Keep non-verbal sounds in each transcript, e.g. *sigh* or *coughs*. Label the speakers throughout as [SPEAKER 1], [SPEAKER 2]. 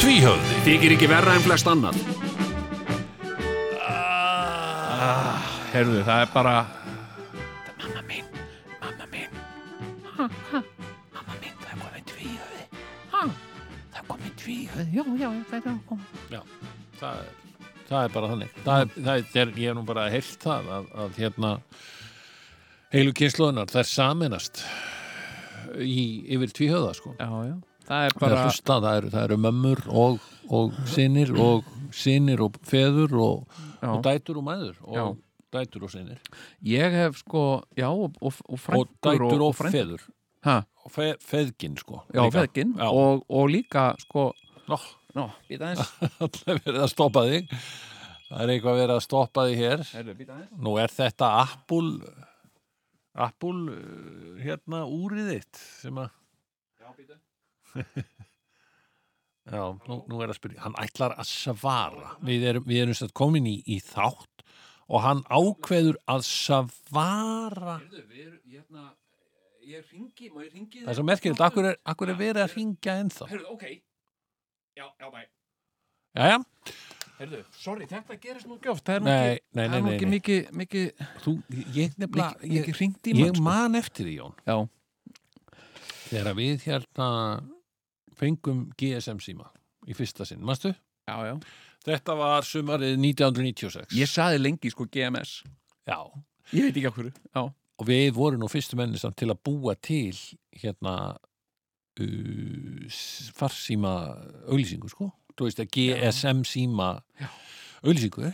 [SPEAKER 1] Tvíhöfði
[SPEAKER 2] Þykir ekki verra en flest annan
[SPEAKER 1] Herðu, Ah, það er bara
[SPEAKER 2] Mamma mín, mamma mín ha, ha, Mamma mín, það er komin tvíhöfði ha, Það er komin tvíhöfði Já, já, það er komin
[SPEAKER 1] Já, það er Það er bara þannig. Það er, það er, ég er nú bara að heilt það að, að hérna heilu kynsluðunar, þær saminast í, yfir tvíhöða sko.
[SPEAKER 3] Já, já. Það er
[SPEAKER 1] bara...
[SPEAKER 3] bara,
[SPEAKER 1] hlusta, það, eru, það eru mömmur og, og sinir og sinir og feður og,
[SPEAKER 3] Já.
[SPEAKER 1] og dætur og mæður og
[SPEAKER 3] Já.
[SPEAKER 1] dætur og sinir
[SPEAKER 3] ég hef sko, já, og, og, og
[SPEAKER 1] og
[SPEAKER 3] frængur
[SPEAKER 1] dætur og,
[SPEAKER 3] frænd-
[SPEAKER 1] feður
[SPEAKER 3] Ha,
[SPEAKER 1] og fe, feðgin sko
[SPEAKER 3] já,
[SPEAKER 1] líka.
[SPEAKER 3] feðgin
[SPEAKER 1] Já. *laughs*
[SPEAKER 3] og, og líka, sko,
[SPEAKER 1] Nó,
[SPEAKER 3] ná, býta aðeins,
[SPEAKER 1] Það er verið að stoppa þig það er eitthvað verið að stoppa þig hér
[SPEAKER 3] herru, býta aðeins.
[SPEAKER 1] nú er þetta Apple Apple uh, hérna úrið þitt sem að *laughs* Já, nú, nú er að spyrja, hann ætlar að svara við erum, við erum satt komin í, í þátt og hann ákveður að svara
[SPEAKER 2] Hérðu, við erum, hérna Ég ringi, má ég ringi
[SPEAKER 1] það er svo merkilegt, akkur er, akkur er verið að hringja ennþá
[SPEAKER 2] Hérðu, ok Já, já, bæ
[SPEAKER 1] Jæja,
[SPEAKER 2] Hérðu, sorry, þetta gerist nú gjöft
[SPEAKER 3] Það er nú
[SPEAKER 1] nei,
[SPEAKER 3] ekki,
[SPEAKER 1] nei,
[SPEAKER 3] það
[SPEAKER 1] nei,
[SPEAKER 3] er nú
[SPEAKER 1] nei,
[SPEAKER 3] ekki
[SPEAKER 1] nei.
[SPEAKER 3] mikið, mikið,
[SPEAKER 1] Þú, ég nefnilega
[SPEAKER 3] mikið, mikið hringt í
[SPEAKER 1] Ég
[SPEAKER 3] mann, sko.
[SPEAKER 1] man eftir því, Jón
[SPEAKER 3] Já,
[SPEAKER 1] Þegar við hérna fengum GSM síma í fyrsta sinn, manstu?
[SPEAKER 3] já, já.
[SPEAKER 1] Þetta var sumarið 1996
[SPEAKER 3] Ég saði lengi, sko, GMS.
[SPEAKER 1] Já,
[SPEAKER 3] Ég veit ekki af hverju. Já,
[SPEAKER 1] og við vorum nú fyrstu menni samt til að búa til hérna uh, s- farsíma auglýsingu, sko Þú veist að GSM síma auglýsingu
[SPEAKER 3] já,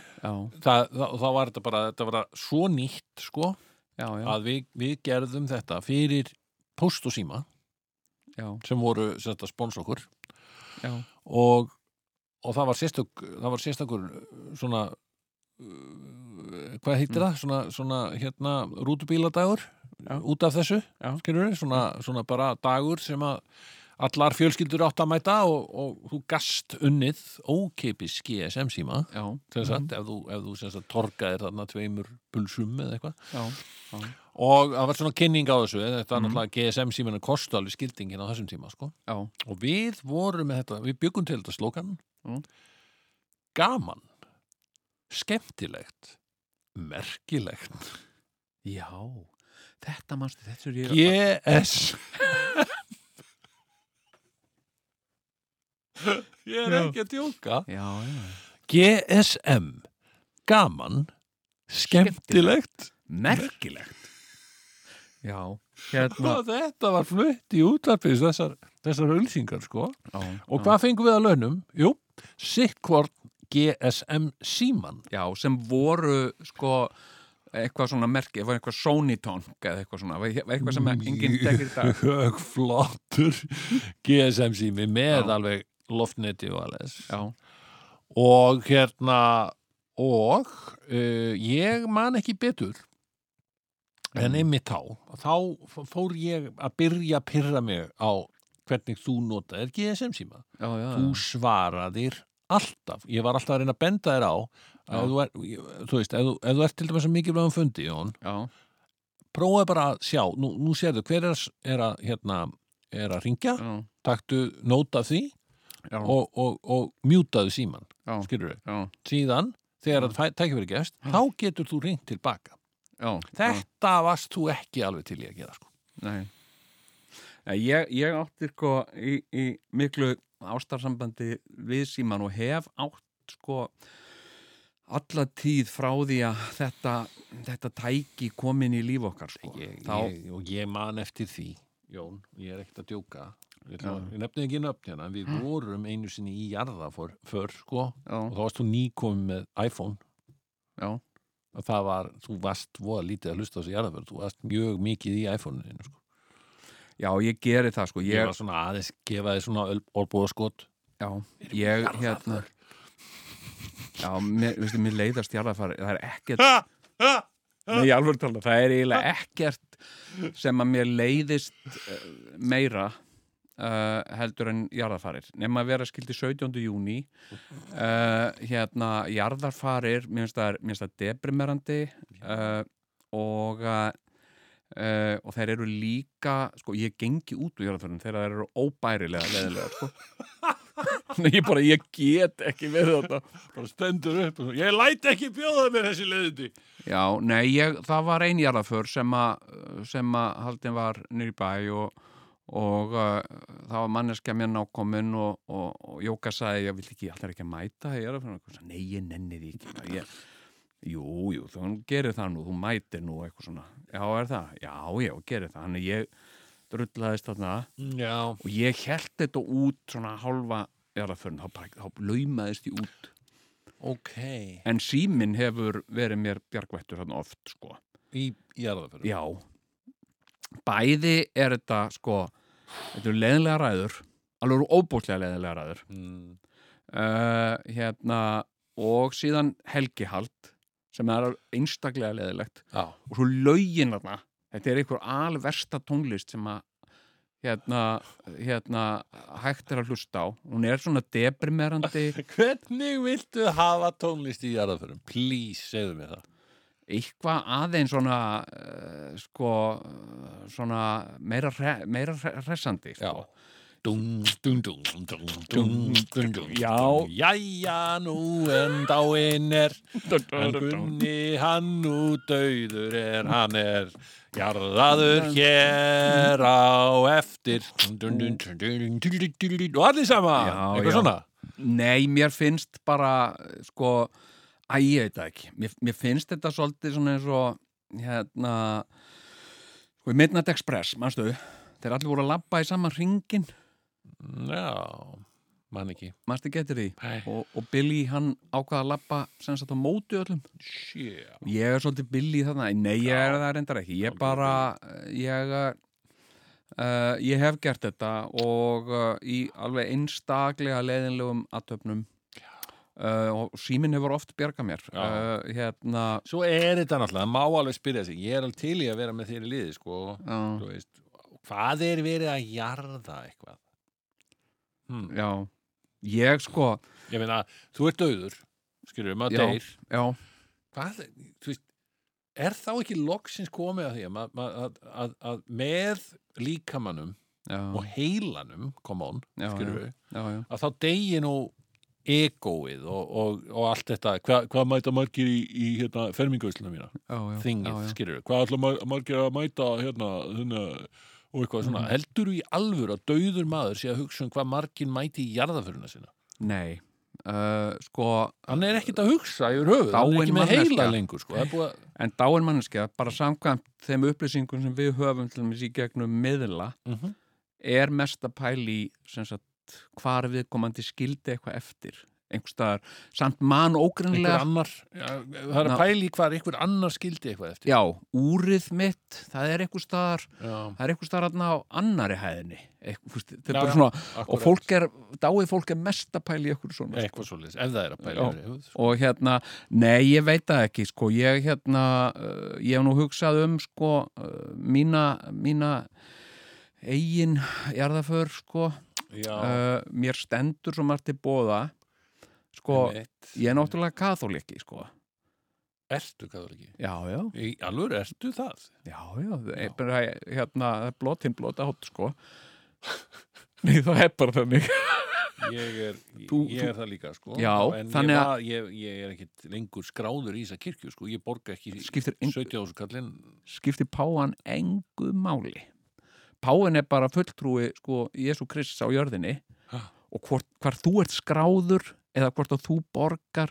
[SPEAKER 1] Það, það, það var þetta bara, þetta var svo nýtt, sko
[SPEAKER 3] já, já,
[SPEAKER 1] að við, við gerðum þetta fyrir post og síma
[SPEAKER 3] já,
[SPEAKER 1] sem voru sem sagt, að sponsa okkur
[SPEAKER 3] já,
[SPEAKER 1] og, og það var sérstök það var sérstakur uh, svona uh, hvað heitir það svona, svona hérna rútubíladagur
[SPEAKER 3] Mm. Já.
[SPEAKER 1] út af þessu
[SPEAKER 3] Já.
[SPEAKER 1] skilurðu? svona, svona bara dagur sem að allar fjölskyldur átt að mæta og, og þú gast unnið ókeipis GSM síma
[SPEAKER 3] já,
[SPEAKER 1] sem sagt,
[SPEAKER 3] Mm.
[SPEAKER 1] ef þú, ef þú sem sagt, torkaðir þarna tveimur pulsum eða eitthvað
[SPEAKER 3] já,
[SPEAKER 1] og það var svona kynning á þessu þetta er náttúrulega GSM síminu kostu alveg skildingin á þessum tíma sko
[SPEAKER 3] já,
[SPEAKER 1] og við vorum með þetta, við byggum til þetta slókan
[SPEAKER 3] Mm.
[SPEAKER 1] gaman skemmtilegt merkilegt
[SPEAKER 3] já. Þetta mannstu, þetta er ég...
[SPEAKER 1] GS ég er
[SPEAKER 3] Já.
[SPEAKER 1] ekki að djóka
[SPEAKER 3] Já, já.
[SPEAKER 1] GSM gaman skemmtilegt
[SPEAKER 3] Merkilegt. Já, hérna.
[SPEAKER 1] og þetta var flutt í útarpis þessar, þessar ölsingar sko
[SPEAKER 3] Já,
[SPEAKER 1] og
[SPEAKER 3] já.
[SPEAKER 1] hvað fengum við að launum? Jú, sikkvort GSM síman
[SPEAKER 3] Já, sem voru sko eitthvað svona merki, var eitthvað Sonytonk eða eitthvað svona, var eitthvað sem enginn tekir í dag.
[SPEAKER 1] högflottur GSM sími með
[SPEAKER 3] Já.
[SPEAKER 1] alveg loftneti og alveg
[SPEAKER 3] Já,
[SPEAKER 1] og hérna og uh, ég man ekki betur
[SPEAKER 3] Mm.
[SPEAKER 1] en einmitt þá þá f- fór ég að byrja að pyrra mig á hvernig þú notaðir GSM síma
[SPEAKER 3] já, já.
[SPEAKER 1] þú svaraðir alltaf, ég var alltaf að reyna að benda þér á
[SPEAKER 3] Já.
[SPEAKER 1] að þú, er, ég- þú veist, ef þú, ef þú ert til dæmis að mikið blæðum fundi, Jón
[SPEAKER 3] Já,
[SPEAKER 1] prófaði bara að sjá, nú, nú sérðu hver er, að- er að, hérna, er að ringja
[SPEAKER 3] já,
[SPEAKER 1] taktu nót af því
[SPEAKER 3] já,
[SPEAKER 1] og, og, og mjútaðu síman
[SPEAKER 3] já,
[SPEAKER 1] skilur við,
[SPEAKER 3] já,
[SPEAKER 1] síðan þegar að tækja verið gest, þá getur þú ringt tilbaka,
[SPEAKER 3] já. já,
[SPEAKER 1] þetta varst þú ekki alveg til ég að gera sko
[SPEAKER 3] Nei. Nei, Ég, ég átti sko í, í miklu ástarsambandi við síman og hef átt sko alla tíð frá því að þetta, þetta tæki komin í líf okkar sko.
[SPEAKER 1] ég,
[SPEAKER 3] Þá-
[SPEAKER 1] ég, og ég man eftir því Jón, ég er ekkert að djóka ég, ætla,
[SPEAKER 3] Já.
[SPEAKER 1] ég nefnir ekki nöfn hérna, en við vorum einu sinni í jarða för, för sko,
[SPEAKER 3] já,
[SPEAKER 1] og þá varst þú nýkomin með iPhone
[SPEAKER 3] já,
[SPEAKER 1] og það var, þú varst voða lítið að hlusta á þessi jarðaför, þú varst mjög mikið í iPhone-inu sko.
[SPEAKER 3] já, ég geri það sko.
[SPEAKER 1] ég,
[SPEAKER 3] Ég,
[SPEAKER 1] var svona aðeins, gefa þið svona orðbúðaskot
[SPEAKER 3] Já, ég hérna Já, mér, veistu, mér leiðast jarðarfari Það er ekkert Nei, ég alveg tala, það er eiginlega ekkert sem að mér leiðist eh, meira uh, heldur en jarðarfarir. Nefn að vera skildi 17. júni, uh, hérna, jarðarfarir, mér finnst það, mér finnst það deprimerandi uh, og að Uh, og þeir eru líka sko, ég gengi út úr jarðarförnum þegar þeir eru óbærilega leðilega sko. *laughs* Nei, ég bara, ég get ekki verið þetta
[SPEAKER 1] bara stendur upp og svo, ég læt ekki bjóða mér þessi leiðindi
[SPEAKER 3] Já, nei, ég, það var ein jarðaför sem að, sem að haldin var nýr í bæ og, og uh, það var manneskja mér nákomin og, og, og Jóka sagði, ég vil ekki, allir ekki að mæta í jarðaförn og nei, ég nenni því ekki bara, ég, Jú, jú, þú gerir það nú, þú mætir nú eitthvað svona Já, er það? Já, já, gerir það Þannig ég drullaðist þarna
[SPEAKER 1] já,
[SPEAKER 3] og ég held þetta út svona hálfa jarðaförn, þá, bara- þá laumaðist ég út
[SPEAKER 1] ok
[SPEAKER 3] En síminn hefur verið mér bjargvættur þarna oft, sko
[SPEAKER 1] í jarðaförum
[SPEAKER 3] Já, bæði er þetta sko, þetta eru leðilega ræður, alveg eru óbúslega leðilega ræður,
[SPEAKER 1] mm.
[SPEAKER 3] uh, hérna, og síðan helgihald, sem er einstaklega leðilegt,
[SPEAKER 1] já,
[SPEAKER 3] og svo lögin þarna, þetta er einhver alversta tónlist sem að, hérna, hérna, hægt er að hlusta á, hún er svona deprimerandi,
[SPEAKER 1] hvernig viltu hafa tónlist í jarðaförum please, segðu mér það
[SPEAKER 3] eitthvað aðeins svona uh, sko eh, svona meira, hre, meira hre, hressandi sko.
[SPEAKER 1] já Dung, dung, dung, dung, dung, dung, dung,
[SPEAKER 3] Já.
[SPEAKER 1] Jæja, nú en dáin er En Gunni hann nú dauður er hann er jarðaður hér á eftir og allir sama
[SPEAKER 3] Já,
[SPEAKER 1] eitthvað
[SPEAKER 3] já.
[SPEAKER 1] svona
[SPEAKER 3] Nei, mér finnst bara eh, sko, æ, ég veit það ekki mér, mér finnst þetta svolítið svona eins og hérna sko, Midnight Express, manstu þeir allir voru að labba í sama ringin
[SPEAKER 1] já, mann ekki
[SPEAKER 3] manstu getur því
[SPEAKER 1] Nei.
[SPEAKER 3] og, og Billy hann ákvaða að labba sem sagt á móti öllum
[SPEAKER 1] Sjá.
[SPEAKER 3] Ég er svolítið billi í þarna, nei ég er það reyndar ekki, ég bara, ég, uh, ég hef gert þetta og uh, í alveg einstaklega leiðinlegum aðtöfnum uh, og síminn hefur oft bjarga mér,
[SPEAKER 1] Já.
[SPEAKER 3] uh, hérna,
[SPEAKER 1] svo er þetta náttúrulega, má alveg spyrja sig ég er alveg til í að vera með þér í liði sko.
[SPEAKER 3] já,
[SPEAKER 1] Þú veist, hvað er verið að jarða eitthvað hmm.
[SPEAKER 3] já, ég sko,
[SPEAKER 1] ég meina, þú ert dauður skilur, maður
[SPEAKER 3] Já.
[SPEAKER 1] deyr
[SPEAKER 3] já,
[SPEAKER 1] hvað, þú veist er þá ekki loksins komið að því að, ma- ma- að, að, að með líkamannum
[SPEAKER 3] já,
[SPEAKER 1] og heilanum, come on,
[SPEAKER 3] Já,
[SPEAKER 1] skilur við
[SPEAKER 3] já, já,
[SPEAKER 1] að þá degi nú egoið og, og, og allt þetta hvað, hvað mæta margir í, í hérna, fermingauslinna mína,
[SPEAKER 3] já, já,
[SPEAKER 1] þingið,
[SPEAKER 3] já, já.
[SPEAKER 1] skilur við hvað ætla mar- margir að mæta hérna, hérna og eitthvað svona,
[SPEAKER 3] Mhm.
[SPEAKER 1] heldur í alvöru að dauður maður sé að hugsa um hvað margir mæti í jarðaföruna sína
[SPEAKER 3] nei, uh, sko,
[SPEAKER 1] hann er ekkit að hugsa yfir höfuð, hann er
[SPEAKER 3] Dáin
[SPEAKER 1] ekki með heila
[SPEAKER 3] manneskja.
[SPEAKER 1] lengur sko. það er búið að,
[SPEAKER 3] en dáin manneskja, bara samkvæmt þeim upplýsingum sem við höfum til dæmis í gegnum miðla,
[SPEAKER 1] mhm,
[SPEAKER 3] er mest að pæli sem sagt hvar viðkomandi skildi eitthvað eftir einhvers staðar, samt mann
[SPEAKER 1] einhver
[SPEAKER 3] ógrinlega
[SPEAKER 1] annar já, það er
[SPEAKER 3] Ná.
[SPEAKER 1] að pæli hvað einhver annar skildi eitthvað eftir
[SPEAKER 3] já, úrið mitt það er einhvers staðar,
[SPEAKER 1] já,
[SPEAKER 3] það er einhvers staðar þarna á annari hæðinni eitthvað, fúst, já,
[SPEAKER 1] Já, já,
[SPEAKER 3] bara, svona, og
[SPEAKER 1] akkúrat.
[SPEAKER 3] fólk er, dáið fólk er mest að pæli eitthvað svona sko.
[SPEAKER 1] eitthvað svoleiðis, ef það er að pæli
[SPEAKER 3] Já.
[SPEAKER 1] yfir höfuð, sko.
[SPEAKER 3] og hérna, nei ég veit það ekki sko, ég hérna uh, ég hef nú hugsað um sko uh, mína, mína eigin jarðaför sko
[SPEAKER 1] já,
[SPEAKER 3] uh, mér stendur svo margt til bóða sko,
[SPEAKER 1] einmitt.
[SPEAKER 3] ég er náttúrulega katholiki sko.
[SPEAKER 1] Ertu katholiki?
[SPEAKER 3] já, já,
[SPEAKER 1] Í alvöru, ertu það?
[SPEAKER 3] já, já, já. Bara, hérna, blótin blóta hótt sko *laughs* Nei, það er bara þannig
[SPEAKER 1] Ég er,
[SPEAKER 3] Þú-
[SPEAKER 1] ég er það líka, sko.
[SPEAKER 3] Já,
[SPEAKER 1] en
[SPEAKER 3] þannig
[SPEAKER 1] ég,
[SPEAKER 3] að-
[SPEAKER 1] var, ég, ég er ekkit lengur skráður í þessa kirkju, sko. Ég borga ekki
[SPEAKER 3] skiptir, eng,
[SPEAKER 1] 70 kallinn.
[SPEAKER 3] skiptir páan engu máli páin er bara fulltrúi sko, Jésu Kristus á jörðinni
[SPEAKER 1] Ha.
[SPEAKER 3] og hvort, hvar þú ert skráður eða hvort að þú borgar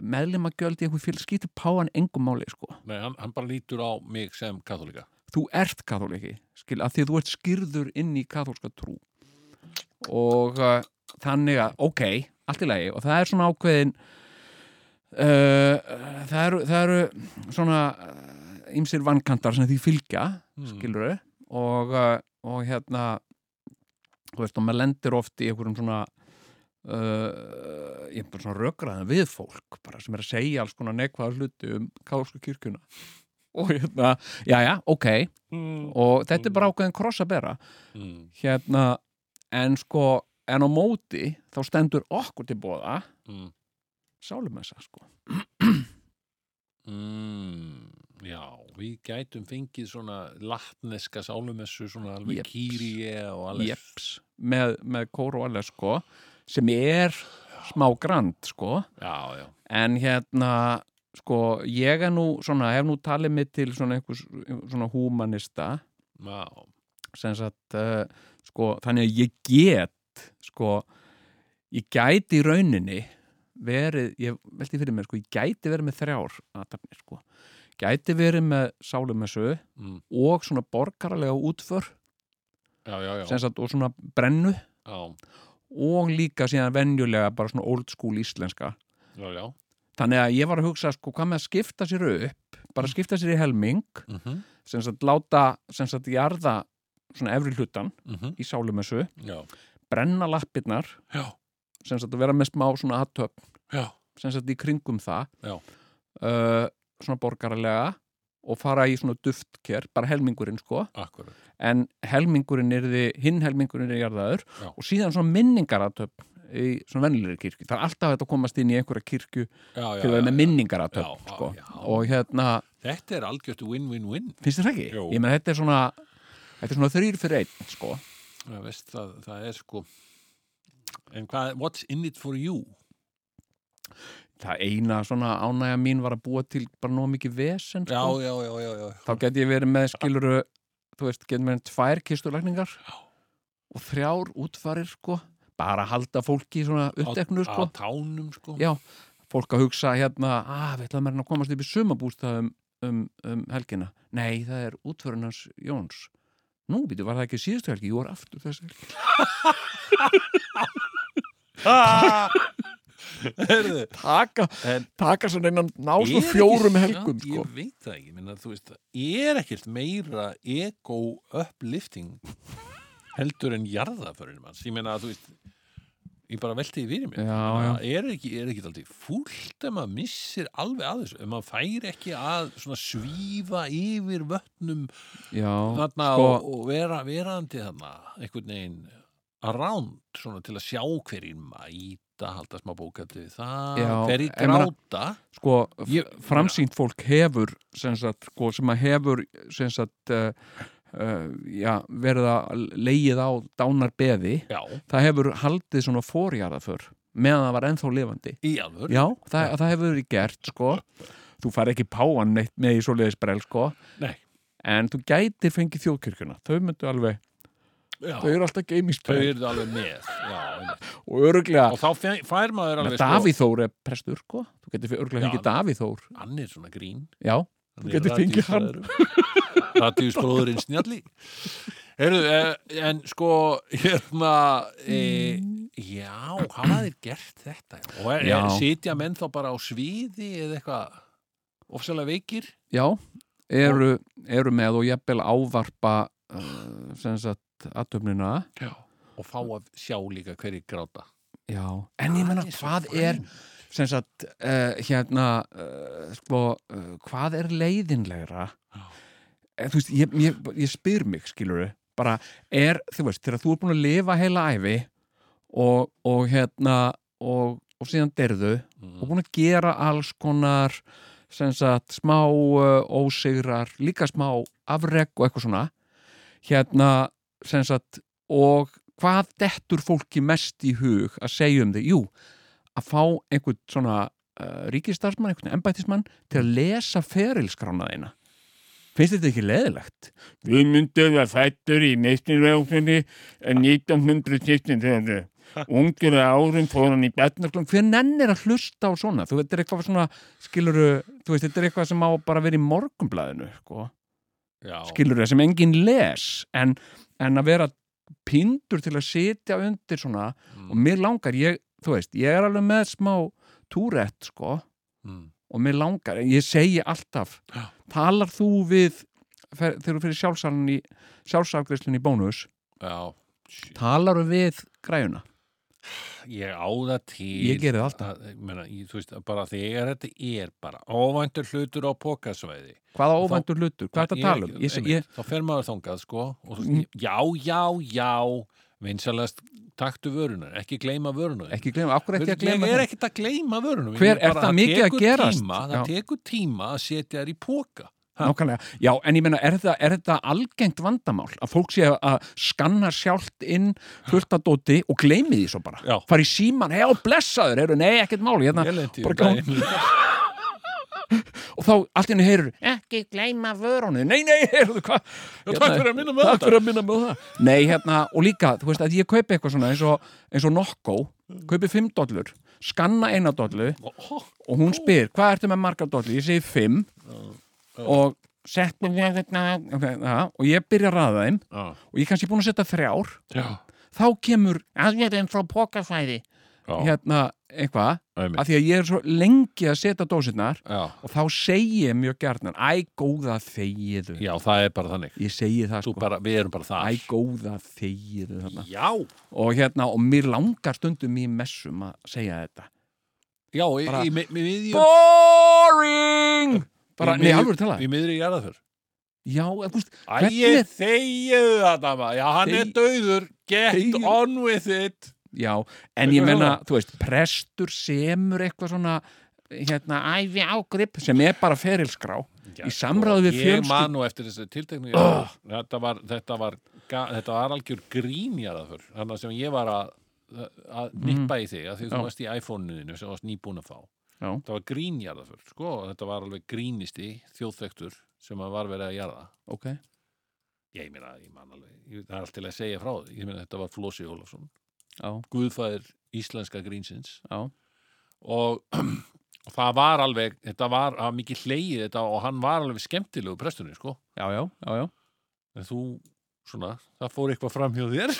[SPEAKER 3] meðlumagjöld í eitthvað fél skiptir páan engu máli sko
[SPEAKER 1] Nei, hann, hann bara lítur á mig sem katholika.
[SPEAKER 3] þú ert katholiki skil, að því að þú ert skýrður inn í katholska trú og uh, þannig að, ok, allt í lagi og það er svona ákveðin uh, það, eru, það eru svona uh, ymsir vankantar sem því fylgja
[SPEAKER 1] Mm.
[SPEAKER 3] skilur og, uh, og hérna þú veist, og maður lendir oft í einhverjum svona uh, ég er bara svona rökraðan við fólk bara sem er að segja alls konar nekvaða hluti um kálsku kirkjuna og hérna, já, já, ok
[SPEAKER 1] Mm.
[SPEAKER 3] og þetta er bara ákveðin kross að bera
[SPEAKER 1] Mm.
[SPEAKER 3] hérna, en sko en á móti, þá stendur okkur til bóða
[SPEAKER 1] Mm.
[SPEAKER 3] sálumessa, sko
[SPEAKER 1] Mm, já, við gætum fengið svona latneska sálumessu, svona alveg
[SPEAKER 3] Jeps.
[SPEAKER 1] Jeps. kýrie og alveg.
[SPEAKER 3] Jeps, með, með kóru og alveg, sko sem er smá grand, sko
[SPEAKER 1] Já, já.
[SPEAKER 3] en hérna sko, ég er nú, svona, hef nú talið mig til svona einhvers, svona húmanista
[SPEAKER 1] Já,
[SPEAKER 3] sem sagt, uh, sko, þannig að ég get, sko ég gæti í rauninni verið, ég velti fyrir mér, sko ég gæti verið með þrjár aðtapnir, sko gæti verið með sálumessu
[SPEAKER 1] mm,
[SPEAKER 3] og svona borgaralega útför
[SPEAKER 1] já, já, já.
[SPEAKER 3] sem sagt, og svona brennu
[SPEAKER 1] já,
[SPEAKER 3] og líka síðan venjulega bara svona old school íslenska
[SPEAKER 1] já, já.
[SPEAKER 3] Þannig að ég var að hugsa, sko, hvað með að skipta sér upp, bara skipta sér í helming,
[SPEAKER 1] Mm -hmm.
[SPEAKER 3] sem sagt láta, sem sagt jarða svona efri hlutan
[SPEAKER 1] Mm
[SPEAKER 3] í sálumessu,
[SPEAKER 1] Já,
[SPEAKER 3] brenna lappirnar,
[SPEAKER 1] já,
[SPEAKER 3] sem sagt að vera með smá svona aðtöp,
[SPEAKER 1] já.
[SPEAKER 3] sem sagt í kringum það,
[SPEAKER 1] Já.
[SPEAKER 3] Uh, svona borgaralega og fara í svona duftker, bara helmingurinn sko,
[SPEAKER 1] Akkurat.
[SPEAKER 3] en helmingurinn er því, hinn helmingurinn er jarðaður
[SPEAKER 1] Já.
[SPEAKER 3] og síðan svona minningaratöp í svona vennilegri kirkju. Það er alltaf þetta að komast inn í einhverja kirkju
[SPEAKER 1] Já, já,
[SPEAKER 3] til
[SPEAKER 1] já,
[SPEAKER 3] að vera með
[SPEAKER 1] já.
[SPEAKER 3] minningaratöp,
[SPEAKER 1] Já,
[SPEAKER 3] sko.
[SPEAKER 1] já.
[SPEAKER 3] Og hérna,
[SPEAKER 1] Þetta er algjört win-win-win.
[SPEAKER 3] Finnst þér það ekki?
[SPEAKER 1] Jú.
[SPEAKER 3] Ég menn þetta er svona þetta er svona þrýr fyrir einn, sko
[SPEAKER 1] Það, veist, það, það er sko... En hvað, what's in it for you?
[SPEAKER 3] Það eina svona ánægja mín var að búa til bara nóg mikið vesen,
[SPEAKER 1] Já,
[SPEAKER 3] sko
[SPEAKER 1] já, já, já, já.
[SPEAKER 3] Þá geti ég verið með skiluru þú veist, geti verið tvær kisturlækningar og þrjár útfarir, sko bara að halda fólki í svona uppteknu,
[SPEAKER 1] Á
[SPEAKER 3] sko
[SPEAKER 1] tánum, sko. *laughs*
[SPEAKER 3] Já. Fólk að hugsa hérna, að við ætlaðum að komast upp í sumabústað um, um, um helgina Nei, það er útförunars Jóns Nú, býtu, var það ekki síðustu helgi? Jú, var aftur þessi helgi
[SPEAKER 1] Herðu,
[SPEAKER 3] Taka,
[SPEAKER 1] En-
[SPEAKER 3] taka svona einan ná
[SPEAKER 1] Er
[SPEAKER 3] svona
[SPEAKER 1] ekki
[SPEAKER 3] fjórum
[SPEAKER 1] samt-
[SPEAKER 3] helgum, sko
[SPEAKER 1] Ég veit það ekki, minna, þú veist er ekkert meira ego uplifting heldur en jarðaförunum hans ég meina, þú veist ég bara velti því fyrir mér
[SPEAKER 3] Já,
[SPEAKER 1] Ég meina, er ekki, er ekki aldrei fúlt ef maður missir alveg að þessu ef maður fær ekki að svona svífa yfir vötnum
[SPEAKER 3] Já,
[SPEAKER 1] þarna
[SPEAKER 3] sko-
[SPEAKER 1] og, og vera verandi þarna einhvern veginn around svona til að sjá hverjum mæta, halda smá bókaldi við það,
[SPEAKER 3] Já,
[SPEAKER 1] hverjir
[SPEAKER 3] en maður-
[SPEAKER 1] gráta
[SPEAKER 3] sko,
[SPEAKER 1] Ég-
[SPEAKER 3] framsýnt fólk hefur sem sagt, sko, sem að hefur sem sagt uh, uh, já, verið að leið á dánarbeði,
[SPEAKER 1] já,
[SPEAKER 3] það hefur haldið svona fórjarðaför meðan það var ennþá lifandi
[SPEAKER 1] í alvör
[SPEAKER 3] Já, það, það hefur verið gert, sko Þú fær ekki páan neitt með í svoleiðis brel, sko
[SPEAKER 1] Nei.
[SPEAKER 3] En þú gætir fengið þjóðkirkjuna Þau myndu alveg,
[SPEAKER 1] Já,
[SPEAKER 3] þau eru alltaf
[SPEAKER 1] þau
[SPEAKER 3] geimisbrel
[SPEAKER 1] eru það alveg með já, einmitt.
[SPEAKER 3] og öruglega
[SPEAKER 1] og þá fe- fær maður alveg
[SPEAKER 3] Alveg,
[SPEAKER 1] sko-
[SPEAKER 3] Davíð Þór er prestur, sko. Þú getur fyrir örglega
[SPEAKER 1] Já,
[SPEAKER 3] fengið Davíð Þór.
[SPEAKER 1] sko, hann er svona grín
[SPEAKER 3] Já,
[SPEAKER 1] Hann
[SPEAKER 3] Þú
[SPEAKER 1] er
[SPEAKER 3] getur fengið hann.
[SPEAKER 1] radíusbróðurinn- radíusbróðurinn snjalli Heyrðu, eh, en sko hérna e, já, hafa þeir gert þetta og er,
[SPEAKER 3] Já.
[SPEAKER 1] er, sitja menn þá bara á sviði eða eitthvað ofsalega veikir
[SPEAKER 3] já, eru, eru með og jafnvel ávarpa uh, sem sagt aðtöfnina.
[SPEAKER 1] já. og fá að sjá líka hverjir gráta
[SPEAKER 3] Já, en ég menna
[SPEAKER 1] Það er svo
[SPEAKER 3] hvað
[SPEAKER 1] fæn.
[SPEAKER 3] er sem sagt, uh, hérna uh, sko, uh, hvað er leiðinlegra?
[SPEAKER 1] Já.
[SPEAKER 3] Eh, Þú veist, ég, ég, ég spyr mig, skilur bara, er, þú veist, þegar þú er búin að lifa heila æfi og, og hérna, og, og síðan derðu og
[SPEAKER 1] mm.
[SPEAKER 3] búin að gera alls konar sem sagt smá uh, ósigrar, líka smá afreg og eitthvað svona hérna sem sagt og hvað dettur fólki mest í hug að segja um þig? Jú, að fá einhvern svona uh, ríkistarsmann, einhvern embættismann til að lesa ferilskrána þeina Finnst þetta ekki leðilegt?
[SPEAKER 4] Guðmundur var fættur í meistirvegsunni 1917. Ungur að árum fór hann í batna
[SPEAKER 3] Náttúrulega, hver nennir að hlusta á svona? Þú veit, þetta er eitthvað svona, skiluru, þú veist, þetta er eitthvað sem á bara að vera í morgumblæðinu, sko.
[SPEAKER 1] já,
[SPEAKER 3] skilur það sem enginn les en, en að vera pindur til að sitja undir svona og
[SPEAKER 1] mm.
[SPEAKER 3] mér langar, ég, þú veist, ég er alveg með smá túrett sko
[SPEAKER 1] Mm.
[SPEAKER 3] og mér langar, en ég segi alltaf
[SPEAKER 1] Já.
[SPEAKER 3] talar þú við fer, þegar þú fyrir sjálfsafgreislun í, sjálfsafgreiðslunni í bónus
[SPEAKER 1] já,
[SPEAKER 3] talar við græjuna
[SPEAKER 1] ég á það til
[SPEAKER 3] Ég geri það alltaf.
[SPEAKER 1] að, ég meina, ég, þú veist, bara þegar þetta er bara óvæntur hlutur á pókasvæði
[SPEAKER 3] Hvaða
[SPEAKER 1] Þá-
[SPEAKER 3] óvæntur hlutur? Hvað er þetta að tala um? Ég, ég, Mhm.
[SPEAKER 1] þá fer maður þangað sko og þú veist, já, já, já vinsalast taktu vörunar ekki gleyma vörunar
[SPEAKER 3] ekki gleyma, akkur ekki að gleyma
[SPEAKER 1] ég er
[SPEAKER 3] það?
[SPEAKER 1] ekkert að gleyma vörunum
[SPEAKER 3] Hver-
[SPEAKER 1] Ég bara-
[SPEAKER 3] er það mikið að
[SPEAKER 1] tekur
[SPEAKER 3] gerast?
[SPEAKER 1] tíma,
[SPEAKER 3] Já.
[SPEAKER 1] það tekur tíma að setja þær í póka
[SPEAKER 3] Nákvæmlega. Já, en ég meina, er þetta, er þetta algengt vandamál að fólk sé að skanna sjálft inn fulltadóti og gleymi því svo bara?
[SPEAKER 1] Já.
[SPEAKER 3] Fari í síman, hei, blessaður, eru, nei, ekkert máli, hérna,
[SPEAKER 1] ég lenti í
[SPEAKER 3] bara
[SPEAKER 1] um daginn.
[SPEAKER 3] *laughs* og þá allt henni heyrur, ekki gleyma vörunni, nei, nei, heyrðu, hvað? Hérna-
[SPEAKER 1] Já, takk fyrir að minna með
[SPEAKER 3] Takk
[SPEAKER 1] þetta
[SPEAKER 3] fyrir að minna með það. Nei, hérna, og líka, þú veist, að ég kaupi eitthvað svona eins og, eins og nokko, kaupi 5 dollur, skanna 1 dollu
[SPEAKER 1] Ó,
[SPEAKER 3] og hún spyr, hvað ertu með margar dollu? Ég segi 5 og hérna, settu mér þetta okay, ja, og ég byrja að raða þeim
[SPEAKER 1] já,
[SPEAKER 3] og ég er kannski búin að setja þrjár
[SPEAKER 1] já,
[SPEAKER 3] þá kemur aðvegðin frá pokafæði
[SPEAKER 1] já,
[SPEAKER 3] hérna eitthvað,
[SPEAKER 1] einmitt,
[SPEAKER 3] af því að ég er svo lengi að setja dósirnar
[SPEAKER 1] já,
[SPEAKER 3] og þá segi ég mjög gjarnan, æ góða þegiðu,
[SPEAKER 1] já, það er bara þannig
[SPEAKER 3] ég segi það
[SPEAKER 1] Þú
[SPEAKER 3] sko
[SPEAKER 1] bara, við erum bara
[SPEAKER 3] æ
[SPEAKER 1] það
[SPEAKER 3] góða þegiðu þarna.
[SPEAKER 1] já,
[SPEAKER 3] og hérna, og mér langar stundum í messum að segja þetta
[SPEAKER 1] já, í,
[SPEAKER 3] Bara-
[SPEAKER 1] í, í, í, í, í
[SPEAKER 3] BORING bara,
[SPEAKER 1] Í
[SPEAKER 3] nei,
[SPEAKER 1] miðju-
[SPEAKER 3] alveg tala
[SPEAKER 1] Í miðri jarðaför.
[SPEAKER 3] já, þú veist,
[SPEAKER 1] Æ,
[SPEAKER 3] Hvernig-
[SPEAKER 1] ég þegiðu þetta maður. Já, hann er
[SPEAKER 3] Þegi-
[SPEAKER 1] dauður. Get
[SPEAKER 3] Þegi-
[SPEAKER 1] on with it.
[SPEAKER 3] Já, en ég
[SPEAKER 1] Veistu
[SPEAKER 3] menna, þú veist, prestur semur eitthvað svona hérna, æfi ágrip sem er bara ferilskrá
[SPEAKER 1] Já, sko,
[SPEAKER 3] Í samráði við
[SPEAKER 1] Ég
[SPEAKER 3] fjölskyld-
[SPEAKER 1] man nú eftir þessu tilteknu
[SPEAKER 3] Ugh.
[SPEAKER 1] jarðaför. Þetta var, þetta var, ga- þetta var algjör grín jarðaför. Þannig að sem ég var að, að nippa í þig, að því þú
[SPEAKER 3] Mhm. Já.
[SPEAKER 1] varst í iPhone-inu sem þú varst nýbúin að fá.
[SPEAKER 3] Já.
[SPEAKER 1] Það var grín jarðaför, sko. og Þetta var alveg grínisti þjóðþektur sem að var verið að jarða.
[SPEAKER 3] Ok,
[SPEAKER 1] Ég meina, ég man alveg, ég, það er allt til að segja frá því. Ég meina, þetta var Flósi Ólafsson.
[SPEAKER 3] já,
[SPEAKER 1] guðfæðir íslenska grínsins
[SPEAKER 3] já
[SPEAKER 1] og, *clears throat* og það var alveg þetta var að mikið hleyið þetta og hann var alveg skemmtilegu prestunni sko
[SPEAKER 3] Já, já, já, já
[SPEAKER 1] en þú svona, það fór eitthvað fram hjá
[SPEAKER 3] *laughs*
[SPEAKER 1] þér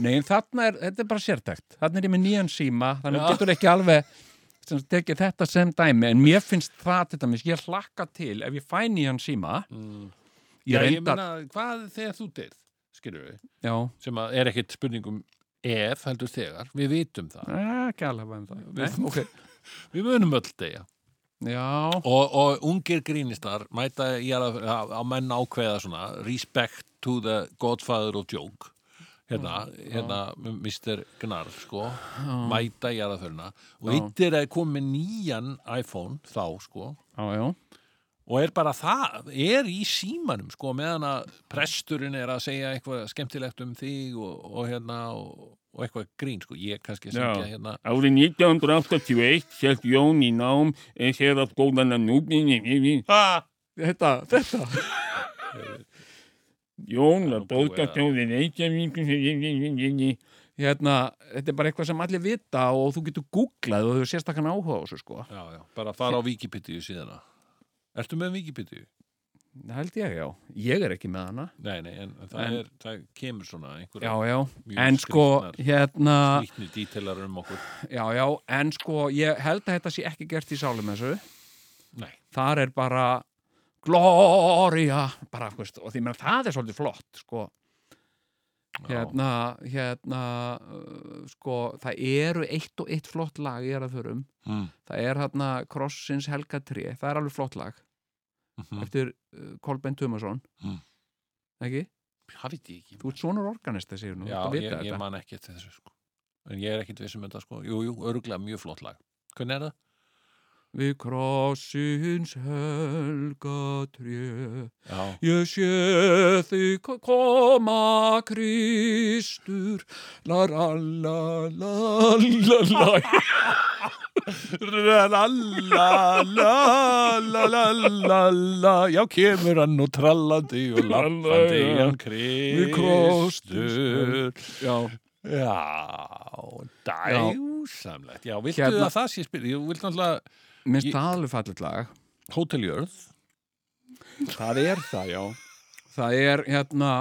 [SPEAKER 3] Nei, en þarna er, þetta er bara sértækt Þarna er ég með nýjan síma, þannig
[SPEAKER 1] Já.
[SPEAKER 3] já. getur ekki alveg sem sagt, tekið þetta sem dæmi en mér finnst það til dæmis, ég hlakka til ef ég fæ nýjan síma
[SPEAKER 1] mm. Já,
[SPEAKER 3] ég
[SPEAKER 1] ég
[SPEAKER 3] reyndar,
[SPEAKER 1] meina, hvað þegar þú deyrð skilur við,
[SPEAKER 3] já,
[SPEAKER 1] sem að er ekkit spurningum ef heldur þegar, við vitum það
[SPEAKER 3] Ah, ekki alveg um það
[SPEAKER 1] Við- *laughs*
[SPEAKER 3] Nei, okay.
[SPEAKER 1] við munum öll degja
[SPEAKER 3] Já,
[SPEAKER 1] og, og ungir grínistar mæta í að, að, að menn ákveða svona respect to the godfather of joke hérna, hérna Mr. Gnar sko, mæta í aðaförna og
[SPEAKER 3] Já.
[SPEAKER 1] eitt er að koma með nýjan iPhone þá sko
[SPEAKER 3] já, já
[SPEAKER 1] og er bara það, er í símanum sko, meðan að presturinn er að segja eitthvað skemmtilegt um þig og, og hérna og, og eitthvað grín sko, ég kannski að
[SPEAKER 5] Já.
[SPEAKER 1] syngja hérna
[SPEAKER 5] Árið 1981 sérst Jón í nám en sér að skólan að núbinni yfir
[SPEAKER 1] ah,
[SPEAKER 3] Þetta, þetta
[SPEAKER 5] Jón
[SPEAKER 1] Já,
[SPEAKER 5] var
[SPEAKER 1] nú búið að-
[SPEAKER 5] bókastóri Reykjavík
[SPEAKER 3] hérna, þetta er bara eitthvað sem allir vita og þú getur googlað og þú hefur sérstakann áhuga á þessu sko.
[SPEAKER 1] já, já, bara fara á Wikipedia síðana Ertu með Wikipedia?
[SPEAKER 3] Það held ég, já. Ég er ekki með hana.
[SPEAKER 1] Nei, nei, en það,
[SPEAKER 3] En-
[SPEAKER 1] er, það kemur svona
[SPEAKER 3] Já,
[SPEAKER 1] einhverja
[SPEAKER 3] já.
[SPEAKER 1] Mjög
[SPEAKER 3] En sko,
[SPEAKER 1] skrýtnar-
[SPEAKER 3] hérna,
[SPEAKER 1] líkni dítelar um okkur.
[SPEAKER 3] já, já, en sko, ég held að þetta sé ekki gert í sálum þessu.
[SPEAKER 1] Nei,
[SPEAKER 3] Þar er bara Gloria, bara, þú veist, og því meðan það er svolítið flott, sko.
[SPEAKER 1] já,
[SPEAKER 3] Hérna, hérna, uh, sko, það eru eitt og eitt flott lag ég er að þurrum.
[SPEAKER 1] Mm.
[SPEAKER 3] Það er hérna Krossins Helga 3, það er alveg flott lag.
[SPEAKER 1] mhm.
[SPEAKER 3] eftir uh, Kolbein Tumason
[SPEAKER 1] Mm.
[SPEAKER 3] ekki?
[SPEAKER 1] Það veit ég ekki.
[SPEAKER 3] Þú ert svona organista, segir nú
[SPEAKER 1] Já,
[SPEAKER 3] þú
[SPEAKER 1] ég,
[SPEAKER 3] vita
[SPEAKER 1] ég
[SPEAKER 3] þetta.
[SPEAKER 1] man ekki til þessu, sko. En ég er ekkit viss um þetta, sko. Jú, jú, örgulega mjög flott lag. Hvernig er það?
[SPEAKER 3] Við krossins helga trjö
[SPEAKER 1] Já,
[SPEAKER 3] Ég sé þig ko- koma Kristur La la la la la la
[SPEAKER 1] la la la la la la la já kemur hann og trallandi og lappandi
[SPEAKER 5] Já, já.
[SPEAKER 1] hann
[SPEAKER 3] Við
[SPEAKER 1] Kristur
[SPEAKER 3] Kristur Já,
[SPEAKER 1] já dæsamlegt já, viltu
[SPEAKER 3] Hérna-
[SPEAKER 1] að það sé spyrir ég viltu alltaf
[SPEAKER 3] minnst
[SPEAKER 1] Ég-
[SPEAKER 3] það alveg fallit lag
[SPEAKER 1] hóteljörð
[SPEAKER 3] Það er það, já Það er hérna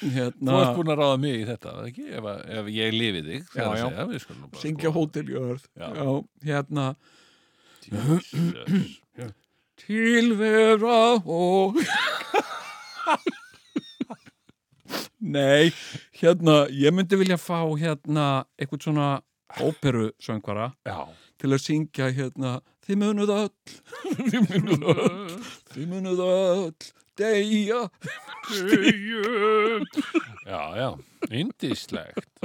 [SPEAKER 1] Þú
[SPEAKER 3] hérna
[SPEAKER 1] ert búin að ráða mig í þetta, var það ekki? Ef, að- ef ég lifi þig, það er
[SPEAKER 3] Já,
[SPEAKER 1] að
[SPEAKER 3] já.
[SPEAKER 1] segja, við skulum nú bara...
[SPEAKER 3] Syngja hóteljörð
[SPEAKER 1] Já.
[SPEAKER 3] já, hérna
[SPEAKER 1] hótel.
[SPEAKER 3] Tilvera og Nei, hérna, ég myndi vilja fá hérna eitthvað svona óperu söngvara
[SPEAKER 1] já.
[SPEAKER 3] til að syngja hérna Þið munuð öll *laughs* Þið munuð öll Þið munuð öll Deyja
[SPEAKER 1] já, já, indislegt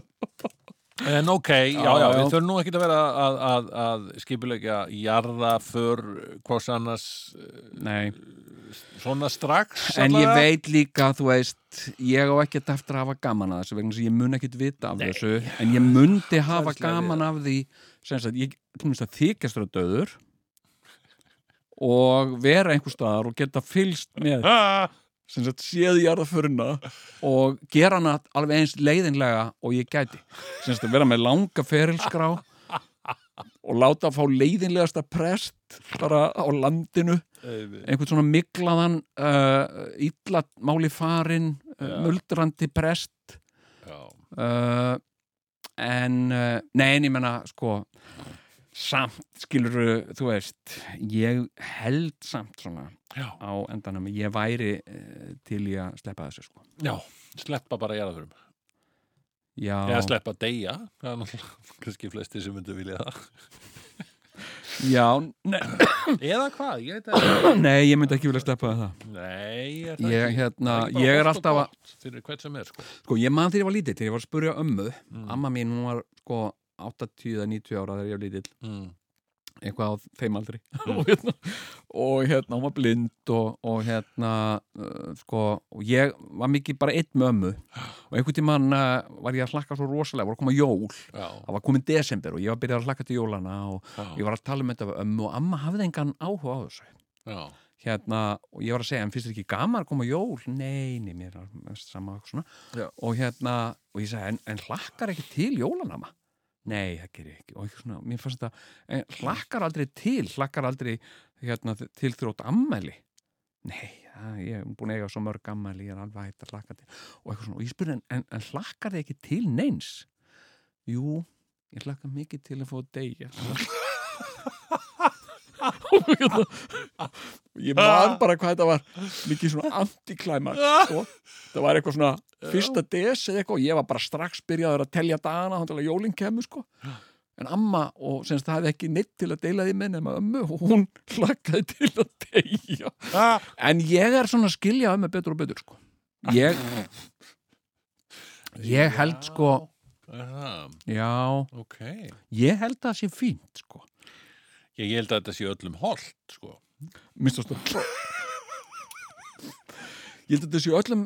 [SPEAKER 1] En ok, já, já,
[SPEAKER 3] Já, já.
[SPEAKER 1] við þurfum nú ekkert að vera að, að, að skipulegja jarða för hvors annars eh,
[SPEAKER 3] Nei,
[SPEAKER 1] svona strax
[SPEAKER 3] en ég
[SPEAKER 1] allavega.
[SPEAKER 3] veit líka, þú veist ég á ekkert eftir að hafa gaman að þessu vegna sem ég mun ekkert vita af þessu en ég mundi hafa
[SPEAKER 1] Sæðislega
[SPEAKER 3] gaman af því sem sagt, ég kemst að þykjast vera döður og vera einhver staðar og geta fylst með
[SPEAKER 1] Ah,
[SPEAKER 3] sem sagt séð í jarðaföruna og gera hana alveg eins leiðinlega og ég gæti sem sagt að vera með langa ferilskrá og láta að fá leiðinlegasta prest bara á landinu einhvern svona miklaðan uh, illa máli farinn uh,
[SPEAKER 1] Já.
[SPEAKER 3] muldrandi prest
[SPEAKER 1] já.
[SPEAKER 3] uh, en uh, nei, en ég menna sko samt skilur þú veist, ég held samt svona
[SPEAKER 1] Já.
[SPEAKER 3] á endanum ég væri uh, til í að sleppa þessu sko
[SPEAKER 1] já, sleppa bara jarðaförum
[SPEAKER 3] Já,
[SPEAKER 1] Eða sleppa deyja, það er náttúrulega kannski flesti sem myndu vilja það.
[SPEAKER 3] já ne *coughs*
[SPEAKER 1] Eða hvað, ég veit að...
[SPEAKER 3] nei, ég myndi ekki vilja sleppa það
[SPEAKER 1] Nei, er það
[SPEAKER 3] Ég,
[SPEAKER 1] ekki.
[SPEAKER 3] hérna,
[SPEAKER 1] Það bara
[SPEAKER 3] ég
[SPEAKER 1] gott
[SPEAKER 3] er
[SPEAKER 1] og
[SPEAKER 3] alltaf að
[SPEAKER 1] gott Fyrir hvert sem er, sko.
[SPEAKER 3] Sko, ég man þegar ég var lítill, þegar ég var að spurja ömmu
[SPEAKER 1] Mm.
[SPEAKER 3] Amma mín, hún var sko 80-90 ára þegar ég var lítill
[SPEAKER 1] Mm.
[SPEAKER 3] eitthvað á þeim aldri *laughs* og, hérna, og hérna, hún var blind og, og hérna uh, sko, og ég var mikið bara einn með ömmu og einhvern tímann uh, var ég að hlakka svo rosalega, voru að koma jól
[SPEAKER 1] Já.
[SPEAKER 3] það var komin desember og ég var að byrja að hlakka til jólana og
[SPEAKER 1] Já.
[SPEAKER 3] ég var að tala um þetta við ömmu og amma hafði engan áhuga á þessu
[SPEAKER 1] Já.
[SPEAKER 3] hérna, og ég var að segja, en finnst þér ekki gaman að koma jól? Nei, nei, mér er mest sama og svona,
[SPEAKER 1] Já.
[SPEAKER 3] og hérna og ég sagði, en, en hlakkar ekki til jólanama? Nei, það gerir ekki, og ekki svona mér fannst þetta, en hlakkar aldrei til hlakkar aldrei, hérna, til þrótt ammæli? Nei, það, ég er búin að eiga svo mörg ammæli, ég er alveg hægt að hlakka til, og eitthvað svona, og ég spurði en, en, en hlakkar þið ekki til neins? Jú, ég hlakka mikið til að fá að deyja *laughs* Og hérna, ég man bara hvað þetta var mikið svona antiklæmaks sko. það var eitthvað svona fyrsta des eða eitthvað og ég var bara strax byrjaður að telja dagana þannig til að jólinn kemur sko. en amma og semst það hefði ekki neitt til að deila því með nema ömmu og hún hlakkaði til að deyja
[SPEAKER 1] Ah,
[SPEAKER 3] en ég er svona að skilja ömmu betur og betur sko. ég *laughs* ég held sko
[SPEAKER 1] er það,
[SPEAKER 3] já,
[SPEAKER 1] ok.
[SPEAKER 3] ég held að það sé fínt sko.
[SPEAKER 1] Ég, ég held að þetta sé öllum holdt, sko.
[SPEAKER 3] minnst að *laughs* ég held að þetta sé öllum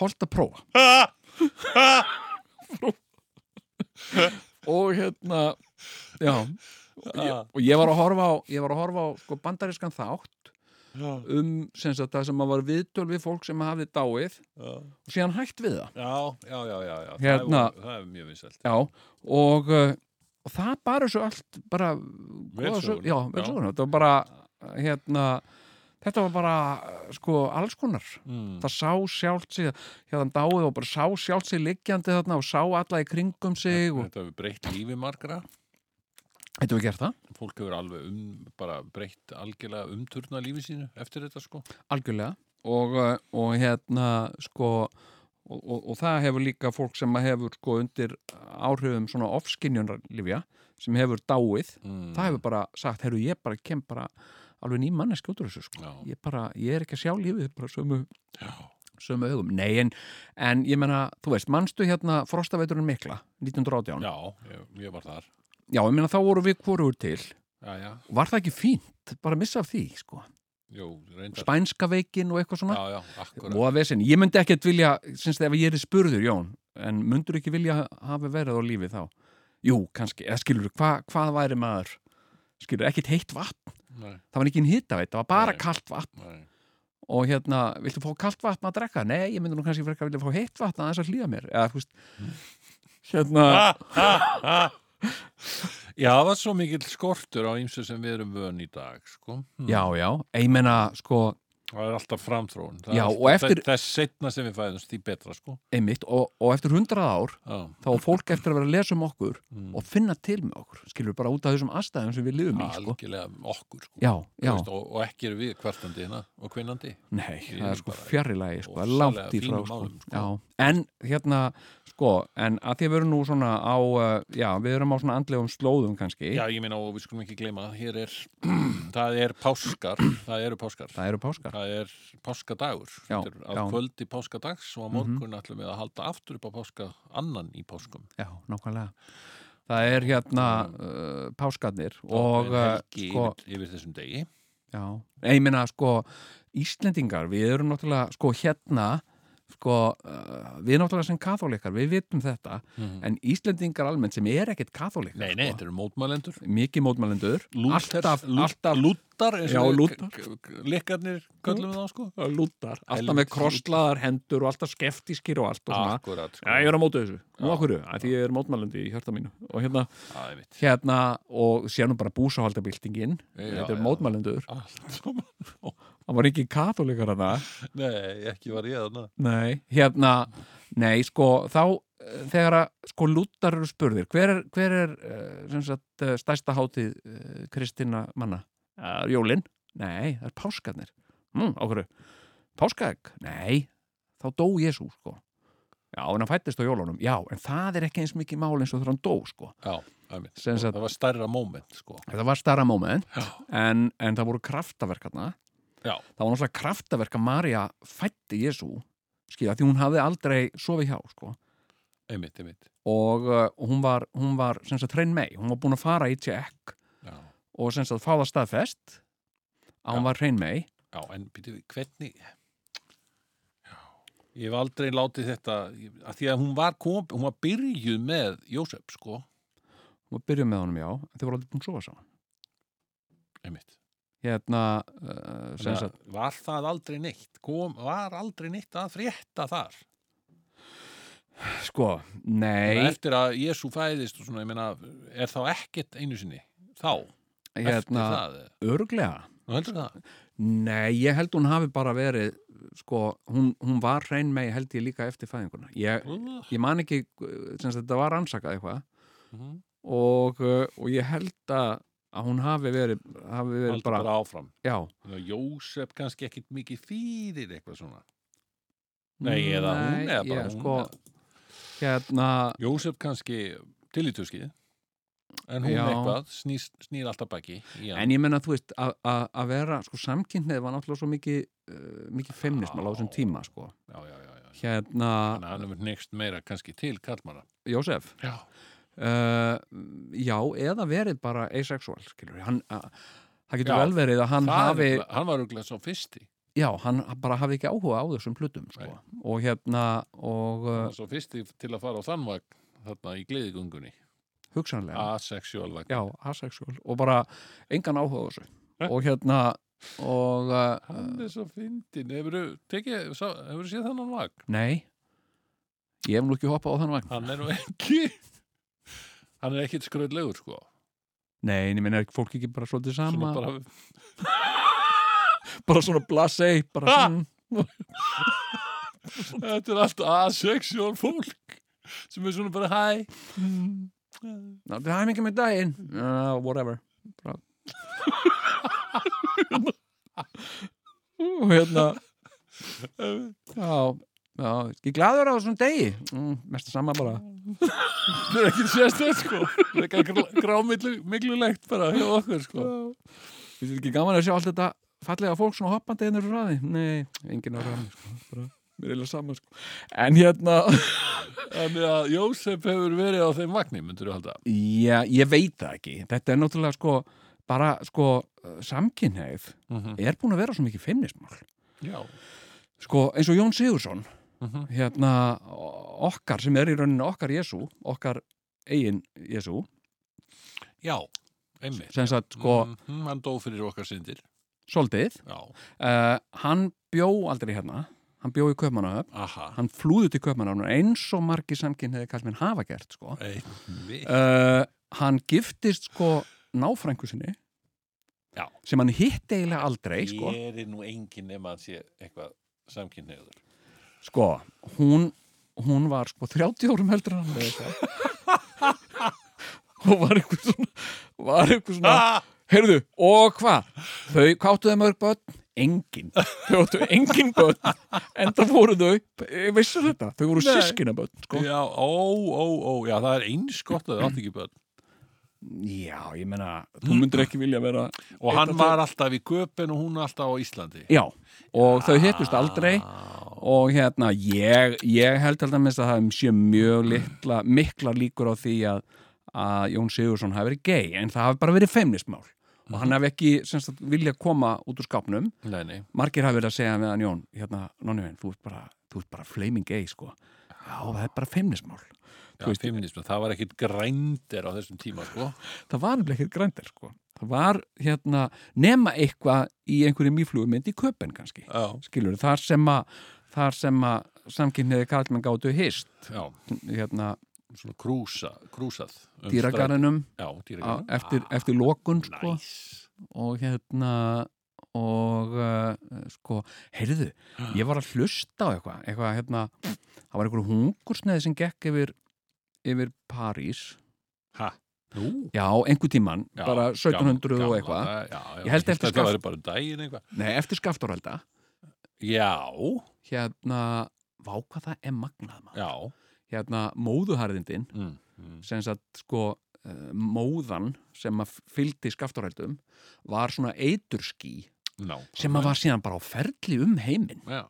[SPEAKER 3] holdt að prófa
[SPEAKER 1] Ah,
[SPEAKER 3] og hérna já
[SPEAKER 1] Ah.
[SPEAKER 3] og ég var að horfa á, ég var að horfa á sko, bandarískan þátt
[SPEAKER 1] já,
[SPEAKER 3] um sem sagt, það sem að var viðtöl við fólk sem hafði dáið
[SPEAKER 1] já,
[SPEAKER 3] og síðan hægt við það
[SPEAKER 1] já, já, já, já.
[SPEAKER 3] Hérna.
[SPEAKER 1] Það er, það er mjög vinsælt.
[SPEAKER 3] já, og, uh, og það bara svo allt bara góða
[SPEAKER 1] söguna.
[SPEAKER 3] sög- já,
[SPEAKER 1] Já.
[SPEAKER 3] vel söguna, þetta var bara hérna, þetta var bara uh, sko alls konar
[SPEAKER 1] Mm.
[SPEAKER 3] það sá sjálft sig hérna dáið og bara sá sjálft sig liggjandi þarna og sá alla í kringum sig og
[SPEAKER 1] Þetta hefur breytt lífi margra.
[SPEAKER 3] þetta var gert það
[SPEAKER 1] Fólk hefur alveg um, bara breytt algjörlega umturna lífi sínu eftir þetta, sko.
[SPEAKER 3] algjörlega og, uh, og hérna sko og, og, og það hefur líka fólk sem að hefur sko undir áhrifum svona ofskinjunarlifja sem hefur dáið
[SPEAKER 1] Mm.
[SPEAKER 3] það hefur bara sagt, herru ég bara kem bara alveg ný manneski út úr þessu sko
[SPEAKER 1] Já.
[SPEAKER 3] ég, bara, ég er ekki að sjá lífið bara sömu,
[SPEAKER 1] Já.
[SPEAKER 3] sömu augum, nei en, en ég menna, þú veist, manstu hérna frostaveiturinn mikla, 1918
[SPEAKER 1] Já, ég, ég var þar.
[SPEAKER 3] já, ég menna þá voru við hvorugur til
[SPEAKER 1] Já, já,
[SPEAKER 3] var það ekki fínt, bara að missa af því sko.
[SPEAKER 1] jú, reyndar.
[SPEAKER 3] spænska veikin og eitthvað svona
[SPEAKER 1] Já, já, akkurat.
[SPEAKER 3] Móða vesen, ég myndi ekkert vilja sinns ef ég er spurður, Jón en myndur ekki vilja hafa verið á lífi þá Jú, kannski, eða skilur, hva, hvað væri maður skilur, ekkert heitt vatn
[SPEAKER 1] Nei,
[SPEAKER 3] það var ekki en hita veit, það var bara
[SPEAKER 1] Nei.
[SPEAKER 3] kalt vatn
[SPEAKER 1] nei.
[SPEAKER 3] og hérna, viltu fá kalt vatn að drekka? Nei, ég myndi nú kannski frekar vilja fá heitt vatn aðeins að hlýja mér eða, þú veist, hérna
[SPEAKER 1] Ah! Já, það var svo mikill skortur á ýmsu sem við erum vön í dag, sko. Hm.
[SPEAKER 3] Já, já, ég meina, sko
[SPEAKER 1] Það er alltaf framþróun. Það
[SPEAKER 3] Já,
[SPEAKER 1] er
[SPEAKER 3] og
[SPEAKER 1] alltaf-
[SPEAKER 3] eftir-
[SPEAKER 1] Þess setna sem við fæðumst, því betra, sko.
[SPEAKER 3] einmitt, og, og eftir hundrað ár
[SPEAKER 1] Já.
[SPEAKER 3] þá er fólk eftir að vera að lesa um okkur
[SPEAKER 1] Mm.
[SPEAKER 3] og finna til með okkur, skilur bara út af þessum aðstæðum sem við lifum í, sko
[SPEAKER 1] Algjörlega okkur, sko.
[SPEAKER 3] Já,
[SPEAKER 1] Þú
[SPEAKER 3] já,
[SPEAKER 1] Veist, og, og ekki eru við kvartandi hérna og kvinnandi.
[SPEAKER 3] Nei,
[SPEAKER 1] Við erum
[SPEAKER 3] það er sko
[SPEAKER 1] bara í
[SPEAKER 3] fjarrilagi, sko, það er
[SPEAKER 1] ofsalega
[SPEAKER 3] langt í frá,
[SPEAKER 1] fínum
[SPEAKER 3] sko.
[SPEAKER 1] málum, sko.
[SPEAKER 3] Já, en hérna, sko, en að því að við erum nú svona á, uh, já, við erum á svona andlegum slóðum kannski,
[SPEAKER 1] Já, ég meina og við skulum ekki gleyma að hér er, *clears throat* það er páskar, það eru páskar,
[SPEAKER 3] það eru páskar
[SPEAKER 1] það er páskadagur,
[SPEAKER 3] Já,
[SPEAKER 1] Þetta er á
[SPEAKER 3] já. Mhm.
[SPEAKER 1] kvöldi páskadags og á morgun ætlum við að halda aftur upp á páska annan í páskum.
[SPEAKER 3] já, nákvæmlega það er hérna uh, páskarnir og
[SPEAKER 1] það er helgi
[SPEAKER 3] uh, sko,
[SPEAKER 1] yfir, yfir þessum degi.
[SPEAKER 3] já, Nei, ég meina sko Íslendingar, við erum náttúrulega sko hérna sko, uh, við náttúrulega sem katholikar, við vitum þetta en Íslendingar almennt sem er ekkit katholikar
[SPEAKER 1] Mhm. Nei, nei,
[SPEAKER 3] sko,
[SPEAKER 1] þetta eru mótmælendur.
[SPEAKER 3] mikið mótmælendur alltaf, alltaf
[SPEAKER 1] lúttar, eins og
[SPEAKER 3] Já,
[SPEAKER 1] við
[SPEAKER 3] lúddar.
[SPEAKER 1] k- k- Likkarnir köllum við þá, sko.
[SPEAKER 3] lútar, alltaf
[SPEAKER 1] Helvítis
[SPEAKER 3] með krosslaðar hendur og alltaf skeftískir og allt og svona
[SPEAKER 1] Akkurat, sko.
[SPEAKER 3] Já, ég er að móta þessu, nú
[SPEAKER 1] Já.
[SPEAKER 3] af hverju, af því ég er mótmælandi í hjarta mínu og hérna,
[SPEAKER 1] Það er mitt.
[SPEAKER 3] hérna og sér nú bara búsahaldabildingin
[SPEAKER 1] Já,
[SPEAKER 3] þetta er
[SPEAKER 1] já.
[SPEAKER 3] mótmælendur,
[SPEAKER 1] Allt saman.
[SPEAKER 3] það var ekki katholikar hana,
[SPEAKER 1] *laughs* Nei, ekki var ég þarna.
[SPEAKER 3] nei, hérna nei, sko, þá eh, þegar að sko lúttar eru spurðir hver er, hver er eh, sem sagt eh, stærsta hátíð eh, kristinna manna Eh, jólin, nei, það er páskarnir mm, á hverju páskaegg, nei, þá dó Jesú, sko Já, en hann fættist á jólunum, já, en það er ekki eins mikið mál eins og þegar hann dó, sko.
[SPEAKER 1] Já, það er mitt.
[SPEAKER 3] Sem sagt-
[SPEAKER 1] Það var stærra moment, sko.
[SPEAKER 3] Þetta var starra moment,
[SPEAKER 1] Já.
[SPEAKER 3] en, en það voru kraftaverkarna.
[SPEAKER 1] Já.
[SPEAKER 3] Það var náttúrulega kraftaverk að Marja fætti Jésu, skilja, því hún hafði aldrei sofið hjá, sko.
[SPEAKER 1] Einmitt, einmitt.
[SPEAKER 3] Og uh, hún var, hún var, sem sagt, trein mei, hún var búin að fara í tjekk
[SPEAKER 1] Já.
[SPEAKER 3] og sem sagt, fá það staðfest að hún var trein mei.
[SPEAKER 1] Já, en býtum við, hvernig Já. Ég hef aldrei látið þetta ég- að því að hún var, kom, hún var byrjuð með Jósef, sko
[SPEAKER 3] Hún var byrjuð með honum, já, en þau voru aldrei búin að sofa saman.
[SPEAKER 1] Einmitt.
[SPEAKER 3] Hérna, uh, sem
[SPEAKER 1] Þannig
[SPEAKER 3] sagt,
[SPEAKER 1] að Var það aldrei neitt? Kom, var aldrei neitt að frétta þar?
[SPEAKER 3] sko,
[SPEAKER 1] Þannig að
[SPEAKER 3] nei,
[SPEAKER 1] Eftir að Jésu fæðist og svona, ég meina, er þá ekkert einu sinni? Þá, eftir
[SPEAKER 3] hérna,
[SPEAKER 1] það
[SPEAKER 3] örglega.
[SPEAKER 1] Nú heldur það?
[SPEAKER 3] Nei, ég held hún hafi bara verið, sko, hún, hún var hrein mei held ég líka eftir fæðinguna. Ég, ég man ekki, uh, sem sagt, þetta var rannsakað eitthvað
[SPEAKER 1] Mhm.
[SPEAKER 3] og, uh, og ég held að, að hún hafi verið, hafi verið
[SPEAKER 1] Haldur
[SPEAKER 3] bara,
[SPEAKER 1] bara áfram
[SPEAKER 3] já.
[SPEAKER 1] Jósef kannski ekkert mikið fyrir eitthvað svona Nei, eða hún eða bara
[SPEAKER 3] ég,
[SPEAKER 1] hún
[SPEAKER 3] sko,
[SPEAKER 1] eða-
[SPEAKER 3] hérna,
[SPEAKER 1] Jósef kannski til í tuskið en hún
[SPEAKER 3] Já.
[SPEAKER 1] eitthvað snýr, snýr alltaf baki í hann.
[SPEAKER 3] en ég menna, þú veist, að- að að vera, sko, samkynnið var náttúrulega svo mikið, uh, mikið feimnismal á þessum
[SPEAKER 1] Já.
[SPEAKER 3] tíma, sko.
[SPEAKER 1] já, já, já, já. Þannig
[SPEAKER 3] Hérna,
[SPEAKER 1] að hann hefur next meira kannski til kallmara
[SPEAKER 3] Jósef,
[SPEAKER 1] já.
[SPEAKER 3] uh, já, eða verið bara asexual, skilur hann, að, það getur
[SPEAKER 1] Já,
[SPEAKER 3] vel verið að hann
[SPEAKER 1] hann,
[SPEAKER 3] hafi
[SPEAKER 1] hann var auðvitað svo fyrsti
[SPEAKER 3] já, hann bara hafi ekki áhuga á þessum hlutum sko.
[SPEAKER 1] Nei.
[SPEAKER 3] og hérna og
[SPEAKER 1] Hann
[SPEAKER 3] uh,
[SPEAKER 1] var svo fyrsti til að fara á þann vagn þarna í gleðigungunni
[SPEAKER 3] hugsanlega,
[SPEAKER 1] Ah. asexual vagn
[SPEAKER 3] já, asexual og bara engan áhuga á þessu
[SPEAKER 1] Nei.
[SPEAKER 3] og hérna og uh,
[SPEAKER 1] hann er svo fyndin hefur þú séð þannan vagn
[SPEAKER 3] nei ég hef nú ekki hoppað á þann vagn
[SPEAKER 1] hann er nú ekki hann er ekkit skröðlegur sko
[SPEAKER 3] nei, en ég minna, er fólk ekki bara svolítið
[SPEAKER 1] Svona
[SPEAKER 3] sama
[SPEAKER 1] bara,
[SPEAKER 3] bara, svona blasei bara
[SPEAKER 1] Ha!
[SPEAKER 3] svona,
[SPEAKER 1] þetta er allt asexual fólk sem er svona bara hæ
[SPEAKER 3] ná, það er mikið með daginn uh, whatever bara. *laughs* og hérna já, já, ég er gladur á þessum degi mm, mest að sama bara
[SPEAKER 1] Það er ekki sérstæð sko Það er ekki grámiðlulegt bara hjá okkur sko
[SPEAKER 3] Við erum ekki gaman að sjá allt þetta fallega fólk svona hoppandi hérna úr raði Nei, enginn á raði sko. bara, Mér er eiginlega saman sko. En hérna *laughs*
[SPEAKER 1] Þannig að Jósef hefur verið á þeim vagni myndur þú halda
[SPEAKER 3] Já, ég veit það ekki Þetta er náttúrulega sko bara sko samkynneið
[SPEAKER 1] Mhm.
[SPEAKER 3] er búin að vera svo mikið feimnismál
[SPEAKER 1] Já
[SPEAKER 3] sko eins og Jón Sigursson
[SPEAKER 1] Mhm.
[SPEAKER 3] hérna o- okkar sem er í rauninu okkar Jesú okkar eigin Jesú
[SPEAKER 1] Já, einmitt
[SPEAKER 3] sem sagt sko
[SPEAKER 1] Mhm, Hann dó fyrir okkar syndir
[SPEAKER 3] soldið
[SPEAKER 1] Já,
[SPEAKER 3] uh, hann bjó aldrei hérna hann bjó í Kaupmannahöfn
[SPEAKER 1] aha
[SPEAKER 3] hann flúði til Kaupmannahöfn eins og margir samkynniði kallmenn hafa gert sko.
[SPEAKER 1] Einmitt
[SPEAKER 3] uh, hann giftist sko náfrængu sinni
[SPEAKER 1] Já.
[SPEAKER 3] sem hann hitt eiginlega aldrei sko.
[SPEAKER 1] Ég er nú engin nema að sé eitthvað samkynniður
[SPEAKER 3] sko, hún hún var sko 30 árum heldur en hann eða eitthvað. og var einhver
[SPEAKER 1] Ah! sko.
[SPEAKER 3] svona var einhver svona, heyrðu, og hvað þau káttuði mörg börn, engin þau áttu engin börn en það voru þau, veistu þetta þau voru
[SPEAKER 1] Nei.
[SPEAKER 3] sískina börn sko.
[SPEAKER 1] Já, ó, ó, ó, já, það er eins gott að það átti ekki börn.
[SPEAKER 3] já, ég meina, þú myndir ekki vilja vera
[SPEAKER 1] Og hann var alltaf í Göpen og hún alltaf á Íslandi.
[SPEAKER 3] já, og þau hittust aldrei og hérna, ég, ég held held að minnst að það sé mjög litla, mikla líkur á því að, að Jón Sigursson hafi verið gay en það hafi bara verið feimnismál og
[SPEAKER 1] Mhm.
[SPEAKER 3] hann hafi ekki sem sagt, vilja koma út úr skápnum
[SPEAKER 1] Nei, nei.
[SPEAKER 3] margir hafi verið að segja meðan Jón hérna, nonni minn, þú ert bara, þú ert bara flaming gay sko, já, það er bara feimnismál
[SPEAKER 1] Já,
[SPEAKER 3] Þú veist-
[SPEAKER 1] feminismen, það var ekkit grændir á þessum tíma, sko.
[SPEAKER 3] það var nefnilega ekkert grændir sko það var hérna, nema eitthvað í einhverju mýflugumynd í köpen kannski
[SPEAKER 1] Já,
[SPEAKER 3] skilur, þar sem að þar sem að samkynniði kallmenn gátu hist
[SPEAKER 1] já,
[SPEAKER 3] hérna,
[SPEAKER 1] svona krúsa, krúsað. um
[SPEAKER 3] dýragarðinum
[SPEAKER 1] stræt- Já, Ah,
[SPEAKER 3] á-
[SPEAKER 1] dýragarðinum.
[SPEAKER 3] eftir, eftir lokun sko
[SPEAKER 1] Næs.
[SPEAKER 3] og hérna og uh, sko, heyrðu ég var að hlusta á eitthvað eitthvað hérna, það var einhver hungursneið sem gekk yfir, yfir París,
[SPEAKER 1] Hæ? Nú?
[SPEAKER 3] já, einhver tíman
[SPEAKER 1] Já,
[SPEAKER 3] bara 1700
[SPEAKER 1] gamla-
[SPEAKER 3] og eitthvað
[SPEAKER 1] gamla daga, já, já,
[SPEAKER 3] Ég held eftir
[SPEAKER 1] þetta
[SPEAKER 3] skaft-
[SPEAKER 1] væri bara um daginn eitthvað
[SPEAKER 3] nei, eftir skaftárælda
[SPEAKER 1] já,
[SPEAKER 3] hérna, vá hvað það er magnað maður,
[SPEAKER 1] já
[SPEAKER 3] hérna, móðuharðindin
[SPEAKER 1] mm, mm.
[SPEAKER 3] sem sagt sko uh, móðan sem að fylgdi skaftárældum var svona eiturský
[SPEAKER 1] Ná,
[SPEAKER 3] sem að var síðan bara á ferli um heiminn
[SPEAKER 1] já,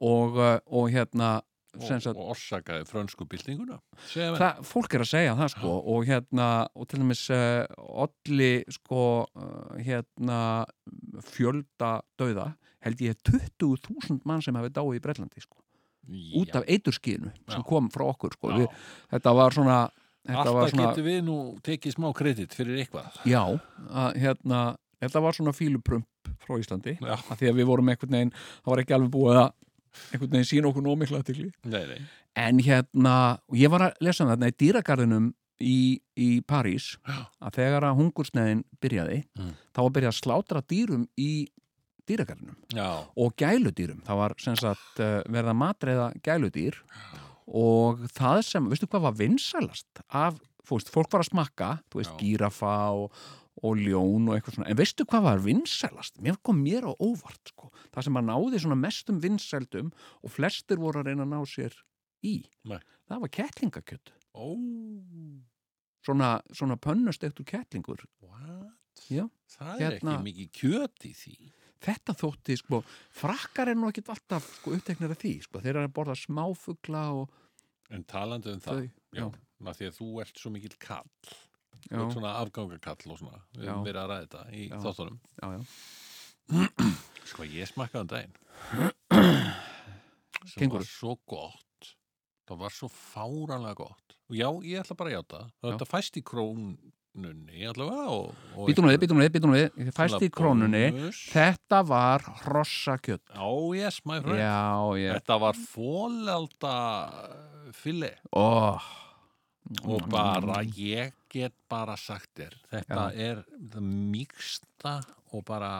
[SPEAKER 3] og, uh, og hérna
[SPEAKER 1] og,
[SPEAKER 3] sem sagt
[SPEAKER 1] og orsakaði frönsku byltinguna Segðu mér.
[SPEAKER 3] Þa, fólk er að segja það sko og hérna, og til dæmis uh, olli sko uh, hérna fjölda dauða held ég 20.000 mann sem hafi dáið í Brellandi sko, út
[SPEAKER 1] Já,
[SPEAKER 3] af eiturskíðinu sem
[SPEAKER 1] Já.
[SPEAKER 3] kom frá okkur sko,
[SPEAKER 1] já.
[SPEAKER 3] Við, þetta var svona þetta
[SPEAKER 1] alltaf
[SPEAKER 3] var svona,
[SPEAKER 1] getum við nú tekið smá kredit fyrir eitthvað
[SPEAKER 3] já, að, hérna þetta var svona fíluprump frá Íslandi
[SPEAKER 1] Já.
[SPEAKER 3] að því að við vorum einhvern veginn, það var ekki alveg búið að einhvern veginn sína okkur nómikla til
[SPEAKER 1] nei, nei.
[SPEAKER 3] En hérna, og ég var að lesa um þarna í dýragarðinum í, í París
[SPEAKER 1] Já.
[SPEAKER 3] að þegar að hungursneðin byrjaði,
[SPEAKER 1] Mm.
[SPEAKER 3] þá var byrjað að slátra dýrum í dýragarðinum
[SPEAKER 1] Já,
[SPEAKER 3] og gæludýrum. Það var sem sagt eh, verið að matreiða gæludýr og það sem, veistu hvað var vinsalast af, fórst, fólk var að smakka, þú veist,
[SPEAKER 1] Já.
[SPEAKER 3] gírafa og, og ljón og eitthvað svona, en veistu hvað var vinsalast? Mér kom mér á óvart, sko. Það sem að náði svona mestum vinsældum og flestir voru að reyna að ná sér í.
[SPEAKER 1] Nei.
[SPEAKER 3] Það var kettlingakjöt.
[SPEAKER 1] ó,
[SPEAKER 3] Svona, svona pönnust eftir kettlingur.
[SPEAKER 1] what
[SPEAKER 3] Já.
[SPEAKER 1] það er ekki
[SPEAKER 3] Hérna.
[SPEAKER 1] mikið kjöt í því
[SPEAKER 3] Þetta þótti, sko, frakkar er nú ekkit alltaf sko, uppteknir af því, sko. Þeir eru að borða smáfugla og
[SPEAKER 1] en talandi um það
[SPEAKER 3] þau.
[SPEAKER 1] já, já. því að þú ert svo mikill kall
[SPEAKER 3] Já,
[SPEAKER 1] Þú ert svona afgangakall og svona við
[SPEAKER 3] Já.
[SPEAKER 1] höfum verið að ræða þetta í
[SPEAKER 3] Já.
[SPEAKER 1] þáttunum
[SPEAKER 3] já, já.
[SPEAKER 1] Sko, ég smakkaði um
[SPEAKER 3] *clears throat*
[SPEAKER 1] daginn sem
[SPEAKER 3] Kengúru.
[SPEAKER 1] var svo gott það var svo fáranlega gott og já, ég ætla bara að játa það. þetta fæst í krónunni allavega og, og
[SPEAKER 3] Býtum við, býtum við, býtum við. Þið fæst í
[SPEAKER 1] Svona
[SPEAKER 3] krónunni.
[SPEAKER 1] bónus.
[SPEAKER 3] Þetta var hrossakjöt.
[SPEAKER 1] Á, Oh, yes, my friend
[SPEAKER 3] Já, já.
[SPEAKER 1] Þetta var fólelda fylli
[SPEAKER 3] Ó. Mm.
[SPEAKER 1] og bara, ég get bara sagt þér, þetta er það mýksta og bara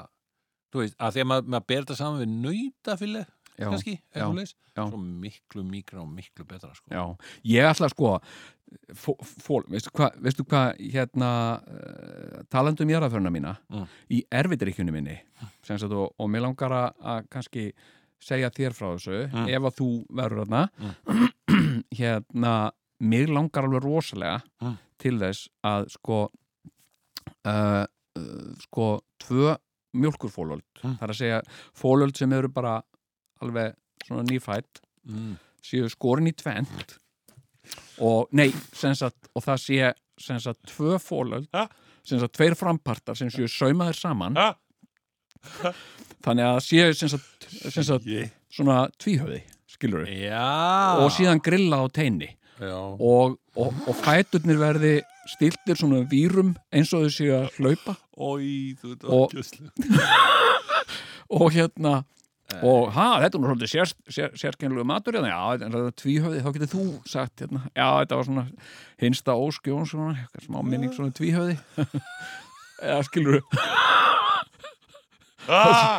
[SPEAKER 1] þú veist, að því að maður, maður ber þetta saman við nautafylli,
[SPEAKER 3] Já,
[SPEAKER 1] kannski
[SPEAKER 3] já,
[SPEAKER 1] eitthvað leis,
[SPEAKER 3] já.
[SPEAKER 1] svo miklu mýkra og miklu betra, sko
[SPEAKER 3] Já, ég ætla að sko fó, fó, veistu hvað veistu hvað, hérna uh, talandi um jarðaförna mína
[SPEAKER 1] Mm.
[SPEAKER 3] í erfidrykkjunni minni sem sagt, og, og mér langar að, að kannski segja þér frá þessu
[SPEAKER 1] Mm.
[SPEAKER 3] ef að þú verður þarna *clears throat* hérna, mér langar alveg rosalega
[SPEAKER 1] Mm.
[SPEAKER 3] til þess að sko uh, uh, sko tvö mjólkurfólöld,
[SPEAKER 1] Mm.
[SPEAKER 3] það er að segja fólöld sem eru bara alveg svona nýfætt
[SPEAKER 1] mm.
[SPEAKER 3] séu skorin í tvent og nei, sem sagt og það sé sem sagt tvö fólöld
[SPEAKER 1] Ha?
[SPEAKER 3] sem sagt tveir frampartar sem séu saumaðir saman
[SPEAKER 1] Ha?
[SPEAKER 3] þannig að það séu sem sagt, sem sagt svona tvíhöfði skilur við
[SPEAKER 1] Já
[SPEAKER 3] og síðan grilla á teini
[SPEAKER 1] Já,
[SPEAKER 3] og, og, og fæturnir verði stiltir svona vírum eins og þau séu að hlaupa
[SPEAKER 1] Ói, þú veit,
[SPEAKER 3] Og-
[SPEAKER 1] ókjöslu
[SPEAKER 3] *coughs* og hérna og ha, þetta er nú svolítið sér, sér, sérkennilegu matur hérna, já, þetta er tvíhöfði þá getur þú sagt hérna, já, þetta var svona hinsta óskjón svona, eitthvað smá minning svona tvíhöfði *laughs* eða skilur
[SPEAKER 1] ah!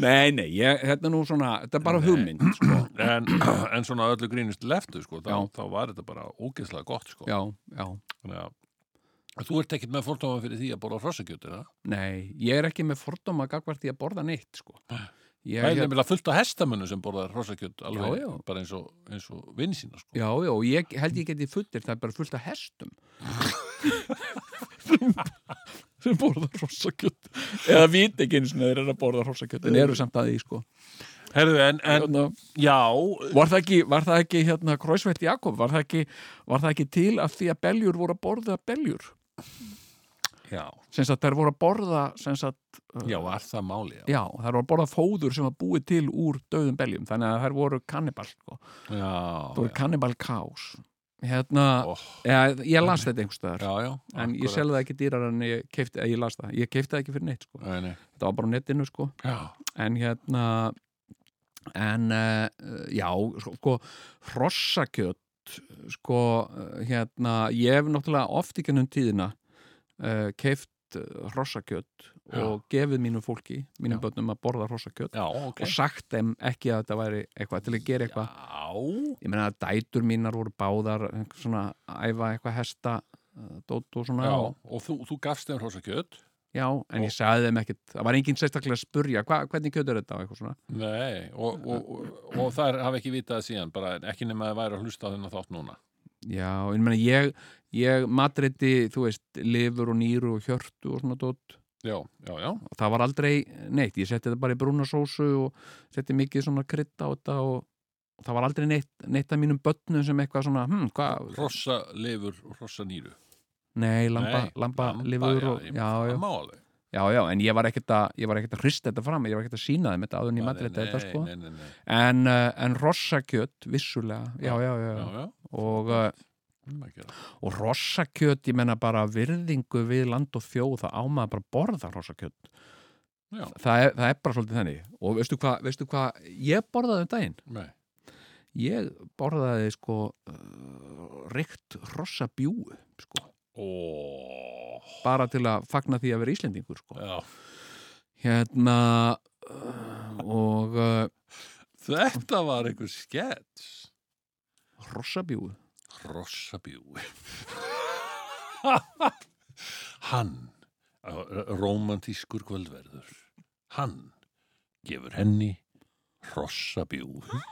[SPEAKER 3] nei, nei, ég, þetta er nú svona þetta er bara hugmynd, sko
[SPEAKER 1] en, *coughs* en svona öllu grínist leftu, sko þá,
[SPEAKER 3] Já.
[SPEAKER 1] þá var þetta bara ógeðslega gott, sko
[SPEAKER 3] já, já,
[SPEAKER 1] Þannig að Þú ert ekkert með fórtáma fyrir því að borða hrossakjötina.
[SPEAKER 3] Nei, ég er ekki með fordóma gagvart í að borða neitt sko. ég,
[SPEAKER 1] Það er
[SPEAKER 3] hérna-
[SPEAKER 1] nefnilega fullt af hestamönnum sem borða hrossakjöt alveg,
[SPEAKER 3] Já, já.
[SPEAKER 1] bara eins og, eins og vinn sína, sko.
[SPEAKER 3] Já, já, og ég held ég geti fullir, það er bara fullt af hestum *laughs* sem borða hrossakjött eða vít ekki eins og þeir eru að borða hrossakjött en eru samt að því, sko
[SPEAKER 1] Herðu, en, en,
[SPEAKER 3] hérna,
[SPEAKER 1] já,
[SPEAKER 3] var, það ekki, var það ekki, hérna, Króisveit Jakob var það, ekki, var það ekki til af því að beljur voru að borða beljur
[SPEAKER 1] já,
[SPEAKER 3] sem sagt, þær voru að borða sem sagt,
[SPEAKER 1] já, var það máli, já.
[SPEAKER 3] já, þær voru að borða fóður sem var búið til úr döðum beljum þannig að þær voru kannibal, sko
[SPEAKER 1] Já,
[SPEAKER 3] það voru kannibal kás hérna,
[SPEAKER 1] Ó.
[SPEAKER 3] ég, ég las þetta einhvers staðar
[SPEAKER 1] já, já.
[SPEAKER 3] en ég selði það ekki dýrar en ég keipti, ég las það, ég keipti það ekki fyrir neitt sko.
[SPEAKER 1] Nei, nei,
[SPEAKER 3] þetta var bara á netinu sko
[SPEAKER 1] já,
[SPEAKER 3] en hérna en uh, já, sko, sko hrossakjött sko, eh, hérna ég hef náttúrulega oft í gennum tíðina uh, keift hrossakjött
[SPEAKER 1] Já.
[SPEAKER 3] og gefið mínu fólki mínum
[SPEAKER 1] Já.
[SPEAKER 3] börnum að borða hrossakjött
[SPEAKER 1] já, ok.
[SPEAKER 3] og sagt þeim ekki að þetta væri eitthvað til að gera eitthvað
[SPEAKER 1] Já,
[SPEAKER 3] ég meina að dætur mínar voru báðar eh, svona að æfa eitthvað hesta uh, dótt og svona
[SPEAKER 1] já,
[SPEAKER 3] og-
[SPEAKER 1] og þú, þú gafst þeim hrossakjöt.
[SPEAKER 3] Já, en ég sagði þeim ekkert, það var enginn sérstaklega að spurja, hva, hvernig kjöt er þetta og eitthvað svona.
[SPEAKER 1] Nei, og, og, og, og þær hafa ekki vitað síðan, bara ekki nema að væri að hlusta á þennan þátt núna.
[SPEAKER 3] Já, en meni, ég, ég matriti, þú veist, lifur og nýru og hjörtu og svona dótt.
[SPEAKER 1] Já, já, já,
[SPEAKER 3] Og það var aldrei neitt, ég setti þetta bara í brúna sósu og setti mikið svona krydd á þetta og, og það var aldrei neitt, neitt af mínum börnum sem eitthvað svona, hm, hvað?
[SPEAKER 1] hrossa lifur og hrossa nýru.
[SPEAKER 3] Nei, lamba, lamba, lifur og,
[SPEAKER 1] já,
[SPEAKER 3] já, já,
[SPEAKER 1] Það má alveg.
[SPEAKER 3] já, já, en ég var ekkert að, ég var ekkert að hrista þetta fram, ég var ekkert að sína þeim þetta áður en ég matriti þetta, sko.
[SPEAKER 1] Nei, nei, nei,
[SPEAKER 3] En, uh, en rossakjöt, vissulega, já, já, já.
[SPEAKER 1] já, já.
[SPEAKER 3] já. og, uh,
[SPEAKER 1] Um að gera.
[SPEAKER 3] og rossakjöt, ég menna bara virðingu við land og þjóð, það ámaður bara að borða rossakjöt
[SPEAKER 1] Já.
[SPEAKER 3] það er, það er bara svolítið þannig og veistu hvað, veistu hvað, ég borðaði um daginn
[SPEAKER 1] Nei.
[SPEAKER 3] ég borðaði sko uh, ríkt rossabjúu sko,
[SPEAKER 1] Ó,
[SPEAKER 3] bara til að fagna því að vera Íslendingur sko
[SPEAKER 1] já.
[SPEAKER 3] hérna uh, og uh,
[SPEAKER 1] Þetta var einhver skets.
[SPEAKER 3] rossabjúu
[SPEAKER 1] Hrossabjúi. *laughs* Hann, romantískur kvöldverður, hann gefur henni hrossabjúi.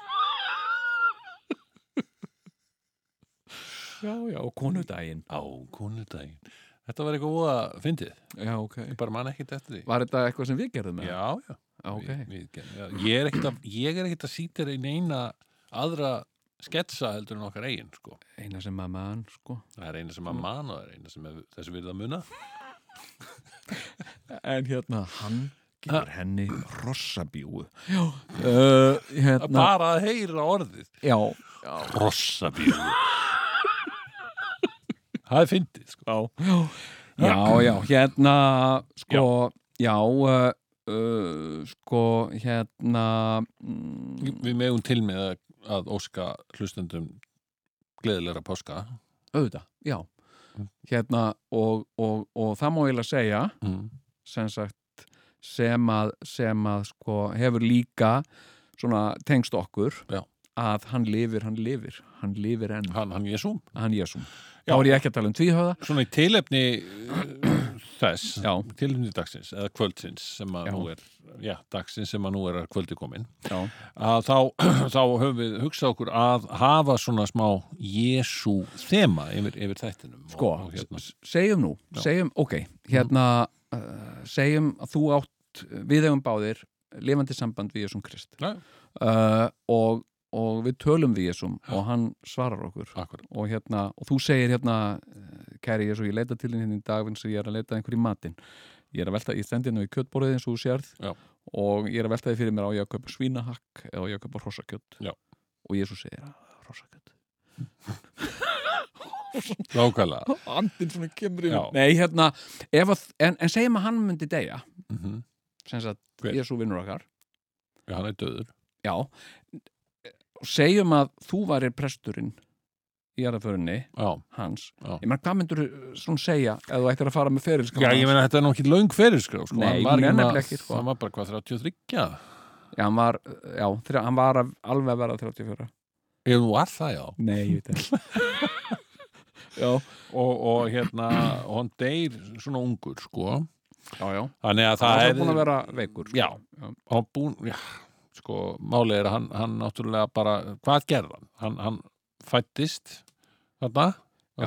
[SPEAKER 3] já, já, og konudaginn
[SPEAKER 1] á konudaginn Þetta var eitthvað voða fyndið,
[SPEAKER 3] já, ok
[SPEAKER 1] ég bara man ekkert eftir því
[SPEAKER 3] var þetta eitthvað sem við gerðum með?
[SPEAKER 1] Já, já,
[SPEAKER 3] Já, ok
[SPEAKER 1] við, við, gerðum- já, Ég er ekkert að, ég er ekkert að sýta þér einn eina aðra sketsa heldur en okkar eigin sko.
[SPEAKER 3] eina sem að mann, sko
[SPEAKER 1] Það er eina sem að man og það er eina sem er, þessu virða að muna
[SPEAKER 3] En hérna, hann gefur henni rossabjúu. Já. Uh, hérna,
[SPEAKER 1] Bara að heyra orðið
[SPEAKER 3] já.
[SPEAKER 1] Hrossabjúi *laughs* Það er fyndið sko.
[SPEAKER 3] Já, já, hérna, sko, já, uh, uh, sko, hérna, mm,
[SPEAKER 1] Við megum til með að- að óska hlustendum gleðilegra páska
[SPEAKER 3] auðvitað, já. Hérna, og, og, og það má eiginlega segja,
[SPEAKER 1] mm.
[SPEAKER 3] sem sagt, sem að, sem að, sko, hefur líka svona tengst okkur.
[SPEAKER 1] Já.
[SPEAKER 3] Að hann lifir, hann lifir, hann lifir enn,
[SPEAKER 1] Hann, hann Jésúm
[SPEAKER 3] hann Jésum.
[SPEAKER 1] Já.
[SPEAKER 3] Þá er ég ekki að tala um tvíhöfða.
[SPEAKER 1] Svona í tilefni uh, þess,
[SPEAKER 3] Já.
[SPEAKER 1] tilefni dagsins eða kvöldsins sem að
[SPEAKER 3] Já.
[SPEAKER 1] nú er já, dagsins sem að nú er að kvöldi komin
[SPEAKER 3] Já.
[SPEAKER 1] að þá, *clears throat* þá höfum við hugsað okkur að hafa svona smá Jésu þema yfir, yfir þættinum og-
[SPEAKER 3] sko,
[SPEAKER 1] og hérna. Mhm.
[SPEAKER 3] s- segjum nú segjum, ok, hérna uh, segjum að þú átt við eigum báðir lifandi samband við Jésum Krist
[SPEAKER 1] Já.
[SPEAKER 3] uh, og, og við tölum við Jésum og hann svarar okkur
[SPEAKER 1] Akkur,
[SPEAKER 3] og hérna, og þú segir hérna eh, kæri Jésu, ég leita til þín hérna í dag eins og ég er að leita að einhverju matinn ég er að velta, ég stendi hérna í kjötborðið eins og þú sérð
[SPEAKER 1] Já.
[SPEAKER 3] og ég er að velta því fyrir mér á ég að kaupa svínahakk eða á ég að kaupa hrossakjött
[SPEAKER 1] Já.
[SPEAKER 3] og Jésu segir "Ah, hrossakjött
[SPEAKER 1] Lákvælega
[SPEAKER 3] *laughs* andinn svona kemur
[SPEAKER 1] Já.
[SPEAKER 3] Nei, hérna, ef að, en, en segjum að hann myndi deyja
[SPEAKER 1] mm -hmm.
[SPEAKER 3] sem sagt,
[SPEAKER 1] Hver?
[SPEAKER 3] Jésu vinnur okkar
[SPEAKER 1] Já, hann er döður
[SPEAKER 3] Já, og segjum að þú varir presturinn í aðraförinni
[SPEAKER 1] Já,
[SPEAKER 3] hans
[SPEAKER 1] Já.
[SPEAKER 3] Ég menn, hvað myndur svona segja ef þú ættir að fara með ferilskrána
[SPEAKER 1] já ég meina þetta er nú ekki löng ferilskrá sko.
[SPEAKER 3] Nei,
[SPEAKER 1] Hann var
[SPEAKER 3] ég meina
[SPEAKER 1] nema-
[SPEAKER 3] nefnilega ekki, sko.
[SPEAKER 1] Hann var bara hvað, 33?
[SPEAKER 3] Já, hann var, já, þrjá, hann var af- alveg að vera 34
[SPEAKER 1] Ég nú var það, já
[SPEAKER 3] Nei, ég veit það
[SPEAKER 1] já. Og, og hérna, og hann deyr svona ungur, sko.
[SPEAKER 3] *laughs* já, já,
[SPEAKER 1] Þannig að
[SPEAKER 3] það
[SPEAKER 1] það
[SPEAKER 3] er búin að vera veikur sko.
[SPEAKER 1] Já, og hann búin, já, sko, málið er að hann, hann náttúrulega bara, hvað gerði hann? Hann, hann fættist þarna,
[SPEAKER 3] Já,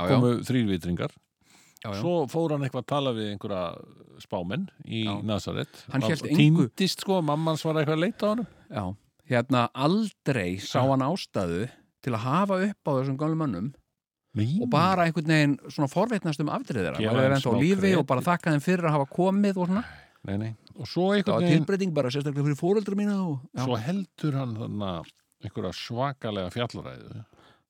[SPEAKER 1] það
[SPEAKER 3] já.
[SPEAKER 1] komu þrýrvitringar.
[SPEAKER 3] Já, já.
[SPEAKER 1] Svo fór hann eitthvað að tala við einhverja spámenn í
[SPEAKER 3] Já.
[SPEAKER 1] Nazareth.
[SPEAKER 3] Hann
[SPEAKER 1] Var-
[SPEAKER 3] hélt engu.
[SPEAKER 1] Týndist, sko, mamman var eitthvað að leita á hann.
[SPEAKER 3] já. hérna aldrei sá hann ástæðu til að hafa upp á þessum gamlu mönnum
[SPEAKER 1] Nei.
[SPEAKER 3] og bara einhvern veginn svona forveitnast um afdrið þeirra,
[SPEAKER 1] Gefa
[SPEAKER 3] maður er
[SPEAKER 1] þeim
[SPEAKER 3] ennþá á
[SPEAKER 1] Mm. smá
[SPEAKER 3] lífi
[SPEAKER 1] kredit.
[SPEAKER 3] og bara þakka þeim fyrir að hafa komið og svona,
[SPEAKER 1] Nei, nei. Og svo
[SPEAKER 3] það
[SPEAKER 1] einhvern
[SPEAKER 3] var
[SPEAKER 1] veginn,
[SPEAKER 3] tilbreyting bara sérstaklega fyrir fóreldra mína og já.
[SPEAKER 1] svo heldur hann þarna einhverja svakalega fjallaræðu.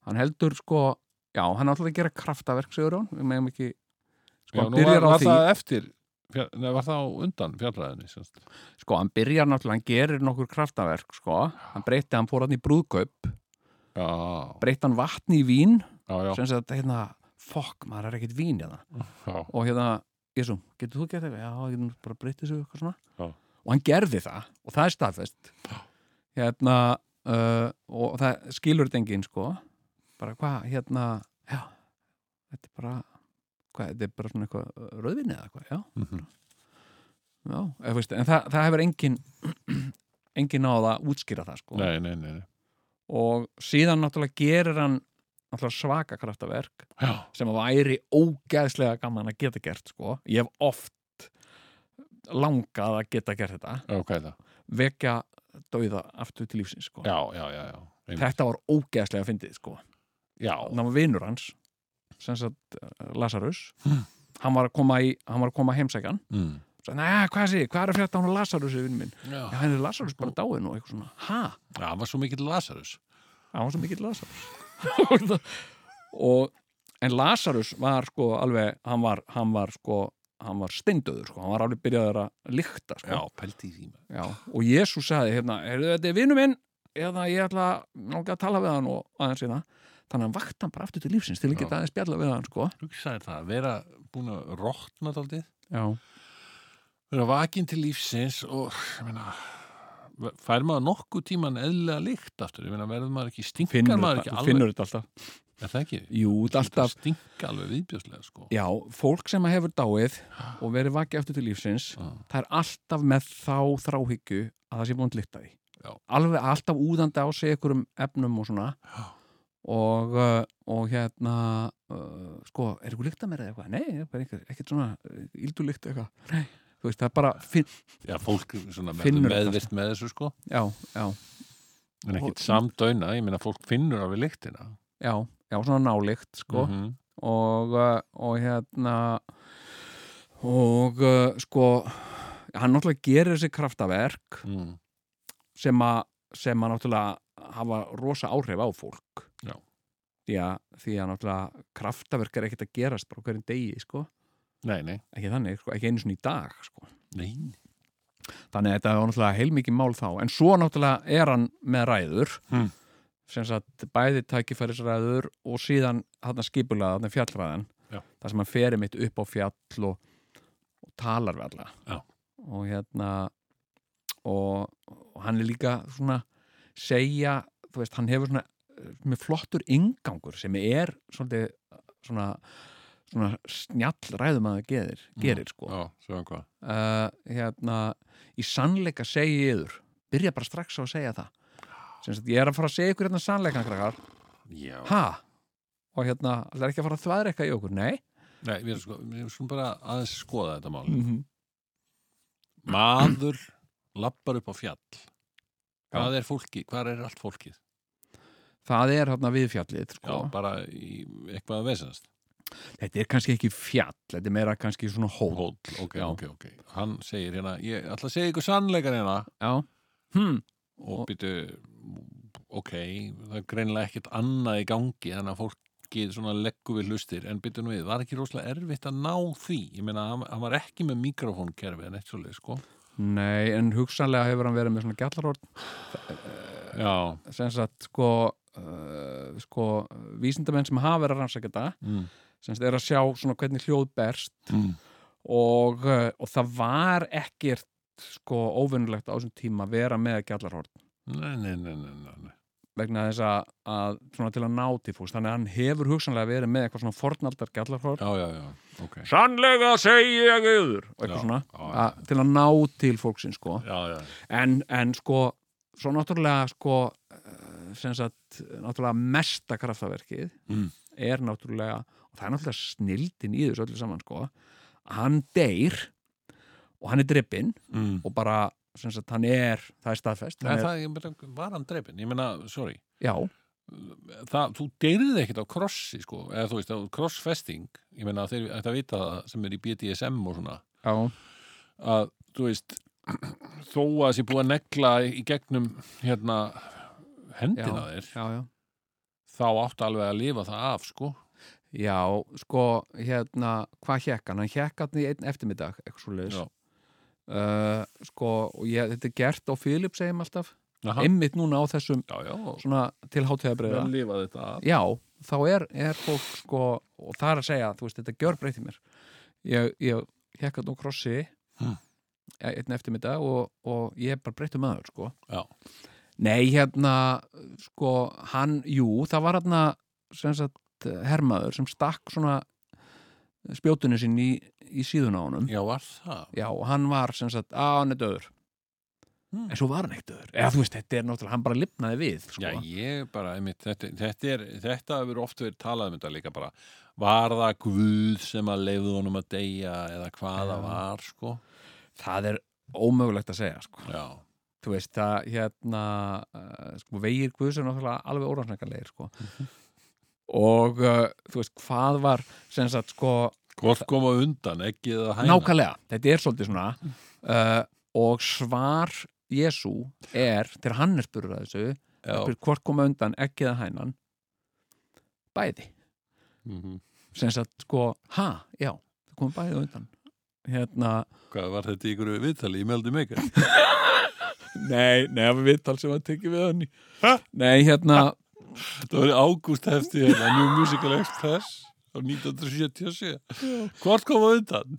[SPEAKER 3] hann heldur sko, já, hann ætlaði að gera kraftaverk segur hann, við meðum ekki sko,
[SPEAKER 1] Já,
[SPEAKER 3] hann
[SPEAKER 1] nú var,
[SPEAKER 3] byrjar á
[SPEAKER 1] var
[SPEAKER 3] því
[SPEAKER 1] það eftir, fjall, nei, var það á undan fjallaræðinni, semst.
[SPEAKER 3] sko, hann byrjar náttúrulega, hann gerir nokkur kraftaverk sko, hann breytti, hann fór hann í brúðkaup
[SPEAKER 1] Já,
[SPEAKER 3] breytti hann vatni í vín
[SPEAKER 1] já, já.
[SPEAKER 3] sem sagt, hérna, fokk, maður er ekkert vín hérna.
[SPEAKER 1] já.
[SPEAKER 3] og hérna, Jesú, getur þú gert eitthvað? Já, ég getur bara breyttið sig eitthvað svona
[SPEAKER 1] Já.
[SPEAKER 3] og hann gerði það, og það er staðfest hérna uh, og það skilur þetta enginn, sko bara hvað, hérna já, þetta er bara hvað, þetta er bara svona eitthvað rauðvinni eða eitthvað, já
[SPEAKER 1] Mhm.
[SPEAKER 3] já, eða, veist, en það, það hefur enginn *clears throat* enginn náð að útskýra það, sko
[SPEAKER 1] Nei, nei, nei, nei.
[SPEAKER 3] og síðan náttúrulega gerir hann náttúrulega svaka kraftaverk
[SPEAKER 1] Já.
[SPEAKER 3] sem að væri ógeðslega gaman að geta gert sko. ég hef oft langað að geta gert þetta
[SPEAKER 1] Já, hvað er það?
[SPEAKER 3] vekja dauða aftur til lífsins sko.
[SPEAKER 1] Já, já, já, já. Einmitt.
[SPEAKER 3] þetta var ógeðslega fyndið sko.
[SPEAKER 1] Já,
[SPEAKER 3] náma vinur hans sem sagt eh, Lazarus
[SPEAKER 1] Hm.
[SPEAKER 3] hann, var að koma í, hann var að koma að heimsækjan
[SPEAKER 1] mm.
[SPEAKER 3] Sagði, "Nei, hvað, sé, hvað er að frétta hann og Lazarus vinur minn?
[SPEAKER 1] já.
[SPEAKER 3] Já, hann er Lazarus bara dáin og eitthvað svona ha,
[SPEAKER 1] Já, hann var svo mikill Lazarus.
[SPEAKER 3] hann var svo mikill Lazarus *laughs* og en Lazarus var sko alveg hann var, hann var sko hann var steindöður sko, hann var alveg byrjaður að lykta sko.
[SPEAKER 1] pælti í síma.
[SPEAKER 3] Já. og Jésús sagði hérna, heyrðu þetta er vinnu minn eða ég ætla langa að tala við hann og aðeins hérna, þannig að hann vakti hann bara aftur til lífsins til að geta aðeins spjalla við hann sko
[SPEAKER 1] Hugsaði það, vera búin að rotna daldið,
[SPEAKER 3] Já,
[SPEAKER 1] vera vakin til lífsins og, ég meina, fær maður nokkuð tíman eðlilega lykt aftur, ég meina, verður maður ekki, stinkar
[SPEAKER 3] finnur,
[SPEAKER 1] maður
[SPEAKER 3] þetta,
[SPEAKER 1] ekki
[SPEAKER 3] þú
[SPEAKER 1] alveg,
[SPEAKER 3] finnur þetta alltaf
[SPEAKER 1] er það ekki?
[SPEAKER 3] Jú, þetta alltaf,
[SPEAKER 1] Stinka alveg viðbjörslega, sko.
[SPEAKER 3] já, fólk sem hefur dáið og verið vakið aftur til lífsins
[SPEAKER 1] Ah.
[SPEAKER 3] það er alltaf með þá þráhyggju að það sé búin að lykta því
[SPEAKER 1] Já.
[SPEAKER 3] alveg alltaf úðandi á sig ykkur um efnum og svona
[SPEAKER 1] Já.
[SPEAKER 3] og, uh, og hérna uh, sko, er ykkur lykta mér eða eitthvað? Nei, ég er bara einhver, ekkert svona uh, íldu lykta eitthvað Nei. Þú veist, það er bara, finn,
[SPEAKER 1] Já, fólk svona
[SPEAKER 3] Finnur
[SPEAKER 1] verður
[SPEAKER 3] þetta,
[SPEAKER 1] meðvirt með þessu, sko.
[SPEAKER 3] já, já,
[SPEAKER 1] En ekkit samdöina, ég meina, fólk finnur alveg lyktina.
[SPEAKER 3] já, já, svona nálykt, sko,
[SPEAKER 1] Mhm.
[SPEAKER 3] og, uh, og hérna, og uh, sko, hann náttúrulega gerir þessi kraftaverk
[SPEAKER 1] Mm.
[SPEAKER 3] sem að sem að náttúrulega hafa rosa áhrif á fólk
[SPEAKER 1] Já.
[SPEAKER 3] því að, því að náttúrulega kraftaverk er ekkert að gerast bara á hverjum degi sko.
[SPEAKER 1] Nei, nei.
[SPEAKER 3] ekki þannig, sko. ekki einu svona í dag sko.
[SPEAKER 1] Nei.
[SPEAKER 3] þannig að þetta var náttúrulega heilmikið mál þá en svo náttúrulega er hann með ræður
[SPEAKER 1] Hmm.
[SPEAKER 3] sem sagt bæði tækifærisræður og síðan þarna skipulaða, þarna fjallræðan
[SPEAKER 1] Já.
[SPEAKER 3] þar sem hann feri mitt upp á fjall og, og talar við alla
[SPEAKER 1] Já.
[SPEAKER 3] og hérna og, og hann er líka svona segja, þú veist, hann hefur svona eh, með flottur yngangur sem er svolítið eh, svona, svona snjall ræðum að gerir, gerir sko
[SPEAKER 1] Já, svo hvað.
[SPEAKER 3] uh, hérna, í sannleika segi ég yður byrja bara strax á að segja það sem sagt, ég er að fara að segja ykkur hérna sannleikan krakkar,
[SPEAKER 1] Já.
[SPEAKER 3] ha og hérna, það er ekki að fara að þvæðra eitthvað í okkur, nei
[SPEAKER 1] Nei, við erum sko, við erum sko bara aðeins skoða þetta mál.
[SPEAKER 3] -hmm.
[SPEAKER 1] Maður lappar upp á fjall. Hvað er fólkið? Hvað er allt fólkið?
[SPEAKER 3] það er hérna við fjallið
[SPEAKER 1] Já,
[SPEAKER 3] sko.
[SPEAKER 1] bara í eitthvað að vesast.
[SPEAKER 3] þetta er kannski ekki fjall, þetta er meira kannski svona hól
[SPEAKER 1] Hóll, ok,
[SPEAKER 3] Já.
[SPEAKER 1] ok, ok. Hann segir hérna, ég ætla að segja ykkur sannleikan hérna
[SPEAKER 3] já, hm,
[SPEAKER 1] og býtu, ok, það er greinilega ekkert annað í gangi þannig að fólkið svona leggur við hlustir en býtu nú við, var ekki rosalega erfitt að ná því? Ég meina, hann, hann var ekki með mikrofónkerfi en eitt svolítið, sko.
[SPEAKER 3] nei en hugsanlega hefur hann verið með svona gjallarhort
[SPEAKER 1] Já,
[SPEAKER 3] sem sagt, sko uh, sko, vísindamenn sem hafa verið að rannsaka þetta
[SPEAKER 1] mm.
[SPEAKER 3] sem sagt, er að sjá svona hvernig hljóð berst
[SPEAKER 1] Mm.
[SPEAKER 3] og, uh, og það var ekkert sko óvinnulegt á þessum tíma að vera með gjallarhorn
[SPEAKER 1] Nei, nei, nei, nei, nei, nei.
[SPEAKER 3] vegna þess að, að svona til að ná Difús, þannig að hann hefur hugsanlega verið með eitthvað svona fornaldar gjallarhorn
[SPEAKER 1] já, já, já, ok
[SPEAKER 3] Sannlega segi ég yður og
[SPEAKER 1] Já,
[SPEAKER 3] eitthvað svona,
[SPEAKER 1] já, já.
[SPEAKER 3] að, til að ná til fólksins sko,
[SPEAKER 1] Já, já,
[SPEAKER 3] en, en sko svo náttúrulega sko eh, sem sagt, náttúrulega mesta kraftaverkið
[SPEAKER 1] Mm.
[SPEAKER 3] er náttúrulega, og það er náttúrulega snildin í þessu öllu saman sko hann deyr og hann er drippinn
[SPEAKER 1] mm.
[SPEAKER 3] og bara, sem sagt, hann er það er staðfest,
[SPEAKER 1] Nei,
[SPEAKER 3] hann er,
[SPEAKER 1] það, ég meina, var hann dreipin, ég meina, sorry
[SPEAKER 3] já
[SPEAKER 1] það, þú deyrið ekkert á krossi sko, eða þú veist, á krossfesting ég meina þeir ætti að vita það sem er í BDSM og svona,
[SPEAKER 3] Já,
[SPEAKER 1] að þú veist *clears throat* þó að sé búið að negla í gegnum hérna hendina þér,
[SPEAKER 3] já, já.
[SPEAKER 1] þá áttu alveg að lifa það af sko,
[SPEAKER 3] Já, sko, hérna, hvað hekk hann? Hann hekk hann í einn eftirmiddag, eitthvað svo leiðis.
[SPEAKER 1] Já.
[SPEAKER 3] sko, og ég, þetta er gert á Philips, segjum alltaf.
[SPEAKER 1] Aha.
[SPEAKER 3] Einmitt núna á þessum,
[SPEAKER 1] já, já
[SPEAKER 3] svona, til hátíðabriða.
[SPEAKER 1] að lifa þetta af
[SPEAKER 3] Já, þá er, er fólk, sko, og það er að segja, þú veist, þetta gjör breytið mér. Ég, ég hekk hann á krossi, e,
[SPEAKER 1] Hmm.
[SPEAKER 3] einn eftirmiddag, og, og ég er bara breytið maður, sko.
[SPEAKER 1] Já.
[SPEAKER 3] Nei, hérna, sko, hann, jú, það var hérna, sem sagt, hermaður sem stakk svona spjótunni sinn í, í síðun á honum.
[SPEAKER 1] já, var það
[SPEAKER 3] Já, og hann var sem sagt, að hann er döður.
[SPEAKER 1] Hmm.
[SPEAKER 3] En svo var hann ekkert döður. Eða þú veist, þetta er náttúrulega, hann bara lifnaði við, sko.
[SPEAKER 1] Já, ég bara, einmitt, þetta, þetta er þetta hefur oft verið talað um þetta líka bara var það guð sem að leiði honum að deyja eða hvað það
[SPEAKER 3] Já.
[SPEAKER 1] var sko,
[SPEAKER 3] Það er ómögulegt að segja, sko.
[SPEAKER 1] já,
[SPEAKER 3] Þú veist, það, hérna, uh, sko, vegir Guðs er náttúrulega alveg órannsnækarlegir, sko. Og, uh, þú veist, hvað var, sem sagt, sko,
[SPEAKER 1] hvort koma undan ekki eða hæna
[SPEAKER 3] Nákvæmlega, þetta er svolítið svona uh, og svar Jésu er, þegar hann er spurður að þessu,
[SPEAKER 1] Já.
[SPEAKER 3] spyr, hvort koma undan ekki eða hænan bæði
[SPEAKER 1] Mhm.
[SPEAKER 3] sem sagt sko, ha, já það kom bæði á undan hérna,
[SPEAKER 1] Hvað var þetta í ykkur viðtali í meldi mig?
[SPEAKER 3] nei, nei, það var viðtal sem að tekja við hann nei, hérna,
[SPEAKER 1] Þetta var í ágúst hefti hérna, New Musical Express á 1977. Hvort kom á undan?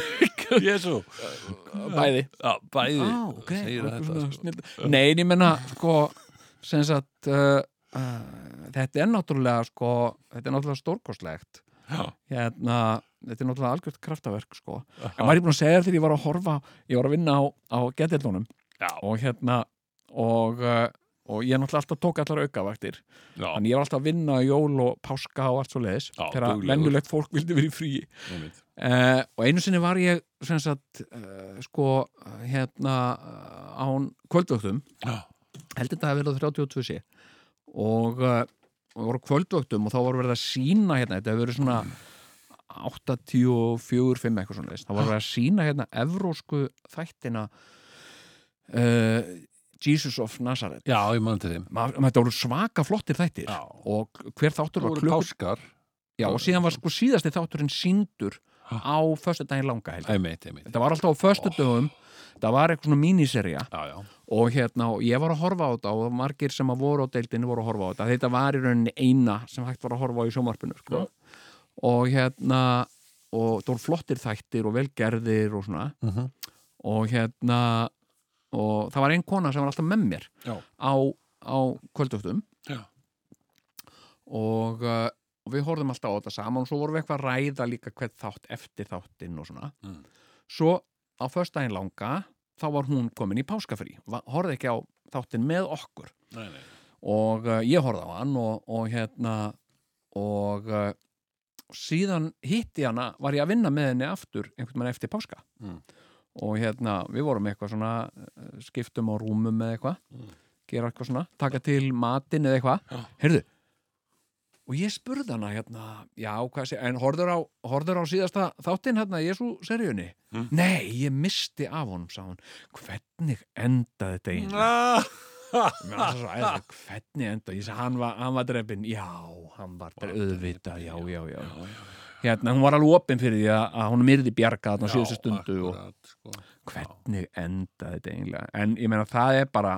[SPEAKER 1] *laughs* Jésu.
[SPEAKER 3] bæði
[SPEAKER 1] Já, bæði.
[SPEAKER 3] Á, ok,
[SPEAKER 1] segir
[SPEAKER 3] það er
[SPEAKER 1] þetta,
[SPEAKER 3] svona
[SPEAKER 1] sko.
[SPEAKER 3] snilld. Nei, en ég menna, sko sem sagt uh, uh, þetta er náttúrulega, sko þetta er náttúrulega stórkostlegt
[SPEAKER 1] Já.
[SPEAKER 3] hérna, þetta er náttúrulega algjört kraftaverk, sko en maður er búin að segja þér þegar ég var að horfa ég var að vinna á, á getillunum og hérna og, uh, og ég náttúrulega alltaf tók allar aukavaktir
[SPEAKER 1] Já,
[SPEAKER 3] þannig ég var alltaf að vinna á jól og páska og allt svo leiðis
[SPEAKER 1] Já,
[SPEAKER 3] þegar að
[SPEAKER 1] duglegur.
[SPEAKER 3] venjulegt fólk vildi verið í fríi
[SPEAKER 1] einmitt.
[SPEAKER 3] Uh, og einu sinni var ég sem sagt, uh, sko hérna uh, án kvöldvöktum
[SPEAKER 1] Já.
[SPEAKER 3] heldur þetta að verið á 32 sé og uh, og voru á kvöldvöktum og þá voru verið að sína hérna, þetta hefur verið svona 84, 5 eitthvað svona leist. þá voru verið að sína hérna evrósku þættina uh, Jesus of Nazareth
[SPEAKER 1] Já, ég mann til þeim.
[SPEAKER 3] Ma, þetta voru svaka flottir þættir
[SPEAKER 1] Já.
[SPEAKER 3] og hver
[SPEAKER 1] Það
[SPEAKER 3] þáttur var
[SPEAKER 1] voru
[SPEAKER 3] klukku
[SPEAKER 1] páskar.
[SPEAKER 3] já, og síðan var sko síðasti þátturinn síndur á föstudaginn langa held ég.
[SPEAKER 1] Einmitt, einmitt.
[SPEAKER 3] Þetta var alltaf á föstu dögum Það var eitthvað svona míniserja
[SPEAKER 1] Já, já.
[SPEAKER 3] og hérna, og ég var að horfa á þetta og margir sem að voru á deildinu voru að horfa á þetta Þetta var í rauninni eina sem hægt var að horfa á í sjómarpinu sko. og hérna og það voru flottir þættir og velgerðir og svona
[SPEAKER 1] Mhm.
[SPEAKER 3] og hérna og það var ein kona sem var alltaf með mér
[SPEAKER 1] Já.
[SPEAKER 3] á, á kvöldöftum
[SPEAKER 1] Já.
[SPEAKER 3] og, uh, og við horfðum alltaf á þetta saman og svo vorum við eitthvað að ræða líka hvern þátt eftir þáttinn og svona
[SPEAKER 1] Mm.
[SPEAKER 3] svo á föstudaginn langa þá var hún komin í páskafrí Va- horfði ekki á þáttinn með okkur
[SPEAKER 1] Nei, nei.
[SPEAKER 3] og uh, ég horfði á hann og, og hérna og uh, síðan hitti ég hana var ég að vinna með henni aftur einhvern veginn eftir páska
[SPEAKER 1] Mm.
[SPEAKER 3] og hérna við vorum eitthvað svona uh, skiptum á rúmum eða eitthvað gera eitthvað svona, taka til matinn eða eitthvað, heyrðu og ég spurði hana hérna já, hvað sé, en horfður á, horfður á síðasta þáttinn hérna, Jésu seríunni nei, ég misti af honum sá hún, hvernig endaði þetta einu Mér var svo æðið, hvernig enda ég sagði, hann var, hann var drefin, já hann var drefin, auðvitað, já, já, já hérna, hún var alveg opinn fyrir því að, að hún myrði bjarga þarna á síðustu stundu og
[SPEAKER 1] akkurat, sko.
[SPEAKER 3] hvernig enda þetta eiginlega en ég meina, það er bara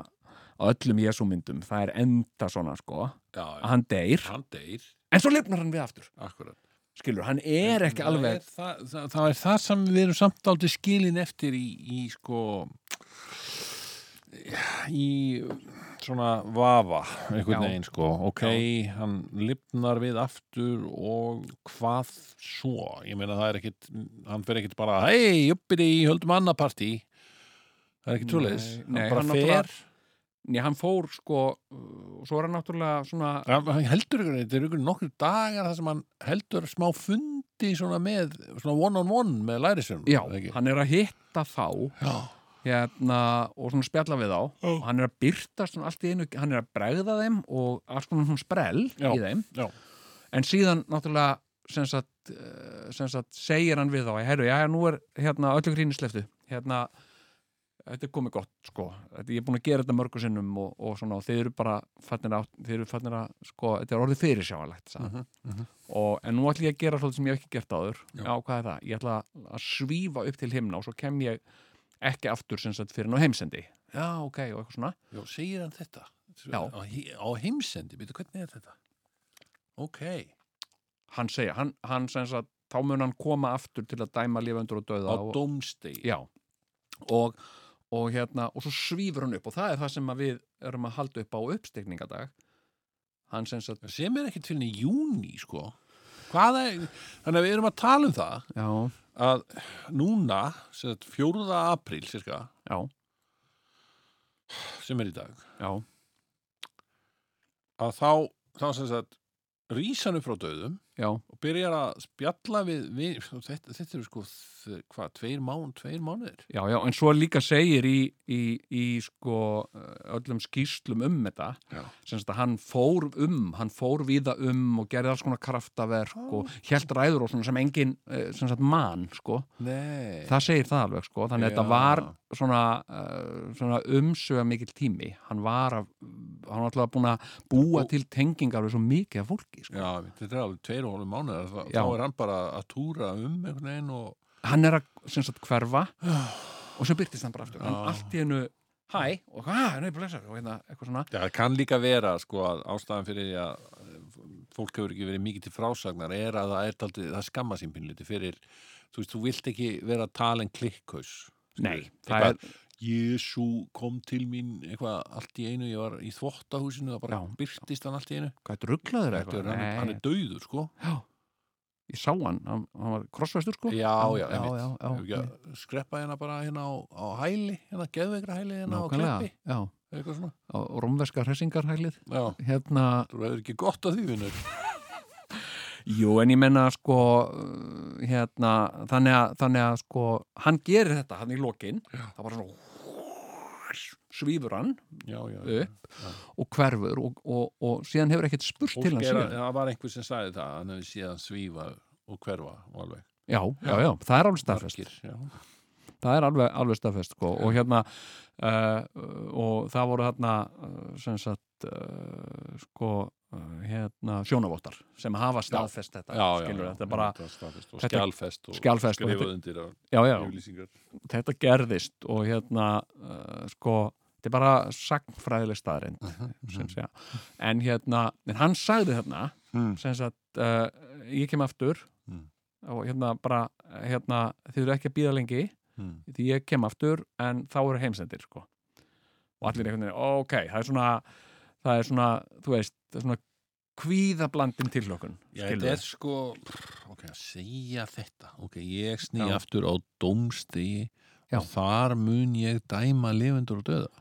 [SPEAKER 3] á öllum jesúmyndum, það er enda svona sko,
[SPEAKER 1] Já,
[SPEAKER 3] að
[SPEAKER 1] já.
[SPEAKER 3] hann deyr
[SPEAKER 1] Hann deyr,
[SPEAKER 3] en svo lifnar hann við aftur,
[SPEAKER 1] akkurat.
[SPEAKER 3] skilur, hann er ekki
[SPEAKER 1] Það
[SPEAKER 3] alveg,
[SPEAKER 1] er það, það, það er það sem við erum samt aldrei skilin eftir í, í sko í svona vafa einhvern
[SPEAKER 3] Já.
[SPEAKER 1] veginn sko ok, hann lifnar við aftur og hvað svo ég meina það er ekkit hann fer ekkit bara, hei, uppið í höldum annað partí það er ekkit
[SPEAKER 3] Nei,
[SPEAKER 1] svoleiðis hann
[SPEAKER 3] nei,
[SPEAKER 1] bara
[SPEAKER 3] hann náttúrulega-
[SPEAKER 1] fer
[SPEAKER 3] Nei, hann fór sko uh, svo er hann náttúrulega svona
[SPEAKER 1] hann, hann heldur ykkur, þetta er ykkur nokkur dagar þar sem hann heldur smá fundi svona með, svona one on one með lærisum
[SPEAKER 3] já,
[SPEAKER 1] ekki?
[SPEAKER 3] hann er að hitta þá
[SPEAKER 1] já,
[SPEAKER 3] hérna, og svona spjalla við þá og hann er að byrta svona allt í einu hann er að bregða þeim og alls konar svona sprell
[SPEAKER 1] Já,
[SPEAKER 3] í þeim
[SPEAKER 1] já.
[SPEAKER 3] en síðan náttúrulega sem sagt, eh, sem sagt, segir hann við þá herru, já, nú er hérna öllu gríni sleftu hérna, þetta er komið gott sko, þetta, ég er búin að gera þetta mörgu sinnum og, og svona, og þeir eru bara fannir að, þeir eru fannir að, sko, þetta er orðið fyrirsjáanlegt uh og en nú ætlum ég að gera svolítið sem ég hef ekki gert áður já. hvað er það, ég ætla að svífa upp til himna og svo kem ég ekki aftur sem sagt fyrir nú heimsendi já, ok, og eitthvað svona
[SPEAKER 1] já, segir hann þetta
[SPEAKER 3] Já.
[SPEAKER 1] á, hí- á heimsendi, veitu hvernig er þetta ok,
[SPEAKER 3] hann segja, hann, hann sem sagt þá mun hann koma aftur til að dæma lifandur og
[SPEAKER 1] á
[SPEAKER 3] döða og,
[SPEAKER 1] dómstegi
[SPEAKER 3] já, og, og hérna og svo svífur hann upp og það er það sem að við erum að halda upp á uppstekningadag hann sem sagt
[SPEAKER 1] sem er ekkert fyrir júni sko Hvað er, þannig að við erum að tala um það
[SPEAKER 3] já,
[SPEAKER 1] að núna, sem þetta 4. apríl sirka,
[SPEAKER 3] já,
[SPEAKER 1] sem er í dag
[SPEAKER 3] já,
[SPEAKER 1] að þá, þá sem sagt rísan upp frá döðum
[SPEAKER 3] já,
[SPEAKER 1] og byrjar að spjalla við, við þetta, þetta eru sko, þ- hvað, tveir mán tveir mánuðir?
[SPEAKER 3] já, já en svo líka segir í, í, í sko eh, öllum skýslum um þetta
[SPEAKER 1] Já.
[SPEAKER 3] sem sagt að hann fór um hann fór víða um og gerði alls konar kraftaverk og hjælt ræður og svona sem engin eh, sem sagt mann sko
[SPEAKER 1] Nei
[SPEAKER 3] það segir það alveg sko þannig
[SPEAKER 1] Já.
[SPEAKER 3] að þetta var svona, uh, svona umsöga mikill tími hann var að, hann var alltaf búin að búa til tengingar við svo mikið af fólki sko.
[SPEAKER 1] Já, þetta er alveg tveir og hálfum mánuðir þá,
[SPEAKER 3] Já.
[SPEAKER 1] þá er hann bara að túra um einhvern veginn og
[SPEAKER 3] hann er að sem sagt
[SPEAKER 1] *sighs*
[SPEAKER 3] hverfa og svo byrtist hann bara aftur hann
[SPEAKER 1] Já.
[SPEAKER 3] allt í hennu hæ og hæ, ney, blessar og hérna eitthvað svona
[SPEAKER 1] Já, það kann líka vera sko að ástæðan fyrir því að eh, fólk hefur ekki verið mikið til frásagnar er að það er taldið, það skamma sín pínliti fyrir, þú veist, þú vilt ekki vera talin klikkhaus.
[SPEAKER 3] Nei, það
[SPEAKER 1] það er... Jésu kom til mín eitthvað allt í einu, ég var í þvottahúsinu, það bara
[SPEAKER 3] Já.
[SPEAKER 1] byrtist hann allt í einu.
[SPEAKER 3] hvað er rugglaður
[SPEAKER 1] Þetta er, hann, hann er dauður, sko.
[SPEAKER 3] já, *gasps* ég sá hann hann, hann var krossvestur sko
[SPEAKER 1] Já, já,
[SPEAKER 3] já,
[SPEAKER 1] einmitt.
[SPEAKER 3] já, já,
[SPEAKER 1] Hefur ekki
[SPEAKER 3] já.
[SPEAKER 1] að Skreppa hérna bara hérna á, á hæli, hérna geðveikra hæli, hérna á
[SPEAKER 3] nákvæmlega
[SPEAKER 1] kleppi,
[SPEAKER 3] já,
[SPEAKER 1] eitthvað svona.
[SPEAKER 3] og rómverska hressingarhælið
[SPEAKER 1] Já,
[SPEAKER 3] hérna
[SPEAKER 1] þú hefur ekki gott að því, vinnur.
[SPEAKER 3] Jú, en ég menna sko uh, hérna, þannig að, þannig að sko, hann gerir þetta hann í lokin, það bara svona svífur hann
[SPEAKER 1] Já, já. já.
[SPEAKER 3] upp og hverfur og, og, og síðan hefur ekkert spurt til
[SPEAKER 1] Fólk
[SPEAKER 3] hann
[SPEAKER 1] er að,
[SPEAKER 3] síðan.
[SPEAKER 1] það var einhver sem sagði það hann hefði síðan svífa og hverfa og alveg
[SPEAKER 3] Já, já, já, það er alveg staðfest
[SPEAKER 1] Margir, já.
[SPEAKER 3] það er alveg, alveg staðfest sko. og hérna uh, og það voru hérna sem sagt uh, sko uh, hérna sjónavottar sem hafa staðfest þetta,
[SPEAKER 1] Já, já,
[SPEAKER 3] skilur
[SPEAKER 1] já,
[SPEAKER 3] þetta bara
[SPEAKER 1] þetta var staðfest og
[SPEAKER 3] þetta-
[SPEAKER 1] skjálfest og
[SPEAKER 3] skjálfest og
[SPEAKER 1] skrifað
[SPEAKER 3] þetta-
[SPEAKER 1] undir á
[SPEAKER 3] já, já,
[SPEAKER 1] yfirlýsingar
[SPEAKER 3] þetta gerðist og hérna uh, sko, þetta er bara sagnfræðileg staðrind sem segja. en hérna, en hann sagði þarna
[SPEAKER 1] Mm.
[SPEAKER 3] sem sagt, uh, ég kem aftur
[SPEAKER 1] Mm.
[SPEAKER 3] og hérna bara hérna, þið eru ekki að býða lengi
[SPEAKER 1] hmm.
[SPEAKER 3] því ég kem aftur en þá eru heimsendir sko. og allir einhvern veginn, ok, það er svona það er svona, þú veist það er svona kvíðablandin tilhlökun
[SPEAKER 1] Já,
[SPEAKER 3] skilurðu.
[SPEAKER 1] þetta er sko ok, að segja þetta ok, ég sný
[SPEAKER 3] Já.
[SPEAKER 1] aftur á dómstigi
[SPEAKER 3] Já.
[SPEAKER 1] og þar mun ég dæma lifendur og döða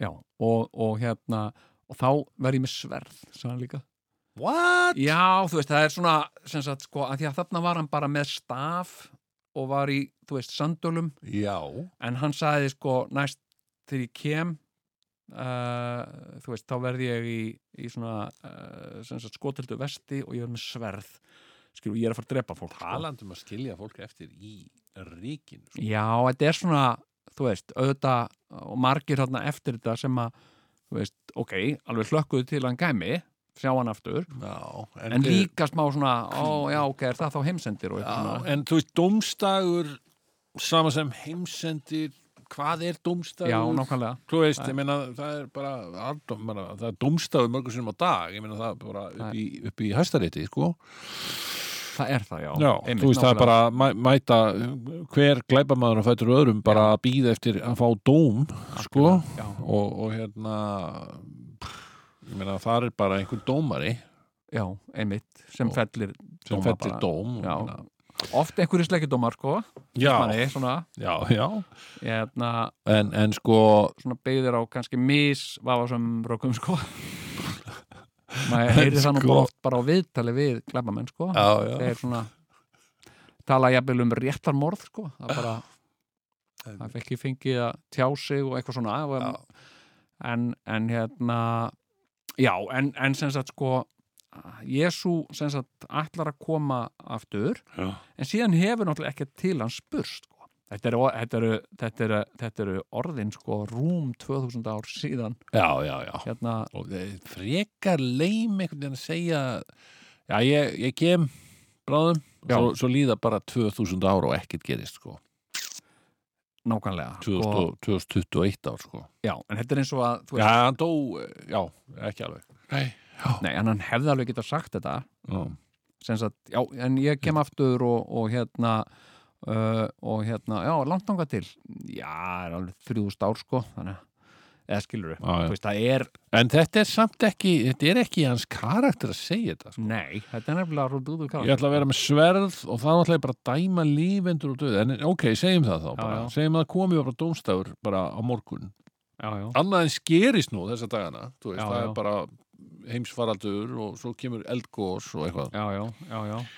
[SPEAKER 3] já, og, og hérna og þá verð ég með sverð, sagði hann líka
[SPEAKER 1] What?
[SPEAKER 3] Já, þú veist, það er svona sem sagt, sko, að því að þarna var hann bara með staf og var í, þú veist, sandölum
[SPEAKER 1] Já,
[SPEAKER 3] en hann sagði, sko, næst þegar ég kem uh, þú veist, þá verði ég í, í svona, uh, sem sagt, skotildu vesti og ég er með sverð skilu, ég er að fara að drepa fólk sko.
[SPEAKER 1] talandum að skilja fólk eftir í ríkinu sko.
[SPEAKER 3] Já, þetta er svona, þú veist, auðvitað og margir þarna eftir þetta sem að þú veist, ok, alveg hlökkuðu til hann gæmi, sjá hann aftur
[SPEAKER 1] Já,
[SPEAKER 3] sko. en
[SPEAKER 1] þeir-
[SPEAKER 3] líka smá svona, ó, já, ok, er það þá heimsendir og eitthvað svona
[SPEAKER 1] Já, en þú veist, dómstagur sama sem heimsendir hvað er dómstagur?
[SPEAKER 3] Já, nákvæmlega.
[SPEAKER 1] Þú veist, ég meina, það er bara aldum, meina, það er dómstagur mörgur sinnum á dag ég meina, það er bara upp í, upp í hæstarétti, sko.
[SPEAKER 3] Það er það, já.
[SPEAKER 1] Já,
[SPEAKER 3] Einmitt,
[SPEAKER 1] þú veist, það er
[SPEAKER 3] nákvæmlega.
[SPEAKER 1] bara að mæ- mæta hver glæpamaður og fætur sko. öðrum bara að býða eftir að fá dóm, sko
[SPEAKER 3] Já,
[SPEAKER 1] og, og hérna ég meina það er bara einhver dómari
[SPEAKER 3] já, einmitt, sem
[SPEAKER 1] Og-
[SPEAKER 3] fellir
[SPEAKER 1] sem
[SPEAKER 3] Dóma
[SPEAKER 1] fellir
[SPEAKER 3] bara.
[SPEAKER 1] dóm
[SPEAKER 3] Já.
[SPEAKER 1] og-
[SPEAKER 3] oft einhverju slekkidómar, sko
[SPEAKER 1] já,
[SPEAKER 3] manni, svona,
[SPEAKER 1] já, já.
[SPEAKER 3] hérna,
[SPEAKER 1] En, en sko
[SPEAKER 3] svona beigðir á kannski mis vafasum rökum,
[SPEAKER 1] *laughs*
[SPEAKER 3] sko maður heyri það nú
[SPEAKER 1] Sko.
[SPEAKER 3] bara oft bara á viðtali við glæbamenn, sko
[SPEAKER 1] já, já.
[SPEAKER 3] þeir svona tala jafnvel um réttarmorð sko. það bara það er ekki fengið að tjá sig og eitthvað svona og, en, en hérna já, en, en sem sagt sko Jésu sem sagt ætlar að koma aftur
[SPEAKER 6] Já.
[SPEAKER 3] en síðan hefur náttúrulega ekki til hans spurst sko. þetta, eru, þetta, eru, þetta, eru, þetta eru orðin sko rúm 2000 ár síðan
[SPEAKER 1] já, já, já
[SPEAKER 3] hérna,
[SPEAKER 1] og þeir frekar leim einhvern veginn að segja já, ég, ég kem bráðum
[SPEAKER 3] Já.
[SPEAKER 1] svo, svo líða bara 2000 ára og ekkert gerist sko
[SPEAKER 3] nákvæmlega
[SPEAKER 1] 2000
[SPEAKER 3] sko,
[SPEAKER 1] og- 2021 ár sko
[SPEAKER 3] já, en þetta er eins og að
[SPEAKER 1] já,
[SPEAKER 3] þú veist,
[SPEAKER 1] hann dó, eh, já, ekki alveg nei, já,
[SPEAKER 3] nei, en hann hefði alveg getað sagt þetta
[SPEAKER 1] já,
[SPEAKER 3] sem sagt, já, en ég kem aftur og, og hérna uh, og hérna, já, langt ánga til já, er alveg þrjúðust ár sko þannig, að- eða skilur við
[SPEAKER 1] já.
[SPEAKER 3] þú veist, það er,
[SPEAKER 1] en þetta er samt ekki þetta er ekki í hans karakter að segja þetta sko.
[SPEAKER 3] nei, þetta er nefnilega rúðbúðu
[SPEAKER 1] ég ætla að vera með sverð og það náttúrulega bara að dæma lífendur og döð en ok, segjum það þá bara,
[SPEAKER 3] já.
[SPEAKER 1] segjum að komi bara dómstafur bara á morgun
[SPEAKER 3] já, já,
[SPEAKER 1] annað en skerist nú þessa dagana þú veist,
[SPEAKER 3] Já,
[SPEAKER 1] það
[SPEAKER 3] já.
[SPEAKER 1] er bara heimsfaraldur og svo kemur eldgós og eitthvað
[SPEAKER 3] já, já, já, já.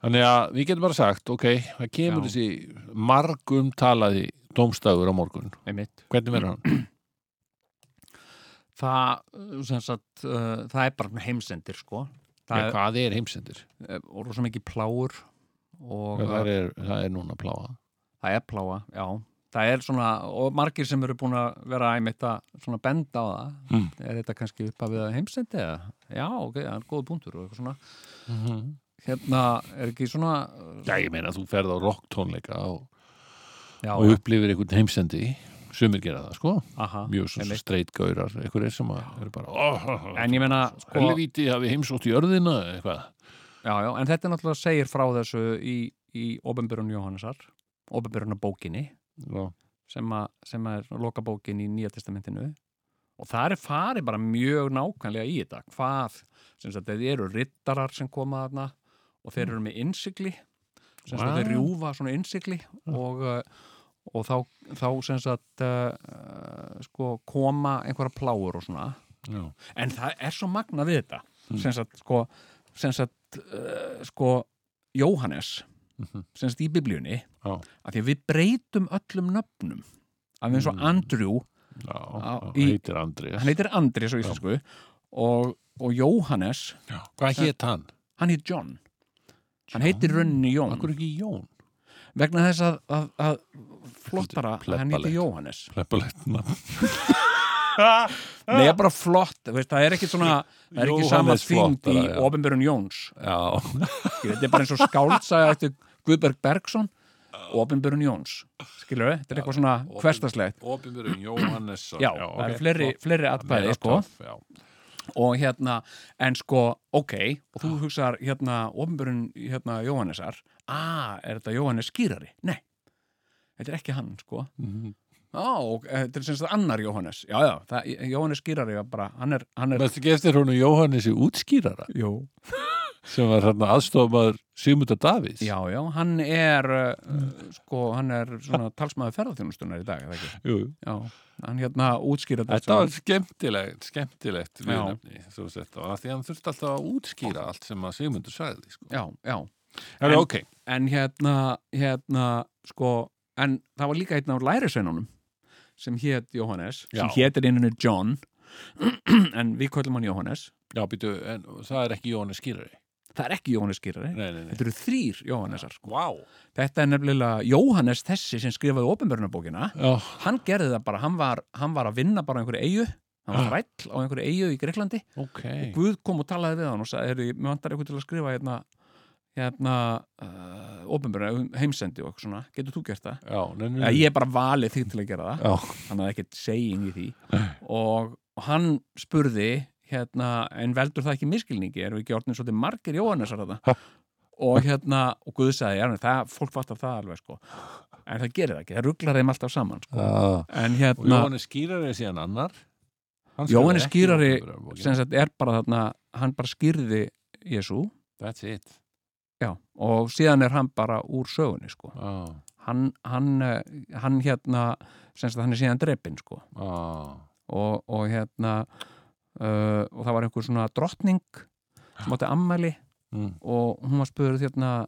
[SPEAKER 1] þannig að við getum bara sagt, ok, það kemur
[SPEAKER 3] Já.
[SPEAKER 1] þessi margum talaði dómstafur á morgun,
[SPEAKER 3] einmitt
[SPEAKER 1] hvernig verður hann?
[SPEAKER 3] það, uh, sem sagt, uh, það er bara heimsendir sko það
[SPEAKER 1] Já,
[SPEAKER 3] er,
[SPEAKER 1] hvað er heimsendir?
[SPEAKER 3] er, og rosa mikið pláur og
[SPEAKER 1] Já,
[SPEAKER 3] það
[SPEAKER 1] það,
[SPEAKER 3] er,
[SPEAKER 1] er, það er núna að pláa
[SPEAKER 3] það er pláa, já það er svona, og margir sem eru búin að vera einmitt að svona benda á það
[SPEAKER 1] Mm.
[SPEAKER 3] er þetta kannski uppafið að heimsendi eða, já, ok, það er góð punktur og eitthvað svona hérna er ekki svona
[SPEAKER 1] Já, ég meina þú ferð á rocktónleika og,
[SPEAKER 3] já,
[SPEAKER 1] og upplifir einhvern heimsendi sumir gera það, sko
[SPEAKER 3] aha,
[SPEAKER 1] mjög svo
[SPEAKER 3] einmitt.
[SPEAKER 1] streitgaurar, einhverjir sem að eru bara, oh, oh, oh,
[SPEAKER 3] en ég meina sko, já,
[SPEAKER 1] helvíti hafi heimsótt í örðina eitthvað,
[SPEAKER 3] já, en þetta náttúrulega segir frá þessu í, í ofinbyrjun Jóhannesar ofinbyrjuna bókinni
[SPEAKER 1] já,
[SPEAKER 3] sem, að, sem að er loka bókin í Nýja testamentinu og það er farið bara mjög nákvæmlega í þetta hvað, sem sagt, þeir eru rittarar sem koma þarna og þeir eru með innsikli sem sagt, þeir
[SPEAKER 1] Vá.
[SPEAKER 3] rjúfa svona innsikli og, uh, og þá, þá sem sagt uh, uh, sko, koma einhverja pláur og svona
[SPEAKER 1] já.
[SPEAKER 3] en það er svo magna við þetta
[SPEAKER 1] Mm.
[SPEAKER 3] sem sagt, sko, sem sagt uh, sko, Jóhannes
[SPEAKER 1] Mhm.
[SPEAKER 3] sem sagt í biblíunni
[SPEAKER 1] Já.
[SPEAKER 3] að því að við breytum öllum nöfnum að við eins og
[SPEAKER 1] Mm.
[SPEAKER 3] Andrew,
[SPEAKER 1] Já,
[SPEAKER 3] Á,
[SPEAKER 1] hann
[SPEAKER 3] í-
[SPEAKER 1] heitir Andri
[SPEAKER 3] hann heitir Andri svo íslensku og, og Jóhannes
[SPEAKER 1] Hvað hétt hann?
[SPEAKER 3] hann heitir John hann heitir rauninni Jón
[SPEAKER 1] Akkur ekki Jón?
[SPEAKER 3] vegna þess að, að, að flottara, hann heitir
[SPEAKER 1] Plepbalegt.
[SPEAKER 3] Jóhannes
[SPEAKER 1] Pleppalegt nafn
[SPEAKER 3] Nei, bara flott, þú veist, það er ekki svona það er ekki sama
[SPEAKER 1] Ah. Jóhannes
[SPEAKER 3] þyngd í
[SPEAKER 1] flottara, já.
[SPEAKER 3] ofinbjörun Jóns
[SPEAKER 1] *laughs* Já,
[SPEAKER 3] Skilur, þetta er bara eins og skáldsaga eftir Guðberg Bergson og Opinbjörn Jóns skilur við, þetta er eitthvað svona
[SPEAKER 1] Opin-
[SPEAKER 3] hverstaslegt
[SPEAKER 1] Opinbjörn Jóhannes
[SPEAKER 3] já, það eru fleiri, fleiri atkvæði sko.
[SPEAKER 1] Já,
[SPEAKER 3] og hérna, en sko, ok og þú hugsar hérna Opinbjörn hérna Jóhannesar a, er þetta Jóhannes skýrari? Nei þetta er ekki hann, sko á, og eh, þetta er sem sagt annar Jóhannes já, já, það, Jóhannes skýrari var bara hann er, hann er
[SPEAKER 1] Mestu ekki eftir húnu Jóhannesi útskýrara
[SPEAKER 3] Jó.
[SPEAKER 1] sem var hérna aðstofamaður Sigmundar Davids
[SPEAKER 3] já, já, hann er uh, sko, hann er svona talsmaður ferðarþjónustunar í dag, er það ekki?
[SPEAKER 1] Jú, jú.
[SPEAKER 3] Já, hann hérna útskýra
[SPEAKER 1] Þetta var skemmtilegt, skemmtilegt
[SPEAKER 3] Já.
[SPEAKER 1] viðnefni, svo sett á, af því hann þurfti alltaf að útskýra allt sem að Sigmundur sagði, sko.
[SPEAKER 3] Já, já,
[SPEAKER 1] Það er
[SPEAKER 3] En-
[SPEAKER 1] ok.
[SPEAKER 3] en hérna, hérna, sko, en það var líka hérna á lærisveinunum sem hét Jóhannes,
[SPEAKER 1] Já.
[SPEAKER 3] sem hétir inninu John, *clears throat* en við köllum hann Jóhannes.
[SPEAKER 1] Já, býtu, en það er ekki Jóhannes skýrari.
[SPEAKER 3] Það er ekki Jóhannes skýrari,
[SPEAKER 1] Nei, nei, nei.
[SPEAKER 3] þetta eru þrýr Jóhannesar. Sko.
[SPEAKER 1] Vá.
[SPEAKER 3] Þetta er nefnilega Jóhannes þessi sem skrifaði ofinbörnabókina,
[SPEAKER 1] Já,
[SPEAKER 3] hann gerði það bara, hann var, hann var að vinna bara á einhverju eigu, hann
[SPEAKER 1] Ah.
[SPEAKER 3] var ræll á einhverju eigu í Greiklandi
[SPEAKER 1] ok.
[SPEAKER 3] og Guð kom og talaði við hann og sagði, heyrðu, mér vantar eitthvað til að skrifa hérna, hérna uh, opinbjörna, heimsendi og eitthvað svona getur þú gert það?
[SPEAKER 1] Já, nei, nei,
[SPEAKER 3] Mm.
[SPEAKER 1] nei.
[SPEAKER 3] Ég er bara valið þig til að gera það
[SPEAKER 1] Já,
[SPEAKER 3] hann hafði ekkert segin í því og, og hann spurði hérna, en veldur það ekki miskilningi erum við ekki orðin svolítið margir Jóhannesar þetta og hérna, og Guð sagði já, það, fólk fattar það alveg sko en það gerir það ekki, það rugglar þeim alltaf saman sko.
[SPEAKER 1] já.
[SPEAKER 3] en
[SPEAKER 1] Og
[SPEAKER 3] hérna,
[SPEAKER 1] Jóhannes skýrari er síðan annar Hann skrifaði
[SPEAKER 3] Jóhannes
[SPEAKER 1] ekki
[SPEAKER 3] skýrari
[SPEAKER 1] opinberabókina.
[SPEAKER 3] sem sagt er bara þarna, hann bara skýrði Jésu
[SPEAKER 1] That's it.
[SPEAKER 3] já, og síðan er hann bara úr sögunni sko.
[SPEAKER 1] Á,
[SPEAKER 3] hann, hann, eh, hann hérna sem sagt hann er síðan drepinn sko.
[SPEAKER 1] á,
[SPEAKER 3] og, og hérna uh, og það var einhver svona drottning sem átti ammæli
[SPEAKER 1] mm.
[SPEAKER 3] og hún var spurð hérna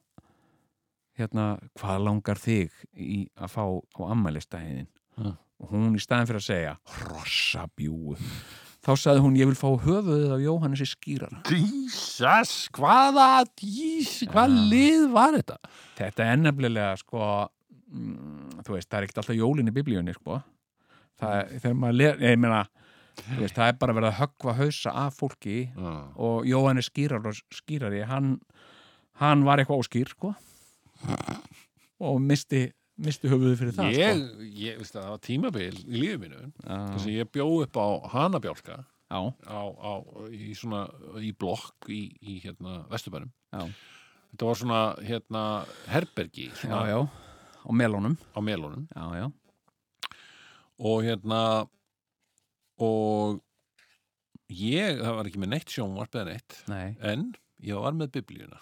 [SPEAKER 3] hérna, hvað langar þig í að fá á ammælistæðin
[SPEAKER 1] Mm.
[SPEAKER 3] og hún í staðin fyrir að segja hrossabjúu þá sagði hún, ég vil fá höfuðið af Jóhannes í skýrara
[SPEAKER 1] Jesus, hvaða dís, hvaða lið var þetta?
[SPEAKER 3] þetta er nefnilega sko mm, þú veist, það er ekkert alltaf jólin í biblíunni sko það er, þegar maður ler, ég meina þú veist, það er bara verið að höggva hausa af fólki
[SPEAKER 1] Já.
[SPEAKER 3] og Jóhannes skýrari, skýrari hann, hann var eitthvað óskýr sko og misti, misti höfuðu fyrir það sko.
[SPEAKER 1] Ég, ég, veist það, það var tímabil í lífið mínu, þess að ég bjó upp á Hanabjálka
[SPEAKER 3] sko.
[SPEAKER 1] á, á, í svona, í blokk í, í hérna, Vesturbænum.
[SPEAKER 3] Já.
[SPEAKER 1] Þetta var svona, hérna, herbergi
[SPEAKER 3] já,
[SPEAKER 1] svona,
[SPEAKER 3] já, á melónum
[SPEAKER 1] á melunum
[SPEAKER 3] já, já,
[SPEAKER 1] og hérna, og ég, það var ekki með neitt sjónvarp eða neitt,
[SPEAKER 3] nei
[SPEAKER 1] en ég var með biblíuna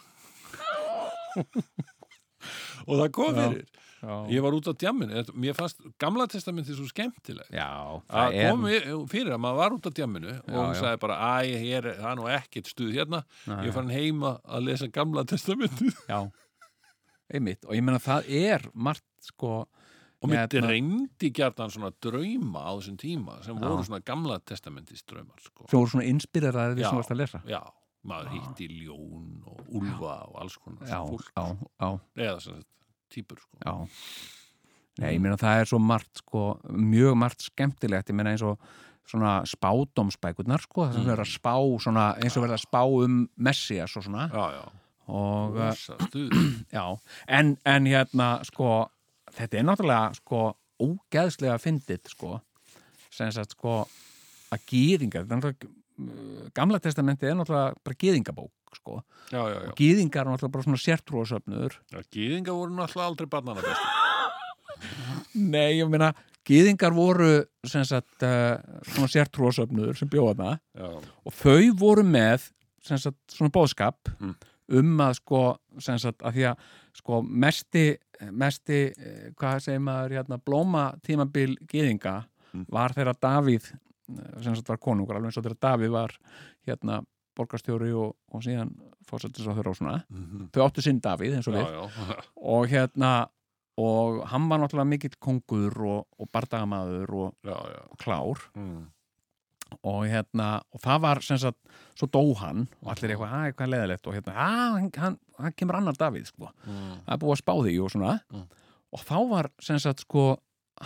[SPEAKER 1] *laughs* og það kom
[SPEAKER 3] Já.
[SPEAKER 1] fyrir
[SPEAKER 3] já,
[SPEAKER 1] ég var út á djamminu, Þetta- mér fannst gamla testamenti svo skemmtileg
[SPEAKER 3] já
[SPEAKER 1] að
[SPEAKER 3] það er
[SPEAKER 1] kom í- fyrir að maður var út á djamminu og
[SPEAKER 3] Já,
[SPEAKER 1] hún
[SPEAKER 3] já.
[SPEAKER 1] sagði bara, æ, hér, er- það er nú ekkert stuð hérna,
[SPEAKER 3] Nei.
[SPEAKER 1] ég er farin heima að lesa gamla testamenti
[SPEAKER 3] já, einmitt og ég meina það er margt sko
[SPEAKER 1] og mér
[SPEAKER 3] Hérna.
[SPEAKER 1] dreymdi gjarnan svona drauma á þessum tíma sem voru svona gamla testamentist draumar sko.
[SPEAKER 3] sem voru svona inspiraðar við
[SPEAKER 1] Já.
[SPEAKER 3] sem varst að lesa
[SPEAKER 1] já, maður hitti ljón og úlfa og alls konar
[SPEAKER 3] já,
[SPEAKER 1] fólk,
[SPEAKER 3] já, já,
[SPEAKER 1] eða svona típur sko.
[SPEAKER 3] já nei,
[SPEAKER 1] Mm.
[SPEAKER 3] ég meina það er svo margt sko, mjög margt skemmtilegt ég meina eins og svona spádomspækurnar sko,
[SPEAKER 1] Mm.
[SPEAKER 3] það sem verður að spá svona, eins og verður að spá um Messias og svona
[SPEAKER 1] já, já,
[SPEAKER 3] og, uh,
[SPEAKER 1] rosa stuð
[SPEAKER 3] já, en, en hérna sko, þetta er náttúrulega sko, ógeðslega fyndið sko, sem sagt sko að gýðingar þetta er náttúrulega, uh, gamla testamentið er náttúrulega bara gýðingabók sko,
[SPEAKER 1] já, já, já.
[SPEAKER 3] og gýðingar er náttúrulega bara svona sértrúasöfnur
[SPEAKER 1] Já, Gýðinga voru náttúrulega aldrei barnana bestu.
[SPEAKER 3] Nei, ég meina, gýðingar voru sem sagt uh, svona sértrúasöfnuður sem bjóða það
[SPEAKER 1] Já,
[SPEAKER 3] og þau voru með sem sagt svona bóðskap
[SPEAKER 1] Mm.
[SPEAKER 3] um að sko, sem sagt, að því að sko mesti, mesti eh, hvað segir maður, hérna, blóma tímabil gýðinga var þegar Davíð, eh, sem sagt var konungur alveg eins og þegar Davíð var hérna borgarstjóri og, og síðan fórsættis á þeirra og svona, þau áttu sinn Davíð eins og
[SPEAKER 1] já, já.
[SPEAKER 3] við
[SPEAKER 1] *laughs*
[SPEAKER 3] og hérna og hann var náttúrulega mikill kongur og, og bardagamaður og
[SPEAKER 1] já, já.
[SPEAKER 3] klár
[SPEAKER 1] Mm.
[SPEAKER 3] og hérna, og það var sem sagt, svo dó hann og allir eitthvað, að eitthvað leðilegt og hérna, að hann, hann, hann kemur annar Davíð sko,
[SPEAKER 1] Mm.
[SPEAKER 3] það er búið að spá því og svona,
[SPEAKER 1] Mm.
[SPEAKER 3] og þá var sem sagt sko,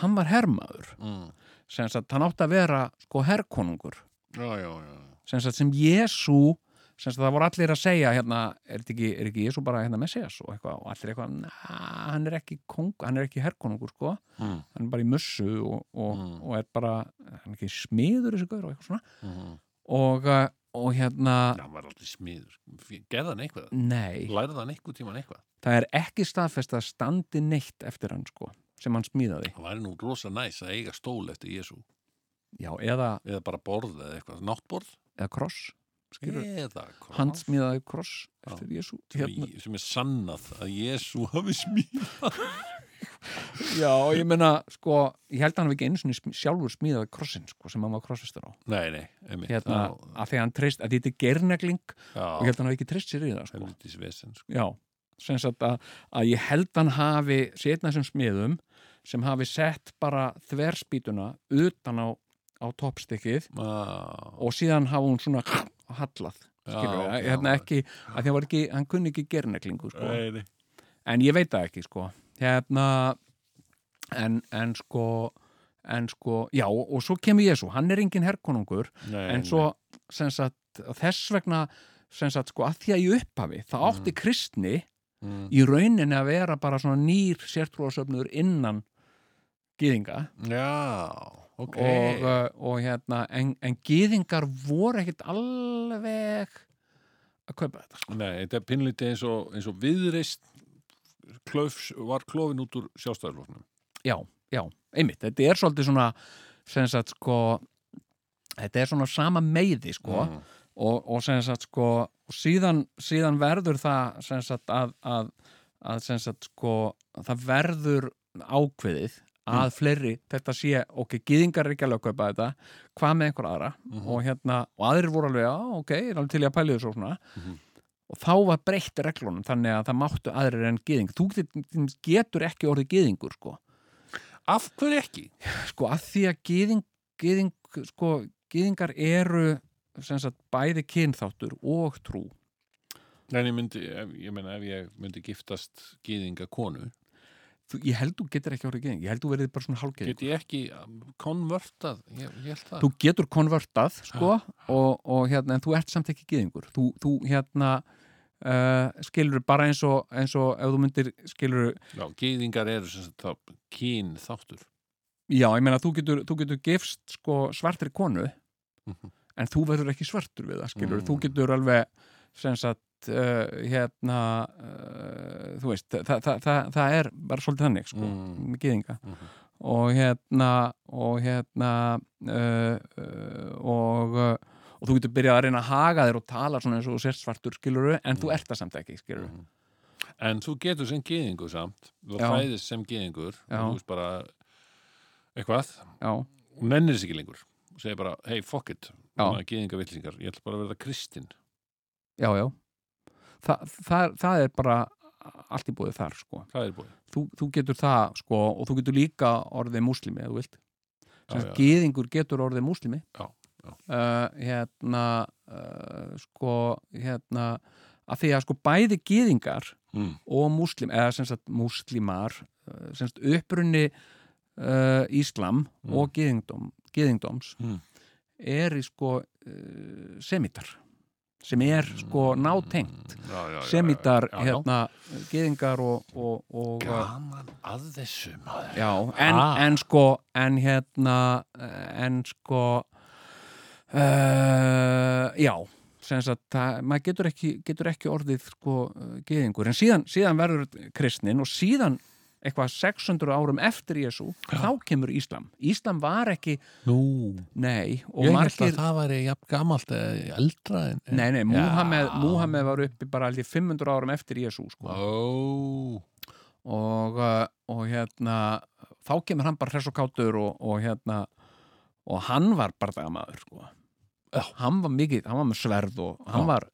[SPEAKER 3] hann var hermaður
[SPEAKER 1] Mm.
[SPEAKER 3] sem sagt, hann átti að vera sko herkonungur
[SPEAKER 1] já, já, já.
[SPEAKER 3] sem sagt, sem Jésu sem sagt, það voru allir að segja hérna, er þetta ekki, er ekki Jésu bara hérna Messias og eitthvað, og allir eitthvað, "Nah, hann er ekki kong, hann er ekki herkonungur, sko
[SPEAKER 1] Mm.
[SPEAKER 3] hann er bara í mussu og, og,
[SPEAKER 1] Mm.
[SPEAKER 3] og er bara, hann er ekki smiður þessi gaur og eitthvað svona
[SPEAKER 1] Mm.
[SPEAKER 3] og, uh, og hérna,
[SPEAKER 1] Já, hann var aldrei smiður. Gerða hann eitthvað?
[SPEAKER 3] nei
[SPEAKER 1] Lærið hann eitthvað tíman eitthvað?
[SPEAKER 3] það er ekki staðfest að standi neitt eftir hann, sko, sem hann smíðaði
[SPEAKER 1] Það væri nú rosa næs að eiga stól eftir Jésu.
[SPEAKER 3] já, eða,
[SPEAKER 1] Eða bara borð eða eitthvað. Náttborð?
[SPEAKER 3] eða kross skilur,
[SPEAKER 1] Eða hvað?
[SPEAKER 3] hann smíðaði kross eftir Jésu hérna,
[SPEAKER 1] Sem er sannað að Jésu hafi smíð.
[SPEAKER 3] já, og ég meina, sko ég held að hann hafi ekki einu sinni smi- sjálfur smíðaði krossin, sko, sem hann var krossfestur á
[SPEAKER 1] Nei, nei, einmitt.
[SPEAKER 3] hérna, að því að hann treyst, að þetta er gernegling og hérna- ég
[SPEAKER 1] Já,
[SPEAKER 3] held að hann hafi ekki treyst sér í það, sko
[SPEAKER 1] helvitis vesen, sko.
[SPEAKER 3] já, sem sagt að, að ég held hann hafi setna þessum smiðum sem hafi sett bara þverspítuna utan á, á toppstykkið
[SPEAKER 1] Já,
[SPEAKER 3] og síðan hafa hún svona hallað
[SPEAKER 1] Já,
[SPEAKER 3] skilur við,
[SPEAKER 1] ok,
[SPEAKER 3] hérna
[SPEAKER 1] já.
[SPEAKER 3] ekki, að því hann var ekki hann kunni ekki gerneklingu sko
[SPEAKER 1] Nei, nei.
[SPEAKER 3] en ég veit það ekki sko hérna en, en sko en sko, já, og svo kemur Jésu hann er engin herkonungur
[SPEAKER 1] Nei,
[SPEAKER 3] en
[SPEAKER 1] nei.
[SPEAKER 3] svo sem sagt, þess vegna sem sagt, sko, að því að í upphafi það átti kristni
[SPEAKER 1] Mm.
[SPEAKER 3] í rauninni að vera bara svona nýr sértrúasöfnur innan gýðinga
[SPEAKER 1] Já, ok.
[SPEAKER 3] og, uh, og hérna en, en gýðingar voru ekkit alveg að kaupa þetta sko.
[SPEAKER 1] Nei, þetta er pinnlítið eins og, eins og viðreist klöfs, var klófin út úr sjálfstæðarflóknum.
[SPEAKER 3] já, já, einmitt, þetta er svolítið svona sem sagt sko þetta er svona sama meiði sko
[SPEAKER 1] Mm.
[SPEAKER 3] og, og sem sagt sko og síðan, síðan verður það sem sagt að, að, að sem sagt sko það verður ákveðið að fleiri þetta sé, ok, gýðingar er ekki alveg að kaupa þetta, hvað með einhver aðra og hérna, og aðrir voru alveg "Já, ok, ég er alveg til í að pæli þessu og svona og þá var breytt reglunum þannig að það máttu aðrir en gýðing þú getur- getur ekki orðið gýðingur sko
[SPEAKER 1] Af hverju ekki?
[SPEAKER 3] sko að því að gyðing, gyðing, sko, gyðingar eru sem sagt bæði kynþáttur og trú
[SPEAKER 1] Nei, en ég myndi, ef, ég meina, ef ég myndi giftast gýðinga konu,
[SPEAKER 3] Þú, ég held þú getur ekki orðið gyðing ég held þú verið bara svona hálfgyðing
[SPEAKER 1] get ég ekki um, konvertað, ég, ég held það.
[SPEAKER 3] þú getur konvertað sko og, og hérna en þú ert samt ekki gyðingur þú, þú hérna Uh, skilur bara eins og, eins og ef þú myndir skilur,
[SPEAKER 1] Já, gýðingar eru sem sagt þá kýn þáttur.
[SPEAKER 3] já ég meina þú getur, þú getur gefst sko svartri konu en þú verður ekki svartur við það
[SPEAKER 1] Mhm.
[SPEAKER 3] skilur,
[SPEAKER 1] Mm.
[SPEAKER 3] þú getur alveg sem sagt uh, hérna uh, þú veist, það, það, það, það er bara svolítið þannig sko,
[SPEAKER 1] Mm.
[SPEAKER 3] með gyðinga
[SPEAKER 1] Mhm.
[SPEAKER 3] og hérna og hérna uh, uh, og uh, og þú getur byrjað að reyna að haga þér og tala svona eins og þú sért svartur skiluru en
[SPEAKER 1] Mhm.
[SPEAKER 3] þú ert það samt ekki skiluru
[SPEAKER 1] En þú getur sem gýðingur samt, þú
[SPEAKER 3] Mhm. Já.
[SPEAKER 1] fæðist sem gýðingur, og
[SPEAKER 3] Já.
[SPEAKER 1] þú veist bara eitthvað,
[SPEAKER 3] já,
[SPEAKER 1] og nennir þess ekki lengur. Og segir bara, hey, fuck it,
[SPEAKER 3] Já.
[SPEAKER 1] gýðinga villingar, ég ætla bara að verða kristinn.
[SPEAKER 3] já, já Þa, það, það er bara allt í búið þar sko
[SPEAKER 1] Það er búið.
[SPEAKER 3] þú, þú getur það sko og þú getur líka orðið múslimi eða þú vilt
[SPEAKER 1] Já,
[SPEAKER 3] sem
[SPEAKER 1] já.
[SPEAKER 3] gýðingur getur orðið múslimi
[SPEAKER 1] Já, já.
[SPEAKER 3] Uh, hérna uh, sko hérna að því að sko bæði gýðingar
[SPEAKER 1] Mm.
[SPEAKER 3] og múslim eða sem sagt múslimar uh, sem sagt upprunni uh, íslam
[SPEAKER 1] Mm.
[SPEAKER 3] og gýðingdóm, gýðingdóms
[SPEAKER 1] Mm.
[SPEAKER 3] er í sko uh, semitar sem er sko nátengt
[SPEAKER 1] Mm. Já, já, já, já. Já,
[SPEAKER 3] semitar
[SPEAKER 1] já.
[SPEAKER 3] hérna gýðingar og, og, og
[SPEAKER 1] Gaman að þessu, maður.
[SPEAKER 3] Já, en,
[SPEAKER 1] Ah.
[SPEAKER 3] en sko en hérna eh, en sko uh, já sem sagt, það, maður getur ekki, getur ekki orðið sko eh, gyðingur, en síðan, síðan verður kristnin og síðan eitthvað 600 árum eftir Jésu þá kemur Íslam. Íslam var ekki
[SPEAKER 1] Nú,
[SPEAKER 3] nei, og
[SPEAKER 1] ég held
[SPEAKER 3] margir
[SPEAKER 1] að það væri jafn gamalt eða eldra en... en-
[SPEAKER 3] nei, nei,
[SPEAKER 1] Já.
[SPEAKER 3] Múhameð, Múhameð var uppi bara allir 500 árum eftir Jésu sko.
[SPEAKER 1] Ó,
[SPEAKER 3] og, uh, og hérna þá kemur hann bara hress og kátur og, og hérna og hann var bardagamaður sko. hann var mikið, hann var með sverð og hann
[SPEAKER 1] Já.
[SPEAKER 3] var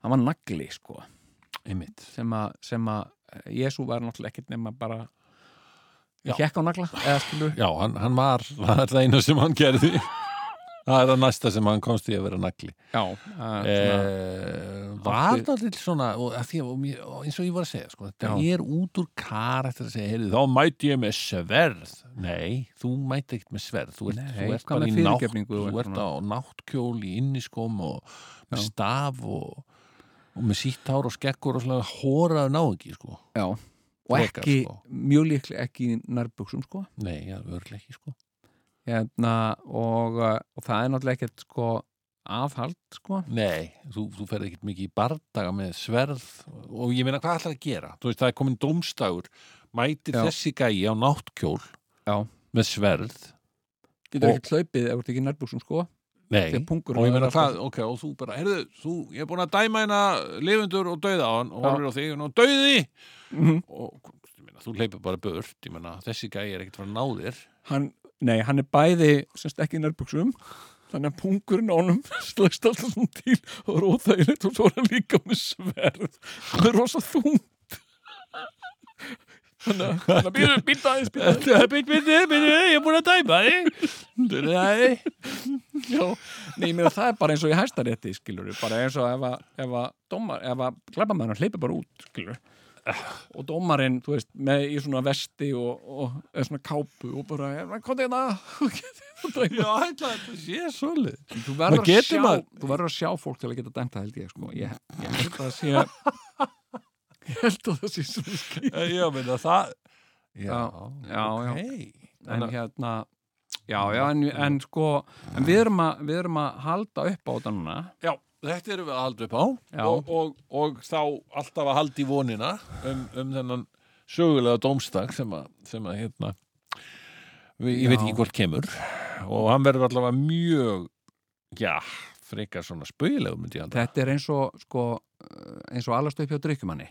[SPEAKER 3] hann var nagli sko
[SPEAKER 1] einmitt.
[SPEAKER 3] sem að, sem að Jésu var náttúrulega ekkert nema bara
[SPEAKER 1] Já.
[SPEAKER 3] ekki ekki á nagla eða skilu
[SPEAKER 1] Já, hann, hann var, *laughs* það er það eina sem hann gerði. það er að næsta sem hann komst í að vera nagli.
[SPEAKER 3] já, að, svona,
[SPEAKER 1] Eh, var
[SPEAKER 3] Átti-
[SPEAKER 1] það til svona, og, að því, að- og, mér- og eins og ég var að segja, sko, þetta
[SPEAKER 3] Já.
[SPEAKER 1] er út úr kar eftir að segja, heyrðu, þá mæti ég með sverð. Nei, þú mæti ekkert með sverð, þú ert,
[SPEAKER 3] Nei,
[SPEAKER 1] þú ert
[SPEAKER 3] hvað
[SPEAKER 1] bara
[SPEAKER 3] með
[SPEAKER 1] í nátt,
[SPEAKER 3] fyrirgefningu og
[SPEAKER 1] þú ert á
[SPEAKER 3] eitthvað
[SPEAKER 1] náttkjól í inniskóm og með
[SPEAKER 3] Já.
[SPEAKER 1] staf og, og með sítt hár og skekkur og svona hóraðu ná ekki, sko.
[SPEAKER 3] já, og
[SPEAKER 1] frekar,
[SPEAKER 3] ekki
[SPEAKER 1] sko.
[SPEAKER 3] mjög líklega ekki í nærbuksum sko
[SPEAKER 1] Nei, já, örlega ekki, sko.
[SPEAKER 3] hérna, og, uh, og það er náttúrulega ekkert sko afhald sko
[SPEAKER 1] Nei, þú, þú ferð ekkert mikið í bardaga með sverð og ég meina hvað ætlar að gera? Þú veist, það er komin dómstagur, mætir
[SPEAKER 3] Já.
[SPEAKER 1] þessi gæi á náttkjól
[SPEAKER 3] Já.
[SPEAKER 1] með sverð,
[SPEAKER 3] getur
[SPEAKER 1] Og-
[SPEAKER 3] ekkert hlaupið ef þú ert ekki í nærbuksum sko
[SPEAKER 1] nei,
[SPEAKER 3] Þegar
[SPEAKER 1] og
[SPEAKER 3] pungurinn
[SPEAKER 1] ég
[SPEAKER 3] er
[SPEAKER 1] meina
[SPEAKER 3] alltaf-
[SPEAKER 1] hvað, ok, og þú bara, heyrðu, þú, ég er búin að dæma hérna lifundur og dauða á hann og
[SPEAKER 3] Já.
[SPEAKER 1] horfir á þig hérna og dauði
[SPEAKER 3] Mhm.
[SPEAKER 1] og ég meina, þú leipir bara burt, ég meina, þessi gæi er ekkert frá náðir.
[SPEAKER 3] hann, nei, hann er bæði semst ekki í nærbuksum þannig að pungurinn ánum slagst alltaf svona til og er óþægilegt og svo er hann líka með sverð það er rosa þung þannig að býta aðeins býta aðeins
[SPEAKER 1] Byrni, byrni, ég er búin að dæma þig. Nei,
[SPEAKER 3] já, nei, ég meina það er bara eins og í hæstarétti skilur bara eins og ef að, ef að, dómar, ef að glæbamæðurinn hleypi bara út skilur og dómarinn, þú veist, með í svona vesti og, og eða svona kápu og bara, hvað er hérna." *laughs* það?
[SPEAKER 1] já, ætla, þetta sé svolít.
[SPEAKER 3] Þú
[SPEAKER 1] Maður
[SPEAKER 3] verður, að
[SPEAKER 1] getur
[SPEAKER 3] sjá,
[SPEAKER 1] maður-
[SPEAKER 3] þú verður að sjá fólk til að geta dæmt það held ég sko. ég, ég held að það sé
[SPEAKER 1] *laughs*
[SPEAKER 3] ég held að það sé svona skýr
[SPEAKER 1] Já, menna það
[SPEAKER 3] Já, já, já.
[SPEAKER 1] ok.
[SPEAKER 3] en hérna já, já, en, en sko en við, erum að, við erum að halda upp á þetta núna
[SPEAKER 1] já, þetta erum við að halda upp á
[SPEAKER 3] Já.
[SPEAKER 1] og, og, og þá alltaf að halda í vonina um, um þennan sögulega dómstak sem að, sem að hérna við, ég veit ekki hvort kemur og hann verður allavega mjög já, frekar svona spauðilegu myndi ég halda
[SPEAKER 3] þetta er eins og sko, eh, eins og alast upp hjá drykkjumanni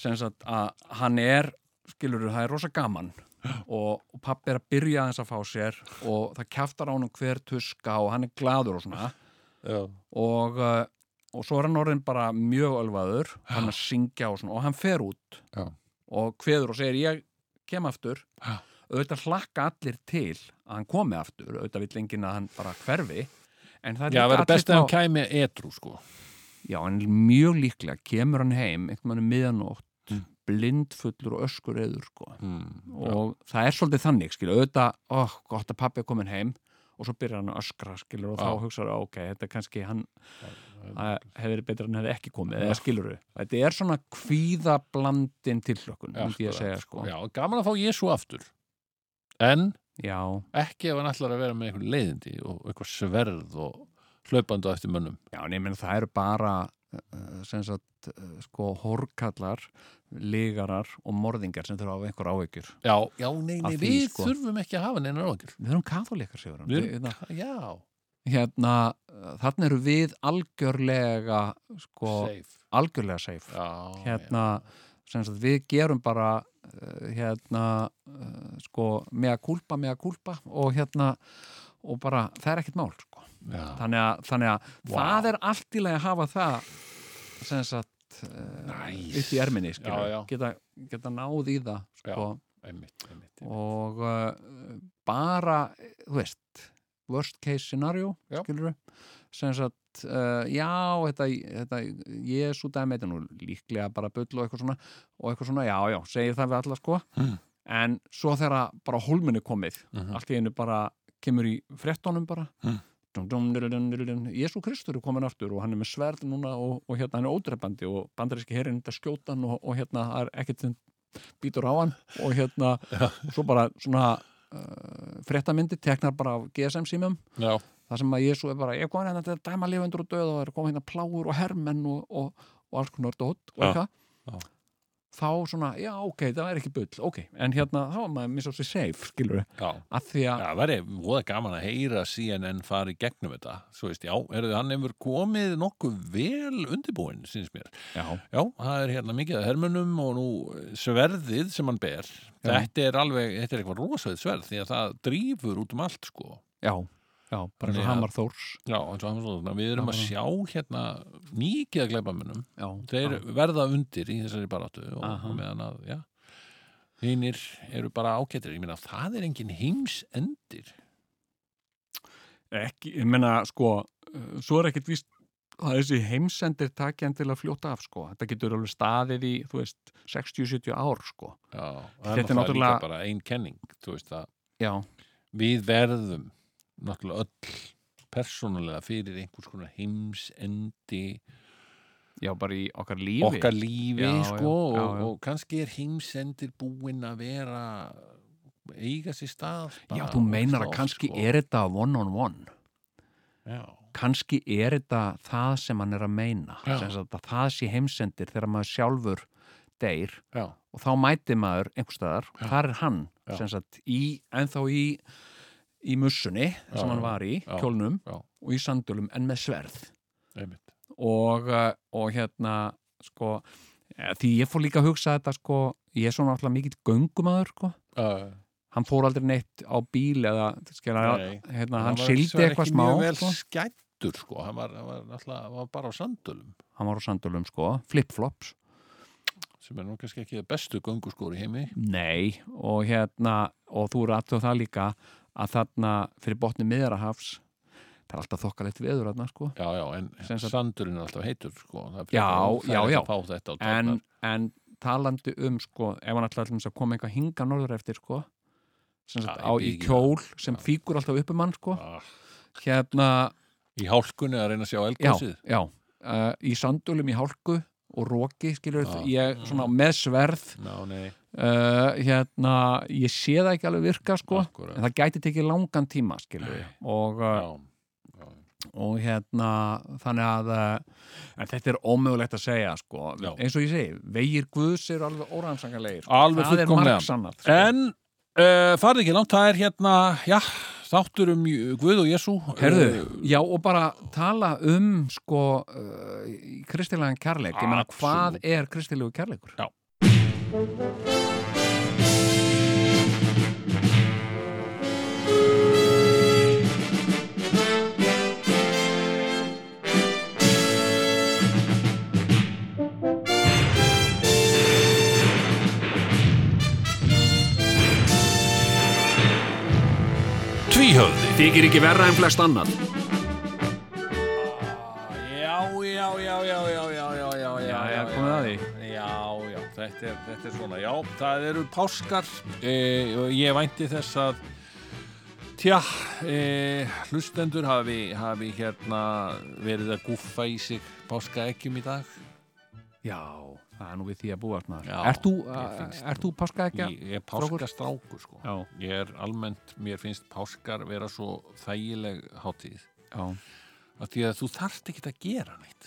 [SPEAKER 3] sem sagt að hann er skilur það er rosa gaman og, og pappi er að byrja aðeins að fá sér og það kjaftar á hann hver tuska og hann er gladur og svona
[SPEAKER 1] Já.
[SPEAKER 3] og, eh, og svo er hann orðin bara mjög ölvaður hann að syngja og svona og hann fer út
[SPEAKER 1] Já.
[SPEAKER 3] og kveður og segir ég kem aftur
[SPEAKER 1] Já.
[SPEAKER 3] auðvitað hlakka allir til að hann komi aftur auðvitað vill enginn að hann bara hverfi en það
[SPEAKER 1] Já,
[SPEAKER 3] er líka
[SPEAKER 1] verður
[SPEAKER 3] allir
[SPEAKER 1] best að hann
[SPEAKER 3] þá-
[SPEAKER 1] kæmi etru sko
[SPEAKER 3] Já, en mjög líklega kemur hann heim einhvern veginn um miðanótt
[SPEAKER 1] Mm.
[SPEAKER 3] blindfullur og öskur eður sko. og það er svolítið þannig skilur, auðvitað, ó, gott að pappi er komin heim og svo byrjar hann að öskra skilur, og
[SPEAKER 1] Já.
[SPEAKER 3] þá hugsaður, ok, þetta er kannski hann það hefði verið betra en hefði ekki komið eða skilur við, þetta er svona kvíðablandin tilhlökkun, myndi ég að segja sko.
[SPEAKER 1] Já, gaman að fá Jésu aftur en
[SPEAKER 3] já,
[SPEAKER 1] ekki ef hann ætlar að vera með einhver leiðindi og eitthvað sverð og hlaupandi á eftir mönnum
[SPEAKER 3] Já, en ég menn það eru bara eh, sem sagt, eh, sko, horkallar ligarar og morðingar sem þurfa á einhver áhyggjur
[SPEAKER 1] Já, já, nei, nei,
[SPEAKER 3] Að því,
[SPEAKER 1] við
[SPEAKER 3] sko.
[SPEAKER 1] þurfum ekki að hafa neinar áhengjur
[SPEAKER 3] Við erum katholikar, Sigurðan.
[SPEAKER 1] Við
[SPEAKER 3] Við
[SPEAKER 1] erum- Já,
[SPEAKER 3] hérna, uh, þarna eru við algjörlega, sko,
[SPEAKER 1] safe
[SPEAKER 3] algjörlega safe.
[SPEAKER 1] Já,
[SPEAKER 3] hérna, sem sagt, við gerum bara, uh, hérna, uh, sko, með að kúlpa, með að kúlpa og hérna, og bara, það er ekkert mál, sko.
[SPEAKER 1] já, já.
[SPEAKER 3] Þannig að, þannig að
[SPEAKER 1] Vá.
[SPEAKER 3] það er allt í lagi að hafa það, sem sagt, uh,
[SPEAKER 1] Næs.
[SPEAKER 3] upp í erminni, skilur.
[SPEAKER 1] Já, já.
[SPEAKER 3] Geta, geta náð í það,
[SPEAKER 1] Já.
[SPEAKER 3] sko.
[SPEAKER 1] Einmitt, einmitt, einmitt.
[SPEAKER 3] og uh, bara, þú veist worst case scenario,
[SPEAKER 1] Já.
[SPEAKER 3] skilur sem sagt, uh, já þetta, þetta Jésu dæmi þetta er nú líklega bara bull og eitthvað svona og eitthvað svona, já, já, segir það við alla sko
[SPEAKER 1] Mm.
[SPEAKER 3] en svo þegar bara hólmunni komið,
[SPEAKER 1] Mhm.
[SPEAKER 3] allt í einu bara kemur í fréttónum bara
[SPEAKER 1] Mm.
[SPEAKER 3] dum, dum, dum, dum, dum, dum. Jésu Kristur er komin aftur og hann er með sverð núna og, og hérna hann er ódrepandi og bandaríski herinn þetta skjótan og, og hérna það er ekkert sem býtur á hann og hérna svo bara svona uh, fréttamyndi teknar bara af GSM símum
[SPEAKER 1] Já,
[SPEAKER 3] það sem að Jésu er bara, ég kom hérna til að dæma lifendur og döð og það er komið hérna plágur og hermenn og, og, og alls konar dótt og
[SPEAKER 1] Já, já.
[SPEAKER 3] eitthvað þá svona, já ok, það er ekki bull ok, en hérna þá er maður minnst á sig safe skilur við,
[SPEAKER 1] já
[SPEAKER 3] að því að
[SPEAKER 1] Já, það væri voða gaman að heyra CNN fara í gegnum þetta, svo veist, já, er, hann hefur komið nokkuð vel undibúinn, síns mér.
[SPEAKER 3] já,
[SPEAKER 1] Já, það er hérna mikið að hermunum og nú eh, sverðið sem hann ber, þetta er alveg, þetta er eitthvað rosaðið sverð því að það drífur út um allt, sko.
[SPEAKER 3] já, já bara eins
[SPEAKER 1] Þannig
[SPEAKER 3] og
[SPEAKER 1] að-
[SPEAKER 3] Hamar Þórs
[SPEAKER 1] Já, eins og hann svo, þannig að við erum að sjá hérna mikið að gleipa munum,
[SPEAKER 3] já,
[SPEAKER 1] þeir verða undir í þessari baráttu og,
[SPEAKER 3] Aha.
[SPEAKER 1] og meðan að, já, hinnir eru bara ákettir, ég meina, það er engin heimsendir.
[SPEAKER 3] ekki, ég meina sko uh, svo er ekkit víst að þessi heimsendir takja hann til að fljóta af sko þetta getur alveg staðið í, þú veist 60-70 ár sko
[SPEAKER 1] Já,
[SPEAKER 3] Þetta er
[SPEAKER 1] náttúrulega líka
[SPEAKER 3] náttúrulega-
[SPEAKER 1] bara ein kenning, þú veist að
[SPEAKER 3] já,
[SPEAKER 1] við verðum náttúrulega öll persónulega fyrir einhvers konar heimsendi
[SPEAKER 3] já bara í okkar lífi
[SPEAKER 1] okkar lífi
[SPEAKER 3] Já,
[SPEAKER 1] sko
[SPEAKER 3] já, já,
[SPEAKER 1] og,
[SPEAKER 3] já.
[SPEAKER 1] og kannski er heimsendir búinn að vera eiga sér stað
[SPEAKER 3] Já,
[SPEAKER 1] bara
[SPEAKER 3] þú meinar
[SPEAKER 1] ógeðslega
[SPEAKER 3] að
[SPEAKER 1] oft,
[SPEAKER 3] kannski
[SPEAKER 1] sko.
[SPEAKER 3] er þetta one on one
[SPEAKER 1] já,
[SPEAKER 3] kannski er þetta það sem hann er að meina
[SPEAKER 1] Já.
[SPEAKER 3] sem sagt að það sé heimsendir þegar maður sjálfur deyr
[SPEAKER 1] já,
[SPEAKER 3] og þá mæti maður einhver staðar og þar er hann
[SPEAKER 1] Já.
[SPEAKER 3] sem sagt í, ennþá í í mussunni
[SPEAKER 1] Já,
[SPEAKER 3] sem hann
[SPEAKER 1] já,
[SPEAKER 3] var í,
[SPEAKER 1] já,
[SPEAKER 3] kjólnum
[SPEAKER 1] já.
[SPEAKER 3] og í sandölum en með sverð
[SPEAKER 1] einmitt
[SPEAKER 3] og, eh, og hérna sko, eh, því ég fór líka að hugsa þetta sko, ég er svona alltaf mikill göngumæður sko,
[SPEAKER 1] uh,
[SPEAKER 3] hann fór aldrei neitt á bíl eða, skilja,
[SPEAKER 1] Nei.
[SPEAKER 3] hérna, hann, sildi eitthvað smá
[SPEAKER 1] mjög vel
[SPEAKER 3] sko.
[SPEAKER 1] skættur sko, hann var, hann var náttúrulega hann var bara á sandölum
[SPEAKER 3] hann var á sandölum sko, flip-flops
[SPEAKER 1] sem er nú kannski ekki það bestu gönguskóri heimi
[SPEAKER 3] nei, og hérna og þú eru alltaf það líka að þarna fyrir botni miðjarahafs það er alltaf þokkalegt veður þarna sko
[SPEAKER 1] já, já, en
[SPEAKER 3] Sem sagt-
[SPEAKER 1] sandurinn er alltaf heitur sko, það er
[SPEAKER 3] Já,
[SPEAKER 1] frekar
[SPEAKER 3] já,
[SPEAKER 1] óþægilegt
[SPEAKER 3] já.
[SPEAKER 1] að fá þetta á
[SPEAKER 3] en,
[SPEAKER 1] tærnar.
[SPEAKER 3] en talandi um sko, ef hann ætlaði að koma eitthvað hinga norður eftir sko sem sagt,
[SPEAKER 1] Já,
[SPEAKER 3] á
[SPEAKER 1] í
[SPEAKER 3] í
[SPEAKER 1] bílinn.
[SPEAKER 3] kjól sem fíkur alltaf upp um hann sko
[SPEAKER 1] Ah.
[SPEAKER 3] hérna,
[SPEAKER 1] í hálkunni að reyna að sjá
[SPEAKER 3] já,
[SPEAKER 1] eldgósið
[SPEAKER 3] já uh, í sandölum í hálku og roki skilur
[SPEAKER 1] Já.
[SPEAKER 3] ég svona með sverð
[SPEAKER 1] Ná, nei,
[SPEAKER 3] uh, hérna, ég sé það ekki alveg virka sko
[SPEAKER 1] akkúrat.
[SPEAKER 3] en það gæti tekið langan tíma skilur við. og, uh,
[SPEAKER 1] já, já.
[SPEAKER 3] og hérna þannig að uh, en þetta er ómögulegt að segja sko.
[SPEAKER 1] Já.
[SPEAKER 3] eins og ég segi, vegir guðs eru alveg órannsangalegir
[SPEAKER 1] Alveg
[SPEAKER 3] það er
[SPEAKER 1] fullkomlega. eh,
[SPEAKER 3] margsannað sko.
[SPEAKER 1] En uh, farið ekki langt, það er hérna, já, Þáttur um Jú- Guð og Jésu eh,
[SPEAKER 3] Herðu, já og bara tala um sko uh, kristilegan kærleik, ég meina hvað er kristilegu kærleikur?
[SPEAKER 1] Já. Eh, Tvíhöfði
[SPEAKER 7] Þykir ekki verra en flest annan
[SPEAKER 1] Já, já, já, já, já, já, já, já, já,
[SPEAKER 3] já, komið að því.
[SPEAKER 1] Já, já, þetta er, þetta er svona, já, það eru páskar e, og ég vænti þess að Tja, e, hlustendur hafi, hafi hérna verið að guffa í sig páskaeggjum í dag
[SPEAKER 3] Já, það er nú við því að búast maður.
[SPEAKER 1] Já,
[SPEAKER 3] Ert þú, eh,
[SPEAKER 1] mér finnst
[SPEAKER 3] ert þú páskaækja?
[SPEAKER 1] Ég ég er páskastrákur sko
[SPEAKER 3] Já.
[SPEAKER 1] Ég er almennt, mér finnst páskar vera svo þægileg hátíð
[SPEAKER 3] Já.
[SPEAKER 1] af því að þú þarft ekki að gera neitt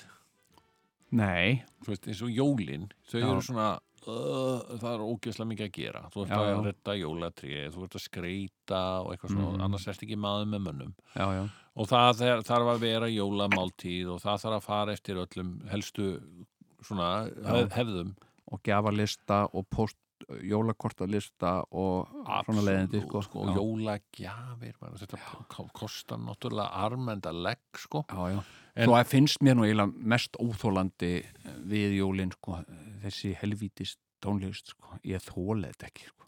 [SPEAKER 3] Nei,
[SPEAKER 1] þú veist, eins og jólin þau
[SPEAKER 3] Já.
[SPEAKER 1] eru svona uh, það er ógeðslega mikið að gera þú ert
[SPEAKER 3] Já,
[SPEAKER 1] að
[SPEAKER 3] já.
[SPEAKER 1] redda jólatrið, þú ert að skreita og eitthvað svona,
[SPEAKER 3] Mhm.
[SPEAKER 1] annars ert ekki maður með mönnum
[SPEAKER 3] já, já.
[SPEAKER 1] og það er, þarf að vera jólamáltíð og það þarf að fara eftir öllum helstu svona hef, hefðum
[SPEAKER 3] Og gjafarlista og post, jólakortalista og svona leiðindi, sko.
[SPEAKER 1] Absolút, og
[SPEAKER 3] já.
[SPEAKER 1] jólagjafir maður, þetta ko- kostar náttúrulega armenda legg sko
[SPEAKER 3] Já, já.
[SPEAKER 1] En-
[SPEAKER 3] Svo að finnst mér nú eiginlega mest óþólandi við jólinn, sko, þessi helvítist tónlist, sko, ég þóla þetta ekki, sko.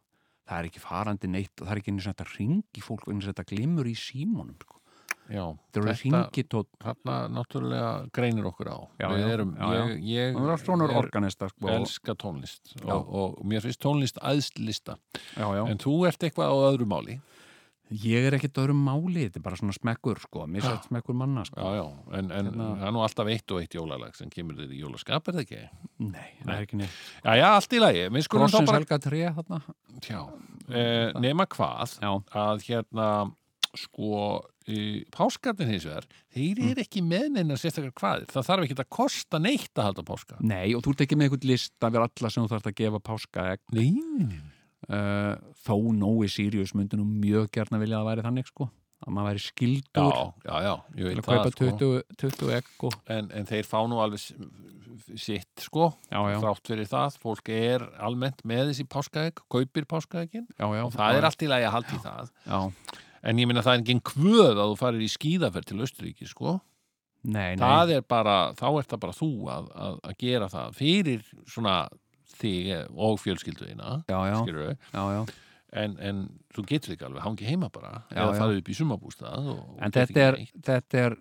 [SPEAKER 3] Það er ekki farandi neitt og það er ekki eins og þetta ringi fólk, eins og þetta glimur í símónum, sko.
[SPEAKER 1] já,
[SPEAKER 3] Það eru ringitótt.
[SPEAKER 1] þarna náttúrulega greinir okkur á
[SPEAKER 3] Já,
[SPEAKER 1] við
[SPEAKER 3] já,
[SPEAKER 1] erum,
[SPEAKER 3] já, já.
[SPEAKER 1] ég, ég
[SPEAKER 3] Það eru svona
[SPEAKER 1] er-
[SPEAKER 3] organista, sko.
[SPEAKER 1] elska tónlist
[SPEAKER 3] Já.
[SPEAKER 1] og, og mér finnst tónlist æðslista
[SPEAKER 3] Já, já.
[SPEAKER 1] en þú ert eitthvað á öðru máli
[SPEAKER 3] Ég er ekkert öðrum máli, þetta er bara svona smekkur, sko,
[SPEAKER 1] Ah.
[SPEAKER 3] misett smekkur manna, sko.
[SPEAKER 1] já, já. en, en
[SPEAKER 3] Hérna.
[SPEAKER 1] það er nú alltaf eitt og eitt jólalag sem kemur þér í jólaskap er það ekki?
[SPEAKER 3] Nei, það er ekki neitt.
[SPEAKER 1] Já, já, allt í lagi, minn skulum þá
[SPEAKER 3] Krossins
[SPEAKER 1] bara
[SPEAKER 3] helga 3, þarna.
[SPEAKER 1] já, e, nema hvað
[SPEAKER 3] Já,
[SPEAKER 1] að hérna sko, e, páskarnir hins vegar þeir
[SPEAKER 3] Mm.
[SPEAKER 1] eru ekki með neina sérstakar hvaðir það þarf ekki að kosta neitt að halda páska
[SPEAKER 3] nei, og þú ert ekki með eitthvað list af alla sem þú þarft að gefa páska
[SPEAKER 1] Nei, nei, nei.
[SPEAKER 3] uh, þó Nói Sirius myndi nú mjög gert vilja að það væri þannig sko að maður væri
[SPEAKER 1] Já,
[SPEAKER 3] skildur
[SPEAKER 1] já, já, ég
[SPEAKER 3] til
[SPEAKER 1] veit
[SPEAKER 3] að kaupa
[SPEAKER 1] það sko.
[SPEAKER 3] 20, 20 egg og,
[SPEAKER 1] en, en þeir fá nú alveg s- sitt sko
[SPEAKER 3] já, já,
[SPEAKER 1] þrátt fyrir það, fólk er almennt með þessi páskaegg, kaupir páskaeggin
[SPEAKER 3] já, já,
[SPEAKER 1] og það er allt í lagi að halda í það
[SPEAKER 3] já.
[SPEAKER 1] en ég minna það er engin kvöð að þú farir í skíðaferð til Östuríki, sko
[SPEAKER 3] Nei, nei,
[SPEAKER 1] það er bara, þá er það bara þú að, að, að gera það fyrir svona þig og fjölskylduðina
[SPEAKER 3] já, já,
[SPEAKER 1] skilur við,
[SPEAKER 3] já, já.
[SPEAKER 1] en, en þú getur líka alveg hangi heima bara,
[SPEAKER 3] Já,
[SPEAKER 1] eða
[SPEAKER 3] já.
[SPEAKER 1] farið upp í sumabústað og, og
[SPEAKER 3] en
[SPEAKER 1] gert
[SPEAKER 3] þetta er,
[SPEAKER 1] ekki neitt.
[SPEAKER 3] þetta er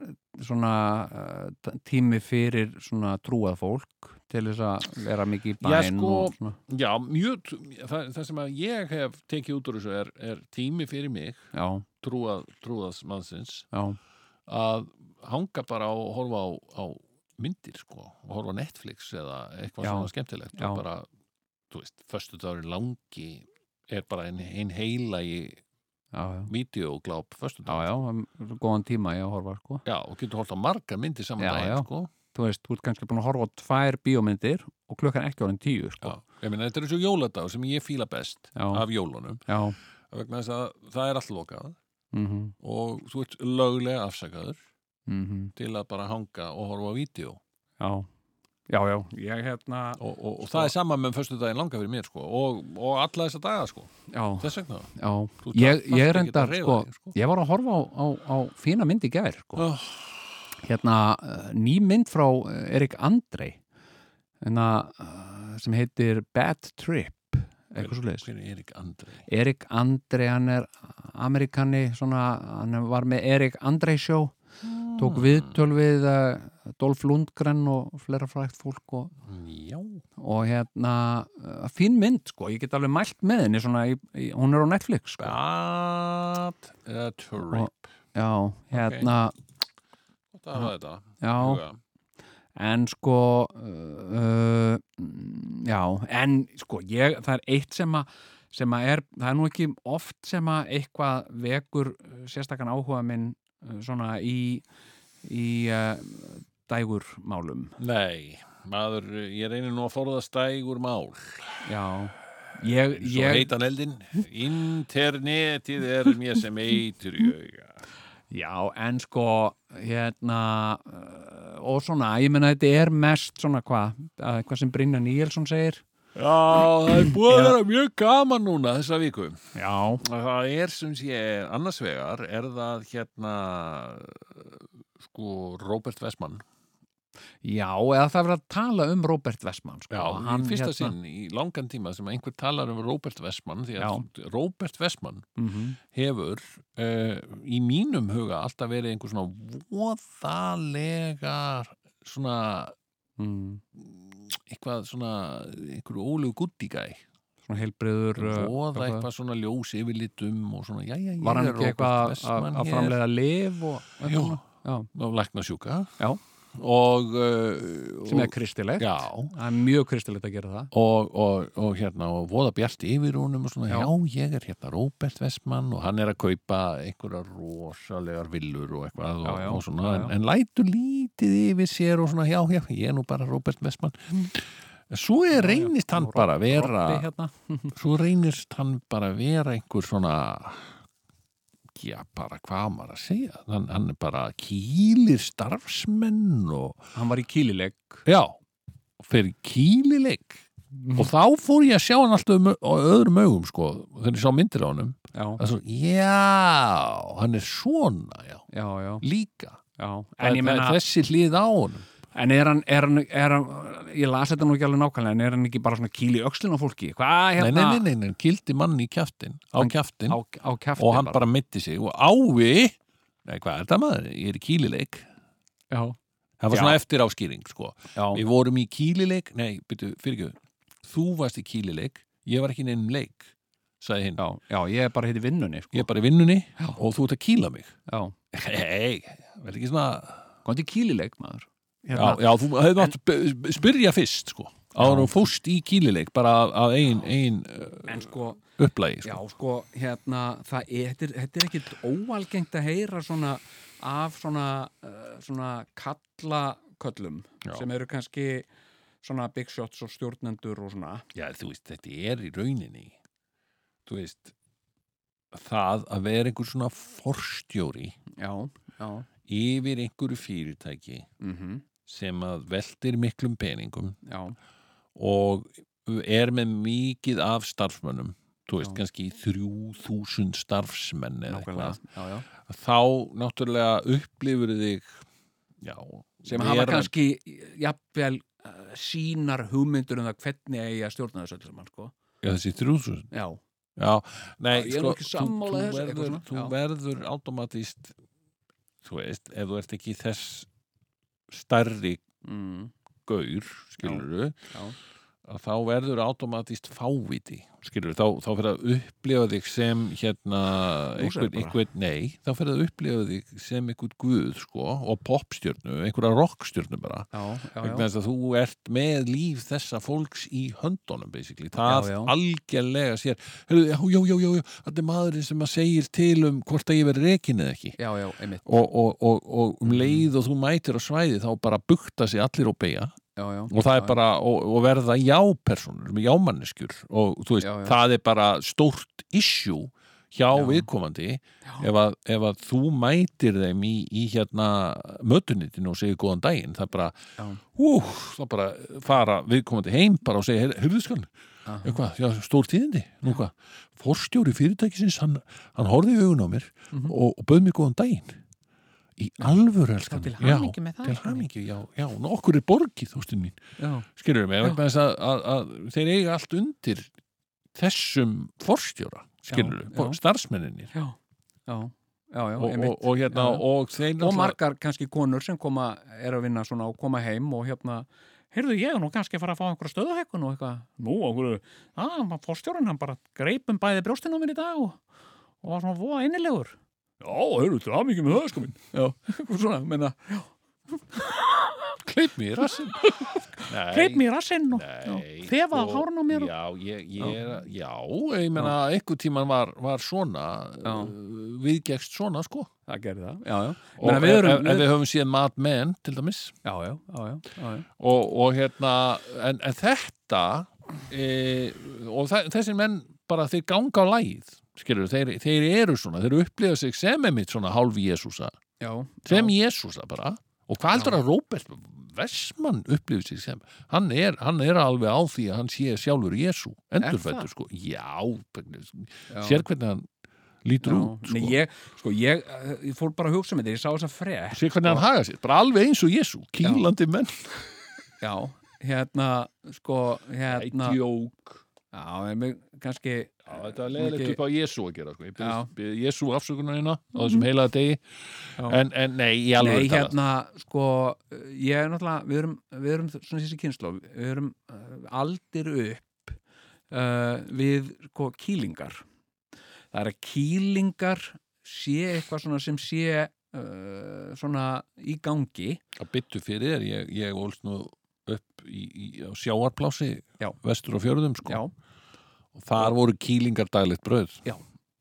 [SPEAKER 3] svona uh, tími fyrir svona trúað fólk til þess að vera mikið í
[SPEAKER 1] Já,
[SPEAKER 3] bæn
[SPEAKER 1] sko,
[SPEAKER 3] og svona,
[SPEAKER 1] Já, mjög, það, það sem að ég hef tekið út úr þessu er, er tími fyrir mig,
[SPEAKER 3] já,
[SPEAKER 1] trúað, trúaðs mannsins
[SPEAKER 3] já,
[SPEAKER 1] að hanga bara og horfa á, á myndir sko, og horfa á Netflix eða eitthvað
[SPEAKER 3] Já.
[SPEAKER 1] svona skemmtilegt
[SPEAKER 3] Já.
[SPEAKER 1] og bara, þú veist, föstudagurinn langi er bara ein, ein heila í
[SPEAKER 3] já, já
[SPEAKER 1] videogláp
[SPEAKER 3] Já,
[SPEAKER 1] föstudagur.
[SPEAKER 3] já, um, góðan tíma ég að horfa sko.
[SPEAKER 1] Já, og getur hort á marga myndir saman
[SPEAKER 3] Já,
[SPEAKER 1] daginn,
[SPEAKER 3] já.
[SPEAKER 1] sko.
[SPEAKER 3] Þú veist, þú ert kannski búin að horfa á tvær bíómyndir og klukkan ekki orðin tíu sko.
[SPEAKER 1] Já. Ég meina, þetta er eins og jóladagur sem ég fíla best
[SPEAKER 3] Já, já,
[SPEAKER 1] af jólunum,
[SPEAKER 3] já.
[SPEAKER 1] vegna þess að það er allt lokað
[SPEAKER 3] Mm
[SPEAKER 1] Mhm, og þú ert löglega afsakaður
[SPEAKER 3] -hmm.
[SPEAKER 1] til að bara hanga og horfa á vídeo
[SPEAKER 3] Já, já, já, ég hérna
[SPEAKER 1] og, og, og
[SPEAKER 3] Sko-
[SPEAKER 1] það er sama með föstudaginn langa fyrir mér sko, og, og alla þessa daga sko,
[SPEAKER 3] Já,
[SPEAKER 1] þess vegna
[SPEAKER 3] já,
[SPEAKER 1] Þú þarft
[SPEAKER 3] ég, ég
[SPEAKER 1] ekki
[SPEAKER 3] reyndar,
[SPEAKER 1] að hreyfa
[SPEAKER 3] sko,
[SPEAKER 1] þig, sko.
[SPEAKER 3] ég var að horfa á, á, á fína mynd í gær, sko
[SPEAKER 1] Oh.
[SPEAKER 3] Hérna, eh, ný mynd frá eh, Erik Andrei hérna, eh, sem heitir Bad Trip, eitthvað svo leiðis
[SPEAKER 1] Hver er Erik Andrei?
[SPEAKER 3] Erik Andrei, hann er Amerikani, svona, hann var með Erik Andrei sjó, tók
[SPEAKER 1] Ah.
[SPEAKER 3] viðtöl við uh, Dolf Lundgren og flera frækt fólk og
[SPEAKER 1] Mm, Já,
[SPEAKER 3] og hérna, uh, fín mynd sko, ég get alveg mælt með henni svona, í, í, hún er á Netflix sko
[SPEAKER 1] bad uh, trip
[SPEAKER 3] já, hérna,
[SPEAKER 1] Það var þetta
[SPEAKER 3] já,
[SPEAKER 1] huga.
[SPEAKER 3] en sko uh, uh, já, en sko ég, það er eitt sem að sem að er, það er nú ekki oft sem að eitthvað vekur uh, sérstakann áhuga minn uh, svona í í uh, dægurmálum
[SPEAKER 1] Nei, maður, ég reynir nú að forðast dægur mál
[SPEAKER 3] já, ég,
[SPEAKER 1] Svo
[SPEAKER 3] ég,
[SPEAKER 1] heitan eldin Internetið er mér sem eitur í auga
[SPEAKER 3] já, en sko hérna eh, og svona, ég menna þetta er mest svona hvað, eh, hvað sem Brynja Níelsson segir
[SPEAKER 1] Já, það er búið að vera mjög gaman núna þessa viku
[SPEAKER 3] já,
[SPEAKER 1] Það er sem sé annars vegar er það hérna sko Robert Westman
[SPEAKER 3] já, eða það verður að tala um Robert Vestmann sko.
[SPEAKER 1] Já,
[SPEAKER 3] hann,
[SPEAKER 1] í fyrsta sinn í langan tíma sem einhver talar um Robert Westman því að Robert Westman
[SPEAKER 3] mm
[SPEAKER 1] hefur uh, í mínum huga alltaf verið einhver svona voðalega svona
[SPEAKER 3] mm,
[SPEAKER 1] eitthvað svona einhverju ólegu guttigæ
[SPEAKER 3] svona heilbriður
[SPEAKER 1] voða eitthvað svona ljós yfirlitum og svona, já, já, já,
[SPEAKER 3] var hann ekki eitthvað að- að framleiða lif og eitthvað
[SPEAKER 1] Jú,
[SPEAKER 3] svona? já,
[SPEAKER 1] og lækna sjúka
[SPEAKER 3] Já.
[SPEAKER 1] og, uh,
[SPEAKER 3] sem er
[SPEAKER 1] og,
[SPEAKER 3] kristilegt
[SPEAKER 1] já,
[SPEAKER 3] það er mjög kristilegt að gera það
[SPEAKER 1] og, og, og hérna og voða bjart yfir honum og svona, já.
[SPEAKER 3] Já.
[SPEAKER 1] ég er hérna Róbert Vestmann og hann er að kaupa einhverja rosalegar villur og eitthvað og,
[SPEAKER 3] Já, já,
[SPEAKER 1] og svona,
[SPEAKER 3] já,
[SPEAKER 1] En,
[SPEAKER 3] já.
[SPEAKER 1] en lætur lítið yfir sér og svona, já, já, ég er nú bara Róbert Vestmann
[SPEAKER 3] Mm.
[SPEAKER 1] Svo er reynist hann
[SPEAKER 3] og
[SPEAKER 1] bara að vera
[SPEAKER 3] Robbi hérna.
[SPEAKER 1] svo reynist hann bara að vera einhver svona já, bara hvað á maður að segja hann, hann er bara kýlir starfsmenn og
[SPEAKER 3] hann var í kýlileg
[SPEAKER 1] já, fyrir kýlileik
[SPEAKER 3] Mhm.
[SPEAKER 1] og þá fór ég að sjá hann alltaf um, á öðrum augum sko, þegar ég sá myndir á honum
[SPEAKER 3] já,
[SPEAKER 1] það er svo, já, hann er svona já,
[SPEAKER 3] já, já,
[SPEAKER 1] líka
[SPEAKER 3] já.
[SPEAKER 1] það,
[SPEAKER 3] en ég
[SPEAKER 1] það er
[SPEAKER 3] menna
[SPEAKER 1] þessi hlið á honum
[SPEAKER 3] En er hann, er hann, er hann, ég las þetta nú ekki alveg nákvæmlega, en er hann ekki bara svona kýl í öxlin á fólki?
[SPEAKER 1] nei,
[SPEAKER 3] Hvað hérna?
[SPEAKER 1] nei, nei, nei, nei, kildi mann í kjaftin á
[SPEAKER 3] Hann-
[SPEAKER 1] kjaftin
[SPEAKER 3] Á, á kæftin
[SPEAKER 1] og hann bara mitti sig og ávi, nei, hvað er þetta maður ég er í kýlileik
[SPEAKER 3] Já,
[SPEAKER 1] Það var
[SPEAKER 3] Já.
[SPEAKER 1] svona eftir áskýring, sko.
[SPEAKER 3] já,
[SPEAKER 1] Við vorum í kýlileik, nei, byrju, fyrirgjöðu, þú varst í kýlileik, ég var ekki í neinum leik, sagði hinn.
[SPEAKER 3] já, já, ég er bara heiti vinnunni, sko.
[SPEAKER 1] Ég er bara í vinnunni og þú ert að kýla mig.
[SPEAKER 3] Já,
[SPEAKER 1] Hei, verður ekki svona...
[SPEAKER 3] komandi kýlileg, maður.
[SPEAKER 1] Já, já þú hefði mátt b- spyrja fyrst, sko. Áður og fóst í kýlileik, bara af- af ein, ein uh,
[SPEAKER 3] En sko,
[SPEAKER 1] upplægi,
[SPEAKER 3] já,
[SPEAKER 1] sko.
[SPEAKER 3] sko, hérna, það er, þetta er, þetta er ekkit óalgengt að heyra svona af svona, uh, svona kallaköllum
[SPEAKER 1] Já.
[SPEAKER 3] sem eru kannski svona big shots og stjórnendur og svona.
[SPEAKER 1] Já, þú veist, þetta er í rauninni, þú veist, það að vera einhver svona forstjóri
[SPEAKER 3] Já, já,
[SPEAKER 1] yfir einhverju fyrirtæki
[SPEAKER 3] mhm,
[SPEAKER 1] sem að veltir miklum peningum
[SPEAKER 3] já,
[SPEAKER 1] og er með mikið af starfsmönnum þú veist,
[SPEAKER 3] Já.
[SPEAKER 1] kannski 3000 starfsmenn eða
[SPEAKER 3] nákvæmlega,
[SPEAKER 1] eitthvað
[SPEAKER 3] já, já.
[SPEAKER 1] þá náttúrulega upplifur þig já,
[SPEAKER 3] sem hafa
[SPEAKER 1] vera-
[SPEAKER 3] kannski jafnvel uh, sínar hugmyndur um það hvernig eigi að stjórna þessu öllu saman sko.
[SPEAKER 1] já, þessi 3000
[SPEAKER 3] já,
[SPEAKER 1] já, nei,
[SPEAKER 3] Já, ég er nú
[SPEAKER 1] sko,
[SPEAKER 3] ekki
[SPEAKER 1] þú,
[SPEAKER 3] sammála
[SPEAKER 1] þú,
[SPEAKER 3] þessu, eitthvað
[SPEAKER 1] verður,
[SPEAKER 3] svona,
[SPEAKER 1] þú
[SPEAKER 3] já.
[SPEAKER 1] verður automatist þú veist, ef þú ert ekki þess stærri
[SPEAKER 3] mm,
[SPEAKER 1] gaur, skilurðu
[SPEAKER 3] Já.
[SPEAKER 1] að þá verður automatist fáviti, skilurðu, þá, þá fyrir að upplifa þig sem hérna
[SPEAKER 3] Nú segirðu
[SPEAKER 1] einhvern,
[SPEAKER 3] bara.
[SPEAKER 1] einhvern, nei, þá fyrir að upplifa þig sem einhvern guð, sko, og popstjörnu einhverja rockstjörnu bara
[SPEAKER 3] já, já,
[SPEAKER 1] vegna
[SPEAKER 3] já,
[SPEAKER 1] þess að þú ert með líf þessa fólks í höndunum basically, það
[SPEAKER 3] Já, já.
[SPEAKER 1] algjörlega sér, heyrðu, já, já, já, já, já þetta er maðurinn sem að segir til um hvort að ég verið rekin eða ekki
[SPEAKER 3] já, já, einmitt
[SPEAKER 1] og, og, og, og
[SPEAKER 3] Mhm.
[SPEAKER 1] um leið og þú mætir á svæði þá bara bukta sig allir og beigja
[SPEAKER 3] já, já,
[SPEAKER 1] og það
[SPEAKER 3] já,
[SPEAKER 1] er bara, og, og verða jápersonur með jámanneskjur og þú veist,
[SPEAKER 3] Já, já.
[SPEAKER 1] það er bara stórt issue hjá viðkomandi ef að, ef að þú mætir þeim í, í hérna mötunitinu og segir góðan daginn það er bara,
[SPEAKER 3] Já.
[SPEAKER 1] hú, þá bara fara viðkomandi heim bara og segja hurðuskan,
[SPEAKER 3] Aha.
[SPEAKER 1] eitthvað, já, stór tíðindi nú hvað, forstjóri fyrirtækisins hann, hann horfði í augun á mér
[SPEAKER 3] Mhm.
[SPEAKER 1] og, og bauð mér góðan daginn í alvöru, elskan,
[SPEAKER 2] til
[SPEAKER 1] já
[SPEAKER 2] hamingju með það,
[SPEAKER 1] til
[SPEAKER 2] elskan mín.
[SPEAKER 1] hamingju, já, já, nú okkur er borgið, þóstin mín
[SPEAKER 3] já,
[SPEAKER 1] skilurum við, vegna þess að, að, að þeir eiga allt undir þessum forstjóra, skilurum
[SPEAKER 3] Já, já.
[SPEAKER 1] starfsmenninir
[SPEAKER 3] já, já, já, já
[SPEAKER 1] og, og,
[SPEAKER 3] einmitt og,
[SPEAKER 1] og hérna
[SPEAKER 3] Já, já.
[SPEAKER 1] og þeir
[SPEAKER 3] margar kannski konur sem koma er að vinna svona og koma heim og hérna heyrðu ég er nú kannski að fara að fá einhverja stöðahækun og eitthvað, nú, okkur að, fórstjórinn hann bara greipum bæði brjóstinn á mér í dag og, og var svona voða einilegur
[SPEAKER 8] Já, heyrðu, það er mikið með það, sko minn.
[SPEAKER 3] *laughs* svona, menna,
[SPEAKER 1] kleip mér í
[SPEAKER 3] *laughs*
[SPEAKER 1] rassinn Nei,
[SPEAKER 3] greip mér í rassinn og
[SPEAKER 1] nei,
[SPEAKER 3] já,
[SPEAKER 1] sko,
[SPEAKER 3] þefa á hárun á mér og,
[SPEAKER 1] já, ég, ég, er- já, ég meina einhver tíman var, var svona
[SPEAKER 3] Já.
[SPEAKER 1] uh, viðgekst svona sko
[SPEAKER 3] það gerði það, já, já,
[SPEAKER 1] og
[SPEAKER 3] Meina, við erum-
[SPEAKER 1] ef, ef
[SPEAKER 3] við-
[SPEAKER 1] við höfum séð Mad Men til dæmis
[SPEAKER 3] já, já, já, já, já, já.
[SPEAKER 1] og, og hérna en, en þetta e, og þa- þessir menn bara þeir ganga á lægið skilur, þeir, þeir eru svona, þeir upplifa sig sem emitt svona hálf Jésúsa
[SPEAKER 3] já,
[SPEAKER 1] sem Jésúsa bara og hvað heldur að Róbert Vessmann upplifa sig sem hann er, hann er alveg á því að hann sé sjálfur Jésú endurfættur sko, já,
[SPEAKER 3] já.
[SPEAKER 1] sér hvernig hann lítur út
[SPEAKER 3] Nei,
[SPEAKER 1] sko.
[SPEAKER 3] ég, sko, ég, eh, ég fór bara að hugsa um þetta, ég sá þess að frétt
[SPEAKER 1] sér hvernig hann haga sér, bara alveg eins og Jésú kýlandi menn
[SPEAKER 3] já, hérna, sko hérna,
[SPEAKER 1] djók
[SPEAKER 3] já, en mig kannski
[SPEAKER 1] Já, þetta er leiðilegt
[SPEAKER 3] Mikið-
[SPEAKER 1] upp á Jésu að gera sko. ég
[SPEAKER 3] Já.
[SPEAKER 1] byrð, byrð Jésu afsökunarina hérna á þessum heilaða degi en, en nei, ég alveg
[SPEAKER 3] Nei, hérna, sko, eh, ég er náttúrulega, við erum, við erum svona þessi kynslu, við erum eh, aldir upp uh, við, sko, kýlingar. Það er að kýlingar sé eitthvað svona sem sé uh, svona í gangi.
[SPEAKER 1] að byttu fyrir þér, ég, ég ólst nú upp í, í, á sjáarplási
[SPEAKER 3] Já.
[SPEAKER 1] vestur á fjörðum sko.
[SPEAKER 3] Já,
[SPEAKER 1] og þar voru kýlingar daglegt bröð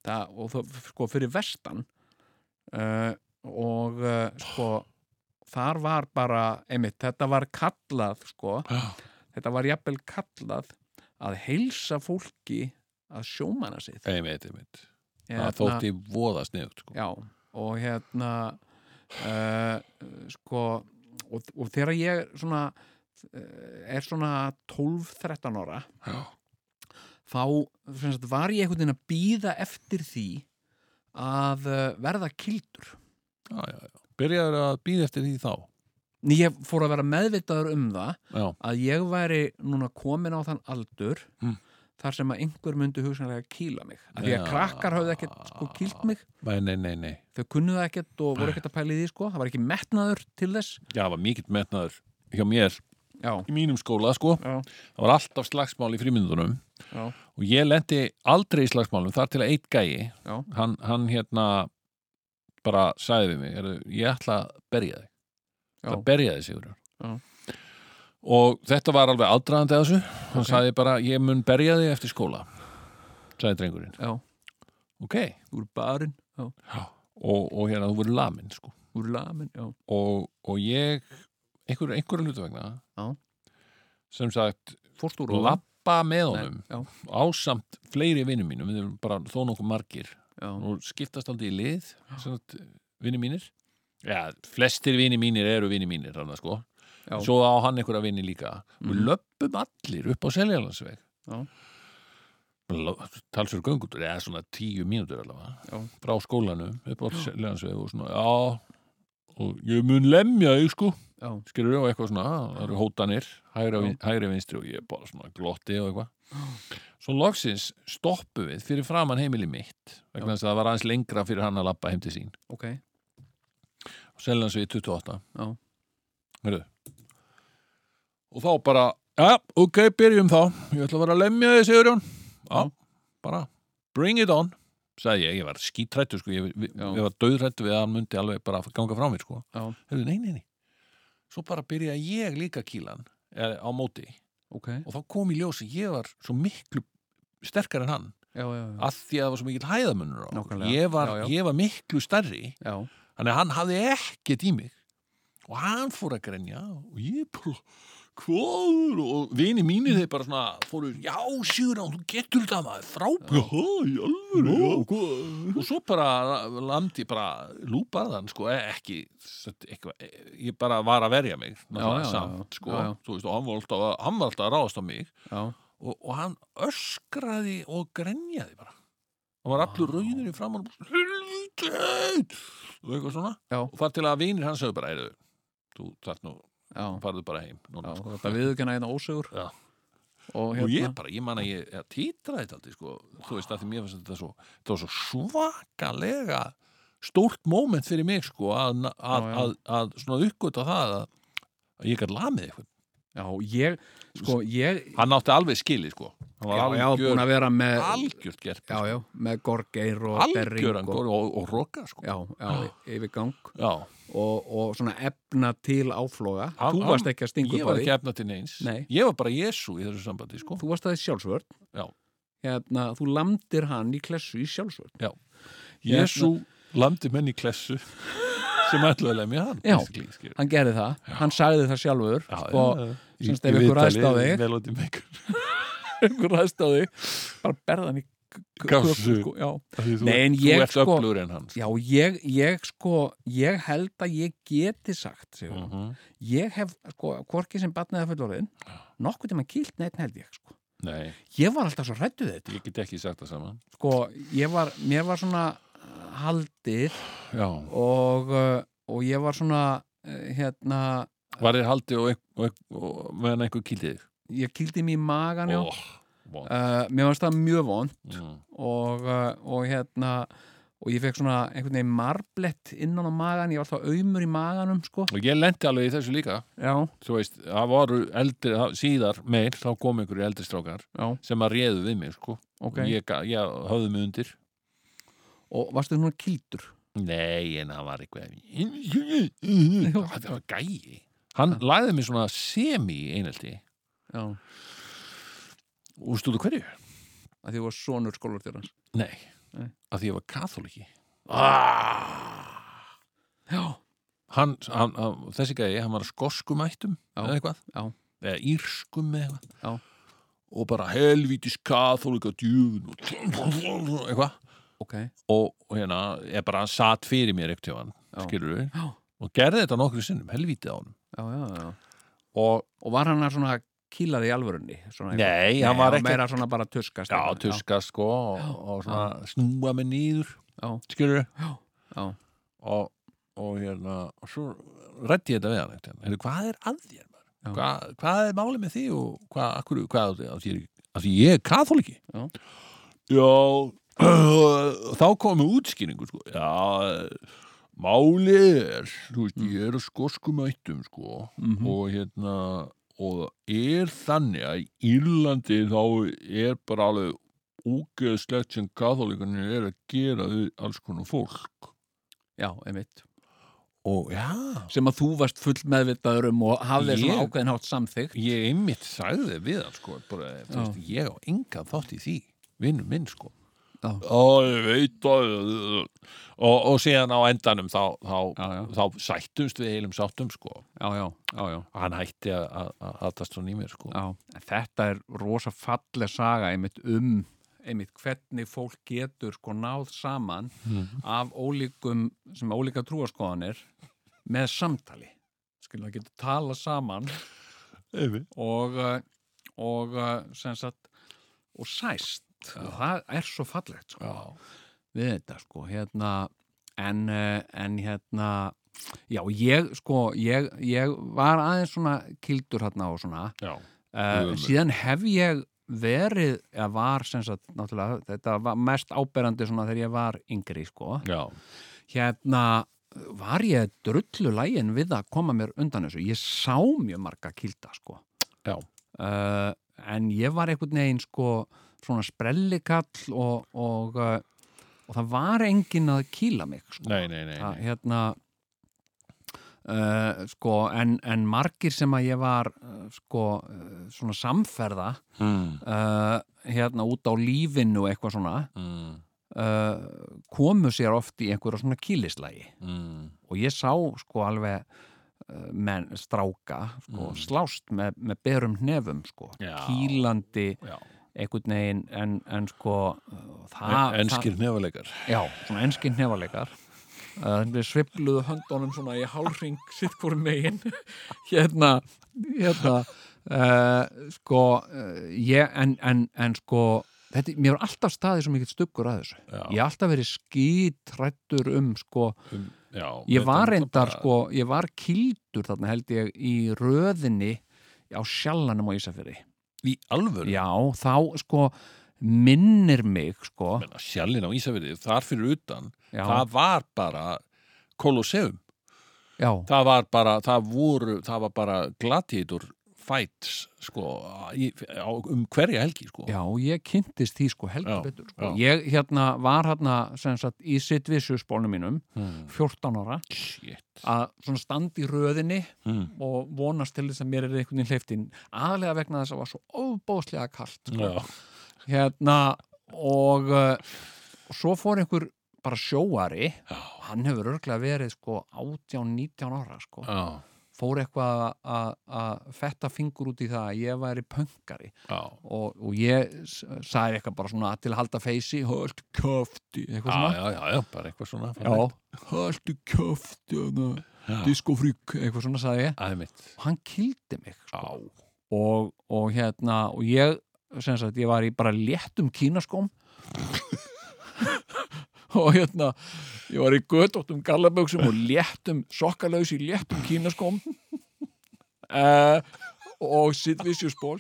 [SPEAKER 3] það, og það, sko, fyrir vestan uh, og uh, sko, þar var bara, einmitt, þetta var kallað, sko,
[SPEAKER 1] Já.
[SPEAKER 3] þetta var jafnvel kallað að heilsa fólki að sjómana sig Hérna,
[SPEAKER 1] einmitt, einmitt, það þótti voða sniðugt sko.
[SPEAKER 3] já, og hérna uh, sko og, og þegar ég svona eh, er svona 12-13 ára
[SPEAKER 1] Já.
[SPEAKER 3] þá sem sagt, var ég einhvern veginn að býða eftir því að eh, verða kildur
[SPEAKER 1] já, já, já. byrjaður að býða eftir því þá
[SPEAKER 3] Nei, ég fór að vera meðvitaður um það
[SPEAKER 1] já,
[SPEAKER 3] að ég væri núna komin á þann aldur
[SPEAKER 1] Mm.
[SPEAKER 3] þar sem að einhver myndi hugsanlega kýla mig af því að
[SPEAKER 1] Já.
[SPEAKER 3] krakkar hafði ekkert sko kýlt mig
[SPEAKER 1] nei, nei, nei, nei
[SPEAKER 3] þau kunnuðu það ekkert og voru ekkert að pæla í því sko það var ekki metnaður til þess
[SPEAKER 1] já, það var mikill metnaður hjá mér
[SPEAKER 3] já,
[SPEAKER 1] í mínum skóla sko
[SPEAKER 3] Já.
[SPEAKER 1] það var alltaf slagsmál í frímyndunum
[SPEAKER 3] Já.
[SPEAKER 1] og ég lendi aldrei í slagsmálum þar til að eitt gæi
[SPEAKER 3] Já.
[SPEAKER 1] hann, hann hérna bara sagði við mig, heru, ég ætla að berja þig
[SPEAKER 3] Já.
[SPEAKER 1] það berja þig Sigurður
[SPEAKER 3] Já.
[SPEAKER 1] og þetta var alveg aðdraðandi að þessu hann
[SPEAKER 3] Ok.
[SPEAKER 1] sagði bara, ég mun berja þig eftir skóla sagði drengurinn
[SPEAKER 3] Já.
[SPEAKER 1] ok,
[SPEAKER 3] úr barinn, já,
[SPEAKER 1] og, og hérna þú voru lamin sko
[SPEAKER 3] úr lamin já,
[SPEAKER 1] og, og ég einhver, einhverjum hlutu vegna
[SPEAKER 3] Já.
[SPEAKER 1] sem sagt
[SPEAKER 3] fórst úr honum?
[SPEAKER 1] lappa með
[SPEAKER 3] Nei,
[SPEAKER 1] honum
[SPEAKER 3] já,
[SPEAKER 1] ásamt fleiri vinnum mínum við erum bara þó nokkuð margir
[SPEAKER 3] já,
[SPEAKER 1] og skiptast aldrei í lið vinnum mínir já, flestir vinnum mínir eru vinnum mínir þannig, sko.
[SPEAKER 3] Já.
[SPEAKER 1] svo á hann einhverja vinni líka við
[SPEAKER 3] Mhm.
[SPEAKER 1] löppum allir upp á Seljalandsveg
[SPEAKER 3] Já.
[SPEAKER 1] talsur göngutur eða svona tíu mínútur allavega
[SPEAKER 3] Já.
[SPEAKER 1] frá skólanum upp á Seljalandsveg og svona já og ég mun lemja þig sko
[SPEAKER 3] já,
[SPEAKER 1] skilur og eitthvað svona, það eru hótanir hægri, á
[SPEAKER 3] Já.
[SPEAKER 1] vin- hægri vinstri og ég er bara svona glotti og eitthvað svo loksins stoppu við fyrir framann heimili mitt vegna þess að það var aðeins lengra fyrir hann að labba heim til sín
[SPEAKER 3] ok
[SPEAKER 1] og selja hans við 28
[SPEAKER 3] Já.
[SPEAKER 1] Heyrðu. og þá bara já, ok, byrjum þá ég ætla að vera að lemja þig, Sigurjón já,
[SPEAKER 3] Já.
[SPEAKER 1] bara, bring it on sagði ég, ég var skítrættu sko, ég, við,
[SPEAKER 3] Já.
[SPEAKER 1] ég var döðrættu við að hann mundi alveg bara ganga frá mér sko
[SPEAKER 3] Já.
[SPEAKER 1] Heyrðu, nei, nei, nei. svo bara byrja ég líka kílan er, á móti
[SPEAKER 3] ok, já,
[SPEAKER 1] og þá kom í ljós að ég var svo miklu sterkar en hann,
[SPEAKER 3] já, já,
[SPEAKER 1] að því að það var svo mikill hæðamunur á okkur.
[SPEAKER 3] Nákvæmlega.
[SPEAKER 1] ég var,
[SPEAKER 3] Já, já.
[SPEAKER 1] ég var miklu stærri
[SPEAKER 3] já,
[SPEAKER 1] Þannig að hann hafði ekkert í mig og hann fór að grenja og ég bara, hvað? Og vini mínir þeir bara svona fóru, já, Sigurðan, þú getur þetta maður frábæð. Já, í alvöru, já, hvað? Og svo bara landi, bara lúparðan, sko, e- ekki, satt eitthvað, e- ég bara var að verja mig, náttúrulega
[SPEAKER 3] já, já,
[SPEAKER 1] samt,
[SPEAKER 3] já.
[SPEAKER 1] sko,
[SPEAKER 3] Já, já.
[SPEAKER 1] þú veist, og hann var alltaf, að- hann var alltaf að ráðast á mig
[SPEAKER 3] já,
[SPEAKER 1] og, og hann öskraði og grenjaði bara hann var allur rauður í framann og helvítið og eitthvað svona
[SPEAKER 3] Já.
[SPEAKER 1] og þar til að vinir hans sögðu bara "Heyrðu, þú þarf nú,
[SPEAKER 3] já,
[SPEAKER 1] farðu bara heim núna,
[SPEAKER 3] já
[SPEAKER 1] sko.
[SPEAKER 3] þetta viðurkenna hérna ósögur
[SPEAKER 1] Já.
[SPEAKER 3] og
[SPEAKER 1] og ég
[SPEAKER 3] hérna,
[SPEAKER 1] bara, ég man að ég, ég títraði þetta aldrei sko, þú veist að því mér fannst þetta svo þetta var svo svakalega stórt moment fyrir mig sko að, að,
[SPEAKER 3] Já,
[SPEAKER 1] að,
[SPEAKER 3] já.
[SPEAKER 1] að, svona uppgöta það að, að ég gætt lamið eitthvað
[SPEAKER 3] já, ég sko, ég,
[SPEAKER 1] hann átti alveg skilið sko hann
[SPEAKER 3] já,
[SPEAKER 1] var
[SPEAKER 3] já, búin
[SPEAKER 1] algjör,
[SPEAKER 3] að vera með
[SPEAKER 1] algjört gert
[SPEAKER 3] já, já, með gorgeir og
[SPEAKER 1] algjöran
[SPEAKER 3] og,
[SPEAKER 1] góri og, og roka sko.
[SPEAKER 3] já, já, yfirgang
[SPEAKER 1] Já.
[SPEAKER 3] og, og svona efna til áfloga
[SPEAKER 1] Hann-
[SPEAKER 3] þú varst ekki að stinga
[SPEAKER 1] Ah, ég
[SPEAKER 3] upp á
[SPEAKER 1] var
[SPEAKER 3] því
[SPEAKER 1] ekki efna til neins
[SPEAKER 3] Nei.
[SPEAKER 1] ég var bara Jésu í þessu sambandi sko.
[SPEAKER 3] þú varst aðeins sjálfsvörn
[SPEAKER 1] Já.
[SPEAKER 3] hérna, þú lamdir hann í klessu í sjálfsvörn
[SPEAKER 1] Já. Jésu landi menn í klessu sem ætlaði að lemja hann
[SPEAKER 3] Já.
[SPEAKER 1] basically, skilur.
[SPEAKER 3] hann gerði það, hann sagði það sjálfur
[SPEAKER 1] Já,
[SPEAKER 3] sko,
[SPEAKER 1] já.
[SPEAKER 3] semst
[SPEAKER 1] Í-
[SPEAKER 3] ef
[SPEAKER 1] í
[SPEAKER 3] ykkur
[SPEAKER 1] viðtali
[SPEAKER 3] ræðst á þig.
[SPEAKER 1] Melody Maker
[SPEAKER 3] *laughs* einhver ræðst á þig bara berða hann í k- k-
[SPEAKER 1] Kassu.
[SPEAKER 3] köku, sko, já.
[SPEAKER 1] Þú,
[SPEAKER 3] Nei, en
[SPEAKER 1] þú
[SPEAKER 3] ég
[SPEAKER 1] ert
[SPEAKER 3] sko-
[SPEAKER 1] öflugur en hans
[SPEAKER 3] já, ég, ég sko ég held að ég geti sagt mm
[SPEAKER 1] Mhm.
[SPEAKER 3] ég hef, sko, hvorki sem batnaði að fullorðin nokkuð tíma kýlt neitt held ég sko.
[SPEAKER 1] Nei,
[SPEAKER 3] ég var alltaf svo rættuð þetta
[SPEAKER 1] ég get ekki sagt það saman
[SPEAKER 3] sko, ég var, mér var svona uh, haldið
[SPEAKER 1] Já,
[SPEAKER 3] og, uh, og ég var svona uh, hérna,
[SPEAKER 1] var þér haldið og, og, og, og meðan einhver kýldið
[SPEAKER 3] ég kýldi mér í magan já.
[SPEAKER 1] Ó, vond
[SPEAKER 3] uh, mér varst það mjög von
[SPEAKER 1] mm.
[SPEAKER 3] og, uh, og hérna og ég fekk svona einhvern veginn marblett innan á magan, ég var alltaf auðmur í maganum sko,
[SPEAKER 1] Og ég lendi alveg í þessu líka
[SPEAKER 3] já,
[SPEAKER 1] Þú veist, það voru eldri, það- síðar meir, þá kom einhverju eldri strákar
[SPEAKER 3] Já.
[SPEAKER 1] sem að réðu við mig, sko
[SPEAKER 3] ok
[SPEAKER 1] ég, ga- ég höfðu mig undir
[SPEAKER 3] og varstu svona kýldur
[SPEAKER 1] Nei, en það var eitthvað
[SPEAKER 3] *laughs*
[SPEAKER 1] Það var gæi Hann læði mig svona semi í einhaldi
[SPEAKER 3] já,
[SPEAKER 1] og stúðu hverju?
[SPEAKER 3] að því þú var sonur skólar þér hans
[SPEAKER 1] Nei,
[SPEAKER 3] Nei. Ah.
[SPEAKER 1] af því ég var katholiki
[SPEAKER 3] já,
[SPEAKER 1] hann, hann, hann, Þessi gæi, hann var að skoskum ættum
[SPEAKER 3] Já,
[SPEAKER 1] eða eitthvað
[SPEAKER 3] já.
[SPEAKER 1] eða írskum eða eitthvað
[SPEAKER 3] Já.
[SPEAKER 1] og bara helvítis katholika djúfun og eitthvað
[SPEAKER 3] ok
[SPEAKER 1] og, og hérna, ég bara satt fyrir mér ekkert hjá hann,
[SPEAKER 3] Já.
[SPEAKER 1] skilur við
[SPEAKER 3] Já.
[SPEAKER 1] og gerði þetta nokkru sinnum, helvítið á hann
[SPEAKER 3] já, já, já.
[SPEAKER 1] og
[SPEAKER 3] og var hann að svona kýla þig í alvörunni svona eitthvað?
[SPEAKER 1] nei, hann var ekki
[SPEAKER 3] meira svona bara tuskast
[SPEAKER 1] Já,
[SPEAKER 3] eitthvað.
[SPEAKER 1] tuska sko og, og svona snúa mig nýður
[SPEAKER 3] Já.
[SPEAKER 1] skilur
[SPEAKER 3] Já, já.
[SPEAKER 1] og, og hérna og svo rætti ég þetta við hann eitthvað. Heyrðu, hvað er að þér?
[SPEAKER 3] Já.
[SPEAKER 1] Hva, hvað er málið með því og hvað, akkur, hvað á þér- á þér af því ég er katholiki
[SPEAKER 3] Já.
[SPEAKER 1] já *clears throat* þá komum útskýringu sko. já, málið er þú veist,
[SPEAKER 3] Mm.
[SPEAKER 1] ég er að skoskum ættum sko
[SPEAKER 3] Mhm.
[SPEAKER 1] og hérna og er þannig að í Írlandi þá er bara alveg ógeðslegt sem katholikunni er að gera við alls konar fólk
[SPEAKER 3] já, einmitt
[SPEAKER 1] og já
[SPEAKER 3] sem að þú varst full meðvitaður um og hafði svona
[SPEAKER 1] Ég?
[SPEAKER 3] ákveðin hátt samþygt
[SPEAKER 1] ég einmitt sagði við hann sko bara, þú
[SPEAKER 3] Já.
[SPEAKER 1] veist, ég á engan þátt í því vinnur minn sko
[SPEAKER 3] Já.
[SPEAKER 1] ég veit að og, og síðan á endanum þá, þá,
[SPEAKER 3] Já, já.
[SPEAKER 1] þá sættumst við heilum sáttum sko
[SPEAKER 3] já, já, já, já,
[SPEAKER 1] hann hætti að- að að aðtast svona í mér sko
[SPEAKER 3] já. En þetta er rosa falleg saga einmitt um einmitt hvernig fólk getur sko náð saman af ólíkum sem ólíka trúaskoðanir með samtali skilur að geta tala saman
[SPEAKER 1] Einmitt.
[SPEAKER 3] og uh, og uh, sem sagt og sæst og það er svo fallegt sko.
[SPEAKER 1] Já.
[SPEAKER 3] við þetta sko hérna en, uh, en hérna já ég sko ég, ég var aðeins svona kildur hérna og svona
[SPEAKER 1] Já.
[SPEAKER 3] uh,
[SPEAKER 1] Ömurlegt.
[SPEAKER 3] síðan hef ég verið eða var sem sagt náttúrulega þetta var mest áberandi svona þegar ég var yngri sko
[SPEAKER 1] Já.
[SPEAKER 3] hérna var ég drullu lægin við að koma mér undan þessu ég sá mjög marga kilda sko
[SPEAKER 1] Já.
[SPEAKER 3] uh, en ég var einhvern veginn sko svona sprellikall og, og, uh, og það var enginn að kýla mig sko.
[SPEAKER 1] Nei, nei, nei,
[SPEAKER 3] það,
[SPEAKER 1] nei.
[SPEAKER 3] hérna uh, sko en, en margir sem að ég var uh, sko uh, svona samferða
[SPEAKER 1] Mm.
[SPEAKER 3] uh, hérna út á lífinu og eitthvað svona
[SPEAKER 1] Mm.
[SPEAKER 3] uh, komu sér oft í einhverja svona kýlislægi
[SPEAKER 1] Mm.
[SPEAKER 3] og ég sá sko alveg uh, menn stráka sko,
[SPEAKER 1] Mm.
[SPEAKER 3] slást með, með berum hnefum sko,
[SPEAKER 1] Já.
[SPEAKER 3] kýlandi
[SPEAKER 1] Já.
[SPEAKER 3] einhvern veginn en, en sko uh, það,
[SPEAKER 1] En, enskir nefaleikar
[SPEAKER 3] það, já, svona enskir hnefaleikar uh, við svipluðu höndunum svona í hálring *laughs* sitt hvorum megin *laughs* hérna, hérna uh, sko uh, ég, en, en, en sko þetta, mér var alltaf staðið svo mikill stuggur að þessu
[SPEAKER 1] Já.
[SPEAKER 3] ég hef alltaf verið skítrættur um sko
[SPEAKER 1] um, já, þetta
[SPEAKER 3] ég var
[SPEAKER 1] er
[SPEAKER 3] reyndar
[SPEAKER 1] bara-
[SPEAKER 3] sko, ég var kildur þarna held ég í röðinni á sjallanum á Ísafjörði
[SPEAKER 1] Í alvöru
[SPEAKER 3] já, þá sko minnir mig sko
[SPEAKER 1] Menna, Sjallin á Ísafirði, þar fyrir utan
[SPEAKER 3] já,
[SPEAKER 1] Það var bara Kolosseum
[SPEAKER 3] já,
[SPEAKER 1] Það var bara, það voru Það var bara gladiður fights sko, í, á, um hverja helgi sko.
[SPEAKER 3] já, ég kynntist því sko heldur
[SPEAKER 1] Já,
[SPEAKER 3] betur sko.
[SPEAKER 1] já.
[SPEAKER 3] ég hérna var hérna sem sagt í sitt vissusbólnum mínum
[SPEAKER 1] Hmm.
[SPEAKER 3] 14 ára
[SPEAKER 1] Shit
[SPEAKER 3] að svona standa í röðinni
[SPEAKER 1] hmm.
[SPEAKER 3] og vonast til þess að mér er einhvern veginn hleyftin aðlega vegna þess að var svo óbóðslega kalt sko.
[SPEAKER 1] Já,
[SPEAKER 3] hérna og uh, svo fór einhver bara sjóari
[SPEAKER 1] Já.
[SPEAKER 3] hann hefur örglega verið sko 18-19 ára sko
[SPEAKER 1] já,
[SPEAKER 3] fór eitthvað að- að fetta fingur út í það að ég væri pöngari
[SPEAKER 1] já,
[SPEAKER 3] og, og ég s- sagði eitthvað bara svona til að halda feysi, höldu köfti eitthvað
[SPEAKER 1] já,
[SPEAKER 3] svona
[SPEAKER 1] já, já, já, bara eitthvað svona
[SPEAKER 3] Já, höldu köfti diskofrík, eitthvað svona sagði ég
[SPEAKER 1] Æmitt,
[SPEAKER 3] og hann kildi mig sko.
[SPEAKER 1] já,
[SPEAKER 3] og, og hérna og ég, sem sagt, ég var í bara léttum kínaskóm *laughs* og hérna ég var í göttóttum gallaböksum og léttum, sokkalaus í léttum *laughs* kínaskóm uh, og sittvisjusból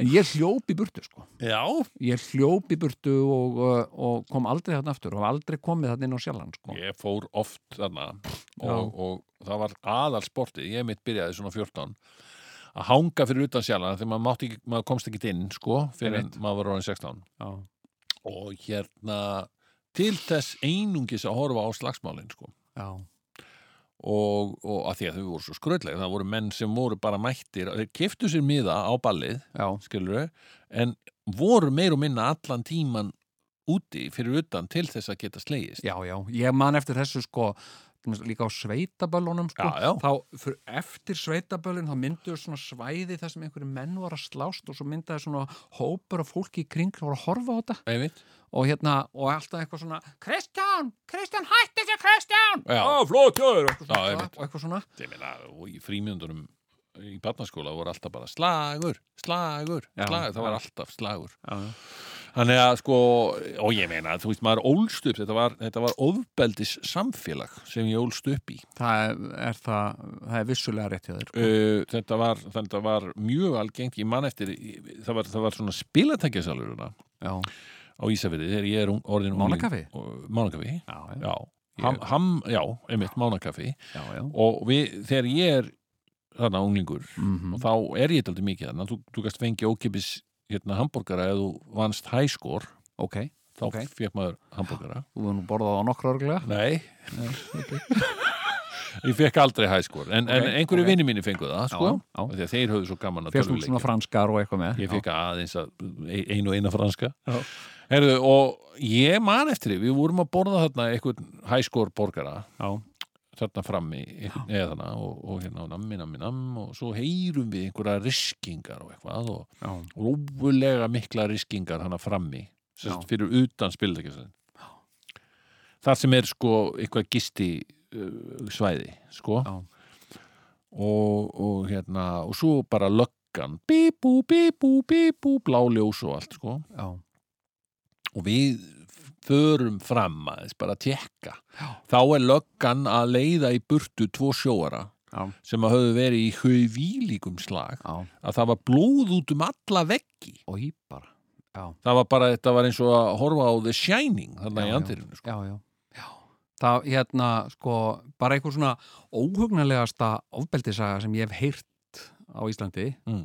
[SPEAKER 3] en ég hljóp í burtu sko
[SPEAKER 1] já,
[SPEAKER 3] ég hljóp í burtu og, uh, og kom aldrei þarna aftur og hef aldrei komið þarna inn á sjálfan sko
[SPEAKER 1] ég fór oft þarna
[SPEAKER 3] Já.
[SPEAKER 1] og, og það var aðal sportið, ég mitt byrjaði svona 14 að hanga fyrir utan sjálfana þegar maður, mátti ekki, maður komst ekki inn sko, fyrir en maður var orðin 16
[SPEAKER 3] Já.
[SPEAKER 1] og hérna til þess einungis að horfa á slagsmálin sko
[SPEAKER 3] Já.
[SPEAKER 1] og, og að því að þau voru svo skröldlega það voru menn sem voru bara mættir þeir keftu sér miða á ballið
[SPEAKER 3] Já.
[SPEAKER 1] skilur en voru meir og minna allan tíman úti fyrir utan til þess að geta slegist
[SPEAKER 3] Já, já, ég man eftir þessu sko til dæmis líka á sveitaböllunum sko.
[SPEAKER 1] Já, já.
[SPEAKER 3] þá fyrir, eftir sveitaböllun þá mynduðu svona svæði þar sem einhverju menn var að slást og svo myndaði svona hópur af fólki í kring sem voru að horfa á þetta
[SPEAKER 1] Einmitt.
[SPEAKER 3] og hérna, og alltaf eitthvað svona Kristján, Kristján, hætti þessu Kristján
[SPEAKER 1] Já.
[SPEAKER 3] Ó, flott, já, er
[SPEAKER 1] Já,
[SPEAKER 3] eitthvað svona,
[SPEAKER 1] einmitt.
[SPEAKER 3] og eitthvað svona
[SPEAKER 1] Ég meina, og í frímjöndunum í barnaskóla voru alltaf bara slagur, slagur,
[SPEAKER 3] Já,
[SPEAKER 1] slagur það var
[SPEAKER 3] já.
[SPEAKER 1] alltaf slagur
[SPEAKER 3] Já, já.
[SPEAKER 1] þannig að sko, og ég meina þú veist maður ólst upp, þetta var, þetta var ofbeldis samfélag sem ég ólst upp í
[SPEAKER 3] það er, er það, það er vissulega rétt hjá þér sko.
[SPEAKER 1] Uh, þetta, var, þetta var mjög algengt ég man eftir, ég- það var, það var svona spilatækjasaluruna
[SPEAKER 3] Já,
[SPEAKER 1] á Ísafirði þegar ég er ung- orðin
[SPEAKER 3] Mánakaffi?
[SPEAKER 1] Mánakafi,
[SPEAKER 3] já, já,
[SPEAKER 1] já ham, ham, já, einmitt, mánakafi
[SPEAKER 3] já, já.
[SPEAKER 1] og við, þegar ég er þarna unglingur
[SPEAKER 3] Mm
[SPEAKER 1] og þá er ég daldi mikið þarna þú, þú gast fengið ókipis hérna hambúrgara eða þú vannst hæskor
[SPEAKER 3] Ok,
[SPEAKER 1] þá
[SPEAKER 3] Ok.
[SPEAKER 1] okay. fekk maður hambúrgara
[SPEAKER 3] *gasps* þú hefur nú borðað á nokkru örgulega
[SPEAKER 1] Nei, *laughs* ég fekk aldrei hæskor en, en
[SPEAKER 3] Ok,
[SPEAKER 1] einhverju
[SPEAKER 3] ok.
[SPEAKER 1] okay. vinni mínir fengu það sko,
[SPEAKER 3] já.
[SPEAKER 1] af því að þeir höfðu svo gaman að
[SPEAKER 3] Fyrst þú svona
[SPEAKER 1] tölvuleikjum.
[SPEAKER 3] franskar og eitthvað með
[SPEAKER 1] Ég fikk aðeins að einu og eina franska.
[SPEAKER 3] Já.
[SPEAKER 1] Herðu, og ég man eftir því, við vorum að borða þarna einhvern hæskór borgara
[SPEAKER 3] Já.
[SPEAKER 1] þarna frammi, einhvern- eða þarna og, og hérna, og nammi, nammi, namm og svo heyrum við einhverja riskingar og eitthvað og
[SPEAKER 3] Já.
[SPEAKER 1] rófulega mikla riskingar hana frammi sem sagt,
[SPEAKER 3] Já.
[SPEAKER 1] fyrir utan spildakjöfn þar sem er sko eitthvað gisti uh, svæði sko
[SPEAKER 3] Já.
[SPEAKER 1] og, og hérna og svo bara löggan bíbú, bíbú, bíbú, bláljós og allt sko
[SPEAKER 3] já.
[SPEAKER 1] og við förum fram aðeins bara að tjekka þá er löggan að leiða í burtu tvo sjóara
[SPEAKER 3] Já.
[SPEAKER 1] sem að höfðu verið í hauvílíkum slag
[SPEAKER 3] Já,
[SPEAKER 1] að það var blóð út um alla veggi
[SPEAKER 3] og í bara
[SPEAKER 1] það var bara, þetta var eins og að horfa á The Shining þarna
[SPEAKER 3] Já,
[SPEAKER 1] í
[SPEAKER 3] já.
[SPEAKER 1] andirinu sko.
[SPEAKER 3] Já, já, já Það, hérna, sko, bara einhver svona óhugnalegasta ofbeldisaga sem ég hef heyrt á Íslandi
[SPEAKER 1] Mm.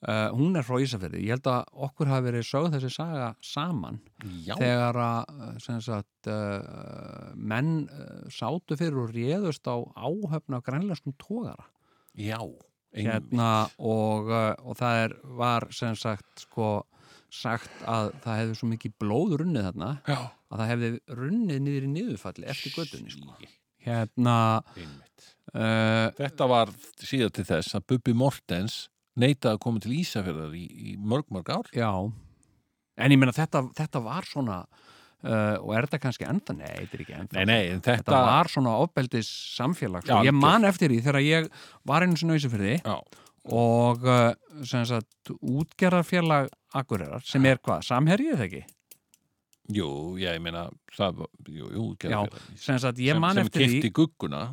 [SPEAKER 3] Eh, hún er frá Ísafirði ég held að okkur hafi verið sögð þessi saga saman
[SPEAKER 1] já,
[SPEAKER 3] þegar að eh, sem sagt, uh, menn uh, sátu fyrir og réðust á áhöfna á grænlenskum tógara
[SPEAKER 1] já einmitt.
[SPEAKER 3] hérna og, uh, og það er, var sem sagt sko sagt að það hefði svo mikið blóð runnið þarna
[SPEAKER 1] já,
[SPEAKER 3] að það hefði runnið niður í niðurfalli eftir göttunni sko. hérna
[SPEAKER 1] einmitt.
[SPEAKER 3] uh,
[SPEAKER 1] þetta var síðan til þess að Bubbi Mortens neitaði að koma til Ísafjörðar í, í mörg mörg ár
[SPEAKER 3] já en ég meina þetta, þetta var svona uh, og er þetta kannski enda, nei, þetta er ekki enda
[SPEAKER 1] nei, nei, en þetta,
[SPEAKER 3] þetta var svona ofbeldis samfélag
[SPEAKER 1] Já,
[SPEAKER 3] sko. ég man eftir því þegar ég var einu sinni auðsifyrði
[SPEAKER 1] já,
[SPEAKER 3] og uh, sem sagt útgerðarfélag Akureyrar sem er hvað, samherjið eða ekki?
[SPEAKER 1] jú, já, ég meina það, var- jú, jú,
[SPEAKER 3] Já,
[SPEAKER 1] Gerðarfjörðar.
[SPEAKER 3] sem sagt ég
[SPEAKER 1] sem,
[SPEAKER 3] man
[SPEAKER 1] sem
[SPEAKER 3] eftir því
[SPEAKER 1] kifti gugguna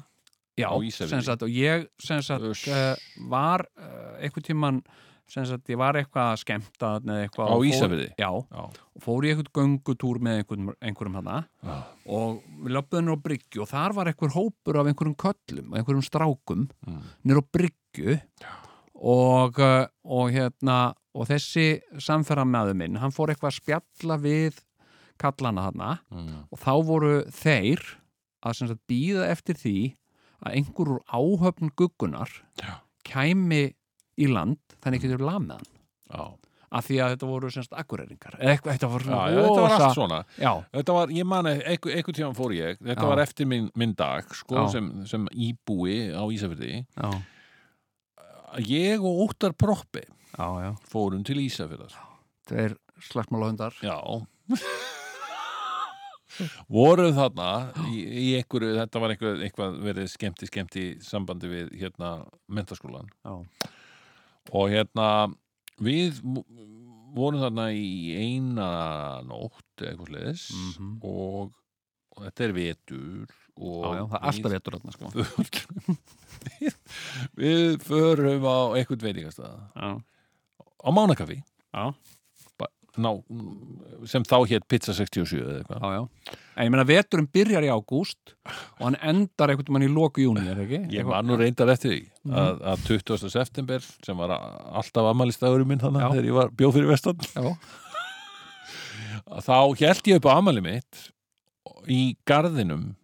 [SPEAKER 3] Já,
[SPEAKER 1] á Ísafirði.
[SPEAKER 3] sem sagt, og ég sem sagt,
[SPEAKER 1] Uss.
[SPEAKER 3] uh, var uh, einhvern tíman sem sagt, ég var eitthvað að skemmta þarna eða eitthvað
[SPEAKER 1] Á
[SPEAKER 3] og fór-
[SPEAKER 1] Ísafirði?
[SPEAKER 3] Já,
[SPEAKER 1] já,
[SPEAKER 3] og fór í eitthvað göngutúr með einhverjum, einhverjum hana
[SPEAKER 1] Já.
[SPEAKER 3] og við löpum á bryggju og þar var einhver hópur af einhverjum köllum og einhverjum strákum
[SPEAKER 1] Mm.
[SPEAKER 3] nýr á bryggju og, uh, og hérna og þessi samferðamæðu minn hann fór eitthvað að spjalla við kallana þarna
[SPEAKER 1] mm.
[SPEAKER 3] og þá voru þeir að sem sagt býða eftir því að einhver úr áhöfn guggunar
[SPEAKER 1] Já.
[SPEAKER 3] kæmi í land þannig getur við lamið hann
[SPEAKER 1] já,
[SPEAKER 3] af því að þetta voru sem sagt akureyringar eða eitthvað, þetta var
[SPEAKER 1] já,
[SPEAKER 3] svona
[SPEAKER 1] já, þetta var
[SPEAKER 3] rosa-
[SPEAKER 1] allt svona
[SPEAKER 3] já,
[SPEAKER 1] Þetta var, ég man, einhver, einhver tíma fór ég, þetta
[SPEAKER 3] Já.
[SPEAKER 1] var eftir minn, minn dag, sko,
[SPEAKER 3] Já.
[SPEAKER 1] sem, sem íbúi á Ísafjörði
[SPEAKER 3] já,
[SPEAKER 1] ég og Óttar Proppi
[SPEAKER 3] já, já.
[SPEAKER 1] fórum til Ísafjörðar
[SPEAKER 3] Tveir slagsmálahundar.
[SPEAKER 1] Já voru þarna í, í einhverju, þetta var einhver, eitthvað verið skemmti skemmti sambandi við hérna mentaskólan
[SPEAKER 3] Já.
[SPEAKER 1] og hérna við vorum þarna í eina nótt eitthvað sliðis
[SPEAKER 3] Mhm.
[SPEAKER 1] og, og þetta er vetur og
[SPEAKER 3] Já, já, það er
[SPEAKER 1] *laughs*
[SPEAKER 3] alltaf vetur þarna, sko.
[SPEAKER 1] vetur við förum á eitthvað veitingastæða
[SPEAKER 3] Já.
[SPEAKER 1] á Mánakafi
[SPEAKER 3] Já.
[SPEAKER 1] Ná, mm, sem þá hétt Pizza 67 eða eitthvað
[SPEAKER 3] Já, já. En ég meina, veturinn byrjar í ágúst og hann endar einhvern mann í loku júni, er það ekki?
[SPEAKER 1] ég var nú reyndar eftir því
[SPEAKER 3] Mhm.
[SPEAKER 1] að, að 20. september sem var a- alltaf afmælistagurinn minn þannig
[SPEAKER 3] Já.
[SPEAKER 1] þegar ég var bjóð fyrir vestan
[SPEAKER 3] Já.
[SPEAKER 1] Að þá held ég upp á afmæli mitt í garðinum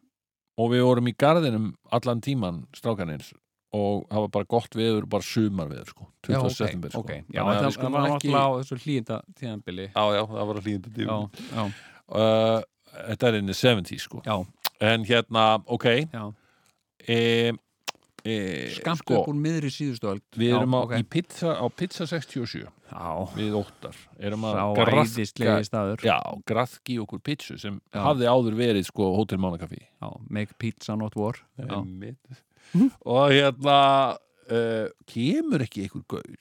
[SPEAKER 1] og við vorum í garðinum allan tíman strákanins og það var bara gott veður, bara sumarveður sko, 20. september sko.
[SPEAKER 3] ok. Já,
[SPEAKER 1] Þannig að
[SPEAKER 3] það
[SPEAKER 1] við skulum
[SPEAKER 3] var
[SPEAKER 1] ekki-
[SPEAKER 3] alltaf á þessu hlýnda tíðanbili.
[SPEAKER 1] já, já, það var að hlýnda
[SPEAKER 3] Já,
[SPEAKER 1] tíma
[SPEAKER 3] já,
[SPEAKER 1] uh, þetta er inni 70 sko
[SPEAKER 3] já.
[SPEAKER 1] en hérna, ok
[SPEAKER 3] Já.
[SPEAKER 1] e, e,
[SPEAKER 3] Skamt
[SPEAKER 1] sko,
[SPEAKER 3] upp úr miðri síðustu öld.
[SPEAKER 1] við erum
[SPEAKER 3] já,
[SPEAKER 1] á,
[SPEAKER 3] ok.
[SPEAKER 1] í pizza, á pizza 67
[SPEAKER 3] Já,
[SPEAKER 1] við óttar erum að
[SPEAKER 3] sá
[SPEAKER 1] grafka-
[SPEAKER 3] æðislegi staður.
[SPEAKER 1] já, grafki okkur pizzu sem
[SPEAKER 3] Já.
[SPEAKER 1] hafði áður verið sko Hotel Mánakaffi
[SPEAKER 3] Já, make pizza not war. Já.
[SPEAKER 1] *laughs* og hérna uh, kemur ekki einhver gaur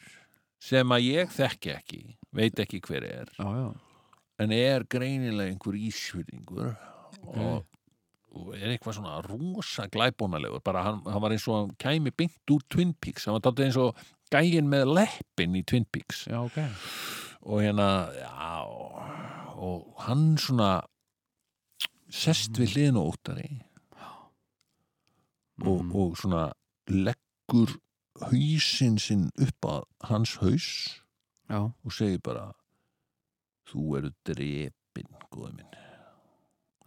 [SPEAKER 1] sem að ég þekki ekki veit ekki hver er
[SPEAKER 3] Já, já.
[SPEAKER 1] en er greinilega einhver ísfyrringur og, og er eitthvað svona rosa glæbónalegur bara hann, hann var eins og hann kæmi beint úr Twin Peaks hann var dálítið eins og gægin með leppin í Twin Peaks
[SPEAKER 3] Já, ok.
[SPEAKER 1] og hérna já, og hann svona sest við hliðin og óttari og,
[SPEAKER 3] Mhm.
[SPEAKER 1] og svona leggur hausinn sinn upp að hans haus
[SPEAKER 3] Já.
[SPEAKER 1] og segir bara þú eru drepin góði minn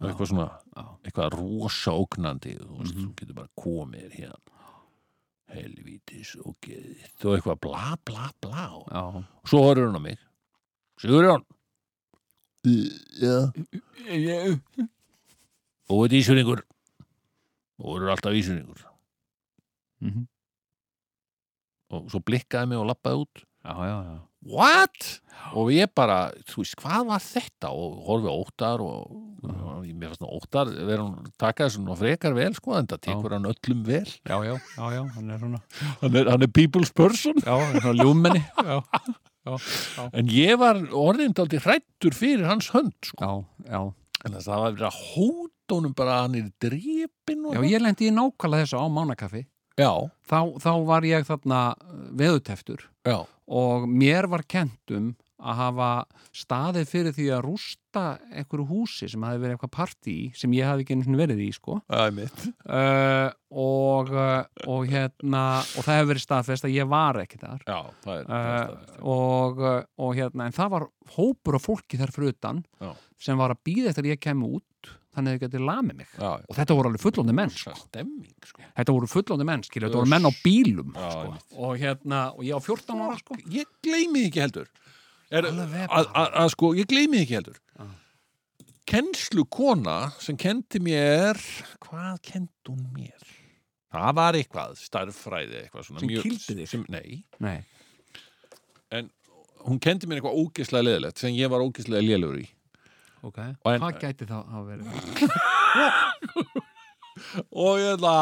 [SPEAKER 1] og
[SPEAKER 3] Já.
[SPEAKER 1] eitthvað svona
[SPEAKER 3] Já.
[SPEAKER 1] eitthvað rosa ógnandi þú, veist,
[SPEAKER 3] Mhm.
[SPEAKER 1] þú getur bara komið þér hérna helvítis og geðið og eitthvað bla bla bla og
[SPEAKER 3] Já.
[SPEAKER 1] svo horfður hún á mig Sigurjón ja. og þetta ísjöringur og þú eru alltaf ísjöringur
[SPEAKER 3] Mhm.
[SPEAKER 1] og svo blikkaði mig og lappaði út
[SPEAKER 3] Já, já, já.
[SPEAKER 1] what? og ég bara, þú veist, hvað var þetta og horfi á óttar og og ég mér fannst að óttar verður hann taka þessu nú frekar vel sko en það tekur hann öllum vel
[SPEAKER 3] Já, já, já, já, hann er svona
[SPEAKER 1] hann er, hann er people's person
[SPEAKER 3] Já, hann er svona ljúmenni
[SPEAKER 1] *laughs*
[SPEAKER 3] Já,
[SPEAKER 1] en ég var orðin daldi hrættur fyrir hans hönd sko.
[SPEAKER 3] já, já
[SPEAKER 1] en þess að það var verið að hóta honum bara að hann er drepin og
[SPEAKER 3] Já, ég lendi í nákvæmlega þessu á Mánakaffi
[SPEAKER 1] já,
[SPEAKER 3] þá, þá var ég þarna uh, veðuteftur
[SPEAKER 1] já,
[SPEAKER 3] og mér var kentum að hafa staðið fyrir því að rústa einhverju húsi sem hafi verið eitthvað partí í, sem ég hafi ekki einu sinni verið í sko
[SPEAKER 1] æmitt
[SPEAKER 3] uh, og, uh, og hérna og það hefur verið staðfest að ég var ekki þar
[SPEAKER 1] já, það er, það er
[SPEAKER 3] Uh,
[SPEAKER 1] staðfest.
[SPEAKER 3] og, uh, og hérna, en það var hópur af fólki þar fyrir utan
[SPEAKER 1] Já.
[SPEAKER 3] sem var að býða eftir að ég kemur út þannig að þau getið lamið mig
[SPEAKER 1] já,
[SPEAKER 3] og þetta voru alveg fullóndi menn
[SPEAKER 1] já,
[SPEAKER 3] sko.
[SPEAKER 1] stemming sko.
[SPEAKER 3] þetta voru fullóndi menn, skilja, þetta voru menn á bílum
[SPEAKER 1] Já,
[SPEAKER 3] sko.
[SPEAKER 1] einmitt.
[SPEAKER 3] og hérna, og ég á 14 ára sko.
[SPEAKER 1] ég gleymi því ekki heldur er,
[SPEAKER 3] Alveg Ah.
[SPEAKER 1] að, að, að sko, ég gleymi því ekki heldur kennslu kona sem kendi mér hvað kendi hún mér? það var eitthvað, starffræði eitthvað svona
[SPEAKER 3] Sem
[SPEAKER 1] mjög-
[SPEAKER 3] kýldi þig?
[SPEAKER 1] sem, nei,
[SPEAKER 3] nei,
[SPEAKER 1] hún kendi mér eitthvað ógislega leðilegt sem ég var ógislega leðilegur í
[SPEAKER 3] ok
[SPEAKER 1] Og en-
[SPEAKER 3] hvað gæti þá að vera
[SPEAKER 1] og ég ætla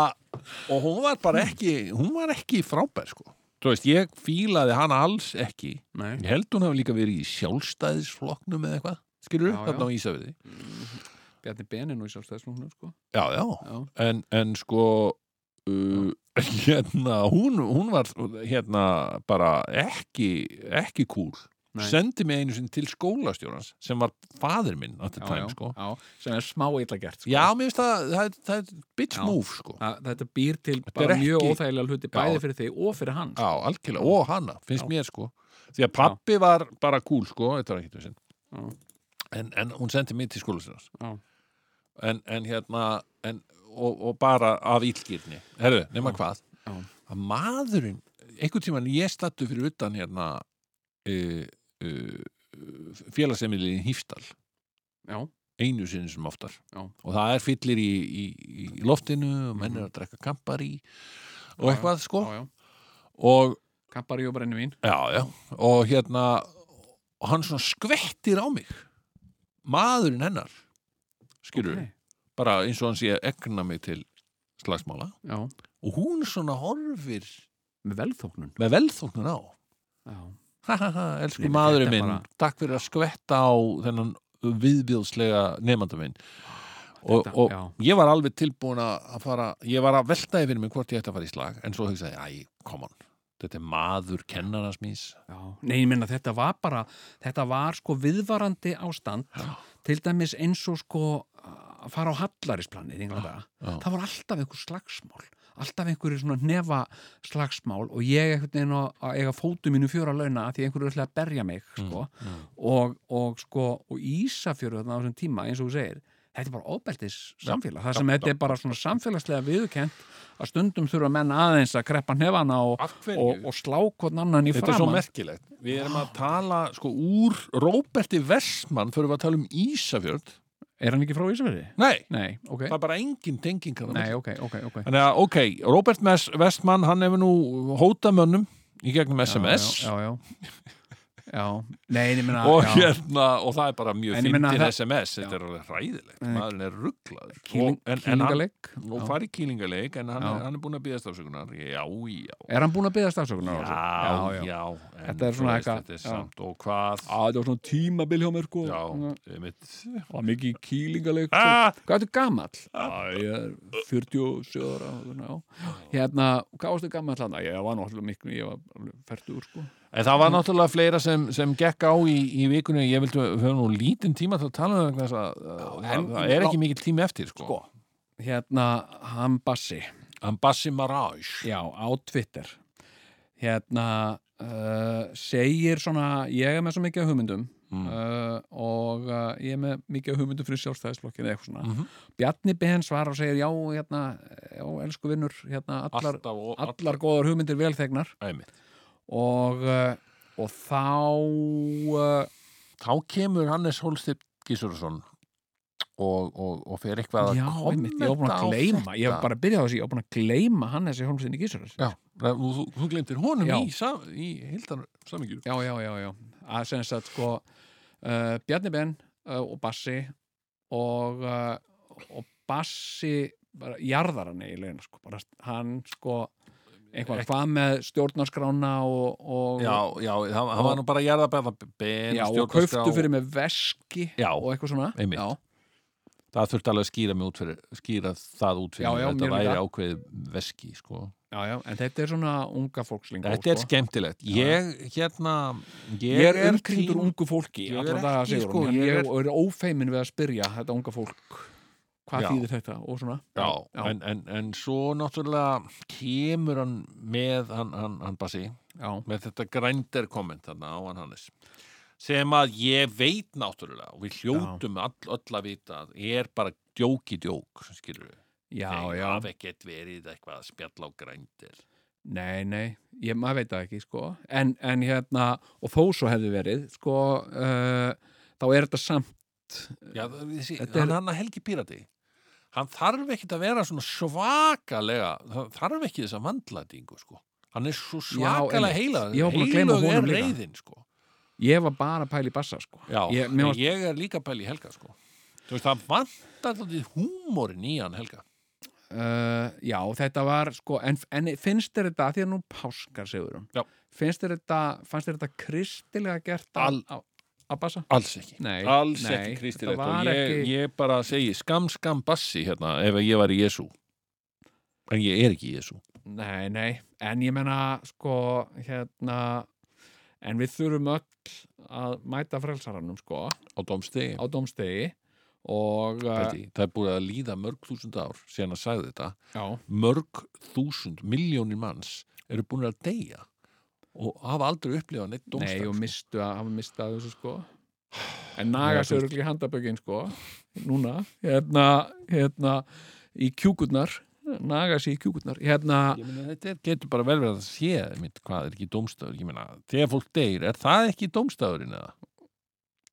[SPEAKER 1] og hún var bara ekki, hún var ekki frábær sko, þú veist, ég fílaði hana alls ekki,
[SPEAKER 3] nei.
[SPEAKER 1] ég held hún hafi líka verið í sjálfstæðisflokknum eða eitthvað, skilur
[SPEAKER 3] Já, já.
[SPEAKER 1] þarna á Ísafiði
[SPEAKER 3] Bjarni Benin og í sjálfstæðisnúknum sko.
[SPEAKER 1] já, já,
[SPEAKER 3] já,
[SPEAKER 1] En, en sko uh, *laughs* hérna, hún, hún var hérna bara ekki ekki cool
[SPEAKER 3] Nei.
[SPEAKER 1] sendi mig einu sinni til skólastjórans sem var fadir minn at the
[SPEAKER 3] já,
[SPEAKER 1] time
[SPEAKER 3] já,
[SPEAKER 1] sko.
[SPEAKER 3] já, sem er smá illa gert sko.
[SPEAKER 1] já, mér finnst það, það, það er bitch
[SPEAKER 3] Já.
[SPEAKER 1] move sko.
[SPEAKER 3] Að, þetta býr til
[SPEAKER 1] Þetta er
[SPEAKER 3] bara
[SPEAKER 1] ekki-
[SPEAKER 3] mjög óþægilega hluti
[SPEAKER 1] Já.
[SPEAKER 3] bæði fyrir þig og fyrir hann sko.
[SPEAKER 1] Já, algjörlega, og hana, finnst
[SPEAKER 3] Já.
[SPEAKER 1] mér sko því að pappi var bara cool sko þetta var ekki þessin
[SPEAKER 3] Já.
[SPEAKER 1] en, en hún sendi mig til skólasins
[SPEAKER 3] Já.
[SPEAKER 1] en, en hérna en, og, og bara af illgirni herru, nema hvað
[SPEAKER 3] Já.
[SPEAKER 1] að maðurinn, einhvern tímann ég stattu fyrir utan hérna uh, uh, félagsemilinni Híftal
[SPEAKER 3] já,
[SPEAKER 1] einu sinni sem oftar
[SPEAKER 3] Já.
[SPEAKER 1] og það er fyllir í, í, í loftinu og menn er að drekka kampar í og
[SPEAKER 3] Mm. Já, já.
[SPEAKER 1] eitthvað sko
[SPEAKER 3] já, já.
[SPEAKER 1] og
[SPEAKER 3] kappari og brenni mín
[SPEAKER 1] já, já, og hérna og hann svona skvettir á mig maðurinn hennar skilur, bara eins og hann sé að egna mig til slagsmála
[SPEAKER 3] Já,
[SPEAKER 1] og hún svona horfir
[SPEAKER 3] með velþóknun
[SPEAKER 1] með velþóknun á
[SPEAKER 3] Já,
[SPEAKER 1] ha ha ha, elsku
[SPEAKER 3] Nei, men
[SPEAKER 1] maðurinn
[SPEAKER 3] þetta er
[SPEAKER 1] minn
[SPEAKER 3] bara-
[SPEAKER 1] takk fyrir að skvetta á þennan viðbjóðslega nefnda minn og,
[SPEAKER 3] Þetta-
[SPEAKER 1] og
[SPEAKER 3] já.
[SPEAKER 1] ég var alveg tilbúin að að fara ég var að velta yfir mig hvort ég ætti að fara í slag en svo hugsaði, ég, æ, come on þetta er maður kennarans mís
[SPEAKER 3] já Nei, ég minna þetta var bara þetta var sko viðvarandi ástand já. til dæmis eins og sko að fara á hallarísplanið í Englanda
[SPEAKER 1] já.
[SPEAKER 3] það voru alltaf einhver slagsmál alltaf einhverju svona nefa slagsmál og ég einhvern veginn á- að eiga fótu mínu fjóra launa af því einhverju er ætlaði að berja mig
[SPEAKER 1] Mm,
[SPEAKER 3] sko. Og, og sko og Ísafjörðu þarna á þessum tíma eins og þú segir þetta er bara óbeltis samfélag það sem þetta er bara svona samfélagslega viðurkent að stundum þurfa menn aðeins að kreppa nefana og,
[SPEAKER 1] Af hverju?
[SPEAKER 3] og, og slá hvern annan í
[SPEAKER 1] Þetta er svo
[SPEAKER 3] framann
[SPEAKER 1] merkilegt. Við erum að tala, sko, úr Róberti Vestmann fyrir við að tala um Ísafjörð.
[SPEAKER 3] er hann ekki frá Ísafjörði?
[SPEAKER 1] Nei,
[SPEAKER 3] Nei, ok,
[SPEAKER 1] það er bara engin tenging hann.
[SPEAKER 3] Nei, ok, ok, ok
[SPEAKER 1] Þannig að, ok, Róbert Mes- Vestmann, hann hefur nú hóta mönnum í gegnum SMS
[SPEAKER 3] Já, já, já, já. Nei, en ég meina
[SPEAKER 1] og
[SPEAKER 3] já.
[SPEAKER 1] hérna, og það er bara mjög
[SPEAKER 3] En ég meina
[SPEAKER 1] fyndin
[SPEAKER 3] það-
[SPEAKER 1] SMS. Þetta er alveg hræðilegt.
[SPEAKER 3] Nei.
[SPEAKER 1] Maðurinn er rugglaður.
[SPEAKER 3] Kýling,
[SPEAKER 1] Og- en- en hann-
[SPEAKER 3] kýlingaleg
[SPEAKER 1] Og fari kýlingaleik, en hann,
[SPEAKER 3] Já.
[SPEAKER 1] er- hann er búin að bíðast afsökunar. Já, já.
[SPEAKER 3] Er hann búin að byggja stafsökunar á þessu?
[SPEAKER 1] Já, já. En
[SPEAKER 3] Þetta er
[SPEAKER 1] þú
[SPEAKER 3] svona
[SPEAKER 1] veist,
[SPEAKER 3] eitthvað-
[SPEAKER 1] Þetta er
[SPEAKER 3] já.
[SPEAKER 1] samt og hvað.
[SPEAKER 3] Á, þetta var svona tímabil hjá mér sko
[SPEAKER 1] Já,
[SPEAKER 3] Það
[SPEAKER 1] einmitt.
[SPEAKER 3] var mikið kýlingaleg
[SPEAKER 1] Ah!
[SPEAKER 3] Hvað ertu gamall? Já, ég er 47 ára svona, já. Hérna, hvað varstu gamall hann? Ég var náttúrulega miklu, ég var færtur sko
[SPEAKER 1] En það var náttúrulega fleira sem, sem gekk á í, í vikunni, ég vildi við höfum nú lítinn tíma til að tala um vegna þess að uh,
[SPEAKER 3] en-
[SPEAKER 1] það- það er ekki mikil tími eftir sko.
[SPEAKER 3] Hérna, hann Bassi
[SPEAKER 1] Ambassi Maraj
[SPEAKER 3] Já, á Twitter Hérna uh, segir svona, ég er með svo mikið af hugmyndum
[SPEAKER 1] Mm.
[SPEAKER 3] uh, og uh, ég er með mikið af hugmyndum fyrir sjálfstæðisflokkinu eða eitthvað svona.
[SPEAKER 1] Mhm.
[SPEAKER 3] Bjarni Ben svarar og segir já, hérna, já, elsku vinnur hérna, allar,
[SPEAKER 1] Alltaf og
[SPEAKER 3] allar góðar hugmyndir velþegnar
[SPEAKER 1] Æmitt.
[SPEAKER 3] og, uh, og þá uh,
[SPEAKER 1] Þá kemur Hannes Holstip Gísurason og, og, og fer eitthvað
[SPEAKER 3] já,
[SPEAKER 1] að
[SPEAKER 3] einmitt, ég var búin
[SPEAKER 1] kommenta á
[SPEAKER 3] að gleyma ég var
[SPEAKER 1] þetta
[SPEAKER 3] bara að byrja á þessi, ég var búin að gleyma Hannes í Holmstinni Gísur
[SPEAKER 1] Já, það- þú, þú, þú glemtir honum
[SPEAKER 3] Já.
[SPEAKER 1] í, sam, í hildan samingjur
[SPEAKER 3] já, já, já, já að sem sagt sko uh, Bjarni Ben uh, og Bassi og, uh, og Bassi bara jarðar hann eiginlega sko, bara hann sko eitthvað hvað með stjórnarskrána og, og,
[SPEAKER 1] Já, já, hann, hann var nú bara að gerða bæða ben
[SPEAKER 3] já, og
[SPEAKER 1] stjórnarskrá.
[SPEAKER 3] kauftu fyrir með veski
[SPEAKER 1] Já,
[SPEAKER 3] og eitthvað svona
[SPEAKER 1] einmitt.
[SPEAKER 3] já,
[SPEAKER 1] Það þurfti alveg að skýra, mig út fyrir, skýra það út fyrir
[SPEAKER 3] Já,
[SPEAKER 1] mig.
[SPEAKER 3] já, mér
[SPEAKER 1] Þetta væri
[SPEAKER 3] líka.
[SPEAKER 1] ákveðið veski sko.
[SPEAKER 3] já, já, en þetta er svona unga fólkslingu
[SPEAKER 1] Þetta er skemmtilegt. Ég, hérna, ég,
[SPEAKER 3] Ég er umkringdur
[SPEAKER 1] tím-
[SPEAKER 3] ungu fólki
[SPEAKER 1] Ég er
[SPEAKER 3] allra daga
[SPEAKER 1] ekki,
[SPEAKER 3] sigur
[SPEAKER 1] sko,
[SPEAKER 3] en
[SPEAKER 1] ég
[SPEAKER 3] ég
[SPEAKER 1] er-
[SPEAKER 3] er, er ófeimin við að spyrja þetta unga fólk hvað
[SPEAKER 1] Já.
[SPEAKER 3] þýðir þetta og svona
[SPEAKER 1] Já,
[SPEAKER 3] já,
[SPEAKER 1] En, en, en svo náttúrulega kemur hann með, hann, hann, hann Bassi,
[SPEAKER 3] já.
[SPEAKER 1] með þetta grændir komment þarna á hann Hannes, sem að ég veit náttúrulega, og við hljótum all, öll að vita að er bara djók í djók, sem skilur við.
[SPEAKER 3] Já, já,
[SPEAKER 1] Af ekkert verið eitthvað að spjalla á grændir.
[SPEAKER 3] nei, nei, ég, maður veit það ekki, sko, en, en hérna, og þó svo hefði verið, sko, uh, þá er þetta samt,
[SPEAKER 1] Já, það- þessi,
[SPEAKER 3] Eh, Þetta
[SPEAKER 1] hann,
[SPEAKER 3] er-
[SPEAKER 1] hann að Helgi Pírati, hann þarf ekkert að vera svona svakalega, það þarf ekki þessa vandlætingu, sko. Hann er svo svakalega
[SPEAKER 3] einmitt.
[SPEAKER 1] heilaður.
[SPEAKER 3] Ég var búin að gleyma
[SPEAKER 1] Heilög
[SPEAKER 3] honum
[SPEAKER 1] er
[SPEAKER 3] líka.
[SPEAKER 1] reyðin, sko.
[SPEAKER 3] ég var bara að pæla í bassa, sko.
[SPEAKER 1] Já,
[SPEAKER 3] ég,
[SPEAKER 1] ég,
[SPEAKER 3] mér varst,
[SPEAKER 1] ég er líka pæli í Helga, sko. Þú veist, það vantar þáttið húmórin í hann, Helga.
[SPEAKER 3] uh, já, þetta var, sko, en, en finnst þér þetta, af því að nú páskar, segur hún,
[SPEAKER 1] Já.
[SPEAKER 3] finnst þér þetta, fannst þér þetta kristilega gert á,
[SPEAKER 1] Al-
[SPEAKER 3] á, á bassa?
[SPEAKER 1] Alls ekki.
[SPEAKER 3] Nei,
[SPEAKER 1] Alls
[SPEAKER 3] nei,
[SPEAKER 1] ekki kristilegt
[SPEAKER 3] þetta
[SPEAKER 1] og
[SPEAKER 3] var
[SPEAKER 1] ég,
[SPEAKER 3] ekki-
[SPEAKER 1] ég bara segi skam, skam, bassi hérna ef ég var í Jésu. En ég er ekki í Jésu.
[SPEAKER 3] Nei, nei, en ég menna sko, hérna en við þurfum öll að mæta frelsaranum, sko,
[SPEAKER 1] Á domstegi.
[SPEAKER 3] á domstegi og uh,
[SPEAKER 1] Pældi, í. það er búið að líða mörg þúsund ár síðan að sagði þetta.
[SPEAKER 3] eh, já,
[SPEAKER 1] mörg þúsund, miljónir manns eru búin að deyja og hafa aldrei upplifað neitt
[SPEAKER 3] nei,
[SPEAKER 1] domstæð
[SPEAKER 3] og mistu að hafa mistað þessu, sko
[SPEAKER 1] *sighs*
[SPEAKER 3] en naga sér öll í handabökin, sko núna, hérna hérna, í kjúkurnar naga sér í kjúkurnar, hérna
[SPEAKER 1] Ég meina, þetta er, getur bara vel verið að sé mitt, hvað er ekki domstæður, ég meina, þegar fólk deyr, er það ekki domstæðurinn eða?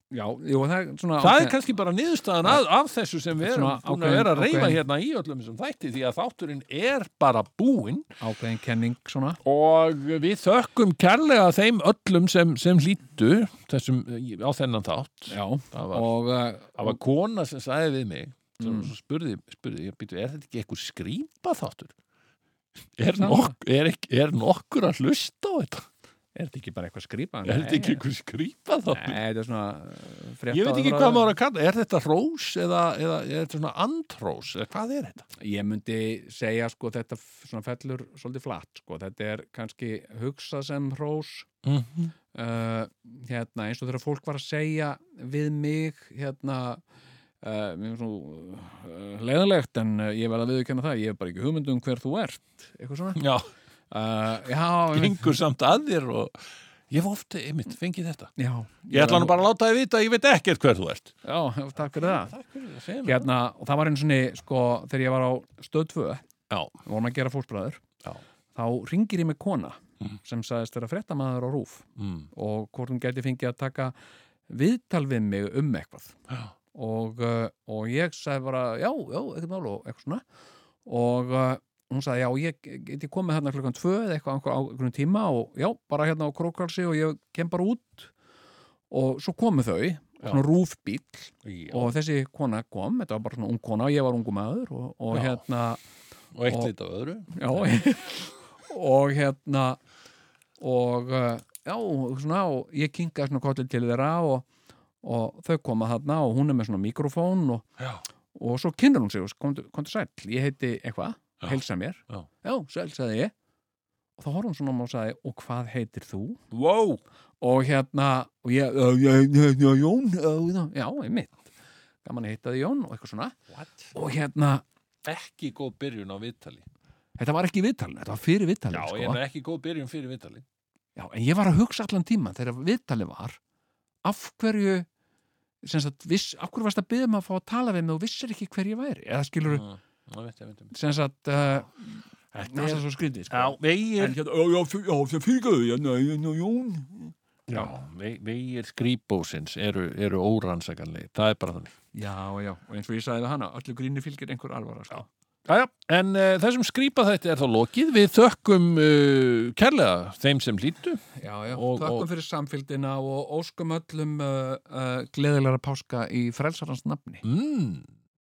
[SPEAKER 3] já, jú, það er svona
[SPEAKER 1] Það er
[SPEAKER 3] ákveð-
[SPEAKER 1] kannski bara niðurstaðan að, af þessu sem við erum
[SPEAKER 3] Svona
[SPEAKER 1] búin að
[SPEAKER 3] ákveðin-
[SPEAKER 1] vera að reyfa
[SPEAKER 3] ákveðin-
[SPEAKER 1] hérna í öllum þessum þætti því að þátturinn er bara búinn
[SPEAKER 3] ákveðin kenning svona
[SPEAKER 1] og við þökkum kærlega þeim öllum sem, sem hlýttu þessum, á þennan þátt
[SPEAKER 3] já,
[SPEAKER 1] það var,
[SPEAKER 3] og uh,
[SPEAKER 1] það var kona sem sagði við mig sem mm. spurði, spurði ég, býtu, er þetta ekki eitthvað skrýpa þáttur? Er,
[SPEAKER 3] Sama.
[SPEAKER 1] nok, er, ekki- er nokkur að hlusta á þetta?
[SPEAKER 3] er þetta ekki bara eitthvað skrýpa?
[SPEAKER 1] Er þetta ekki eitthvað skrýpa þáttur?
[SPEAKER 3] Nei, þetta er svona eh, frétt
[SPEAKER 1] Ég veit ekki hvað maður á að kalla, er þetta rós eða, eða er þetta svona andrós eða hvað er þetta?
[SPEAKER 3] Ég myndi segja sko þetta f- svona fellur svolítið flatt sko, þetta er kannski hugsað sem hrós
[SPEAKER 1] Mm
[SPEAKER 3] uh, hérna, eins og þegar fólk var að segja við mig hérna uh, mér finnst nú uh, leiðanlegt en uh, ég verð að viðurkenna það ég hef bara ekki hugmynd um hver þú ert eitthvað svona
[SPEAKER 1] Já,
[SPEAKER 3] uh, já, einmitt.
[SPEAKER 1] gengur samt að þér og ég hef ofta, einmitt, fengið þetta
[SPEAKER 3] já,
[SPEAKER 1] Ég ætla nú bara að láta þið vita að ég veit ekkert hver þú ert
[SPEAKER 3] já, takk fyrir það
[SPEAKER 1] Takk fyrir það, segja
[SPEAKER 3] hérna, og það var einu sinni sko, þegar ég var á stöð 2
[SPEAKER 1] Já.
[SPEAKER 3] vorum að gera fósbræður
[SPEAKER 1] Já.
[SPEAKER 3] þá ringir ég með kona sem sagðist vera fréttamaður á rúf
[SPEAKER 1] mm.
[SPEAKER 3] og hvort hún gæti fengið að taka viðtal við mig um eitthvað
[SPEAKER 1] Já.
[SPEAKER 3] og, uh, og ég sagði bara já, já, eitthvað mál og eitthvað svona og uh, hún sagði já, ég geti komið hérna klukkan tvö eða eitthvað á einhver- á einhverjum tíma og já, bara hérna á krókalsi og ég kem bara út og svo komu þau svona rúfbíl
[SPEAKER 1] Já.
[SPEAKER 3] og þessi kona kom, þetta var bara svona ung kona og ég var ungu maður og, og
[SPEAKER 1] Já.
[SPEAKER 3] hérna
[SPEAKER 1] Og eitt
[SPEAKER 3] og-
[SPEAKER 1] lit af öðru
[SPEAKER 3] já, *laughs* og hérna og uh, já, svona og ég kinkaði svona kollið til þeirra og, og þau koma þarna og hún er með svona mikrofón og,
[SPEAKER 1] Já.
[SPEAKER 3] og svo kynnar hún sig og komdu, komdu sæll, ég heiti eitthvað heilsa mér,
[SPEAKER 1] Já.
[SPEAKER 3] sæll sagði ég og þá horfði hún svona á mig og sagði og hvað heitir þú?
[SPEAKER 1] Wow
[SPEAKER 3] og hérna og ég, já, já, já, já, Jón já, já, einmitt gaman að hitta þið Jón og eitthvað svona
[SPEAKER 1] What?
[SPEAKER 3] og hérna,
[SPEAKER 1] Ekki góð byrjun á viðtali
[SPEAKER 3] þetta var ekki viðtalin þetta var fyrir
[SPEAKER 1] Já,
[SPEAKER 3] viðtalin,
[SPEAKER 1] sko.
[SPEAKER 3] sko
[SPEAKER 1] ég er ekki góð byrjun fyrir viðtali
[SPEAKER 3] já, en ég var að hugsa allan tíma þegar viðtalin var af hverju sem sagt, viss, af hverju varst að byggja maður að fá að tala við mig og vissir ekki hver ég væri eða skilur,
[SPEAKER 1] Mm. Já, veit ég, veit ég.
[SPEAKER 3] sem sagt uh,
[SPEAKER 1] Þetta
[SPEAKER 3] það
[SPEAKER 1] er
[SPEAKER 3] er svo skrýndið, sko
[SPEAKER 1] Já, vegir,
[SPEAKER 3] En hérna, já, já, fyr- já, það fyrirgöðu, já, já, já, já, Jón
[SPEAKER 1] já, ve- vegir skrýbósins eru, eru órannsakanlega, það er bara þannig
[SPEAKER 3] Já, já, og eins og ég sagði við hana, öllu grínu fylgir einhver alvara, sko
[SPEAKER 1] Jæja, en uh, þessum skrýpa þetta er þá lokið. Við þökkum uh, kærlega þeim sem hlýttu.
[SPEAKER 3] Já, já,
[SPEAKER 1] Og-
[SPEAKER 3] þökkum
[SPEAKER 1] og-
[SPEAKER 3] fyrir samfélgina og óskum öllum uh, uh, gleðilega páska í frelsarans nafni.
[SPEAKER 1] Mm,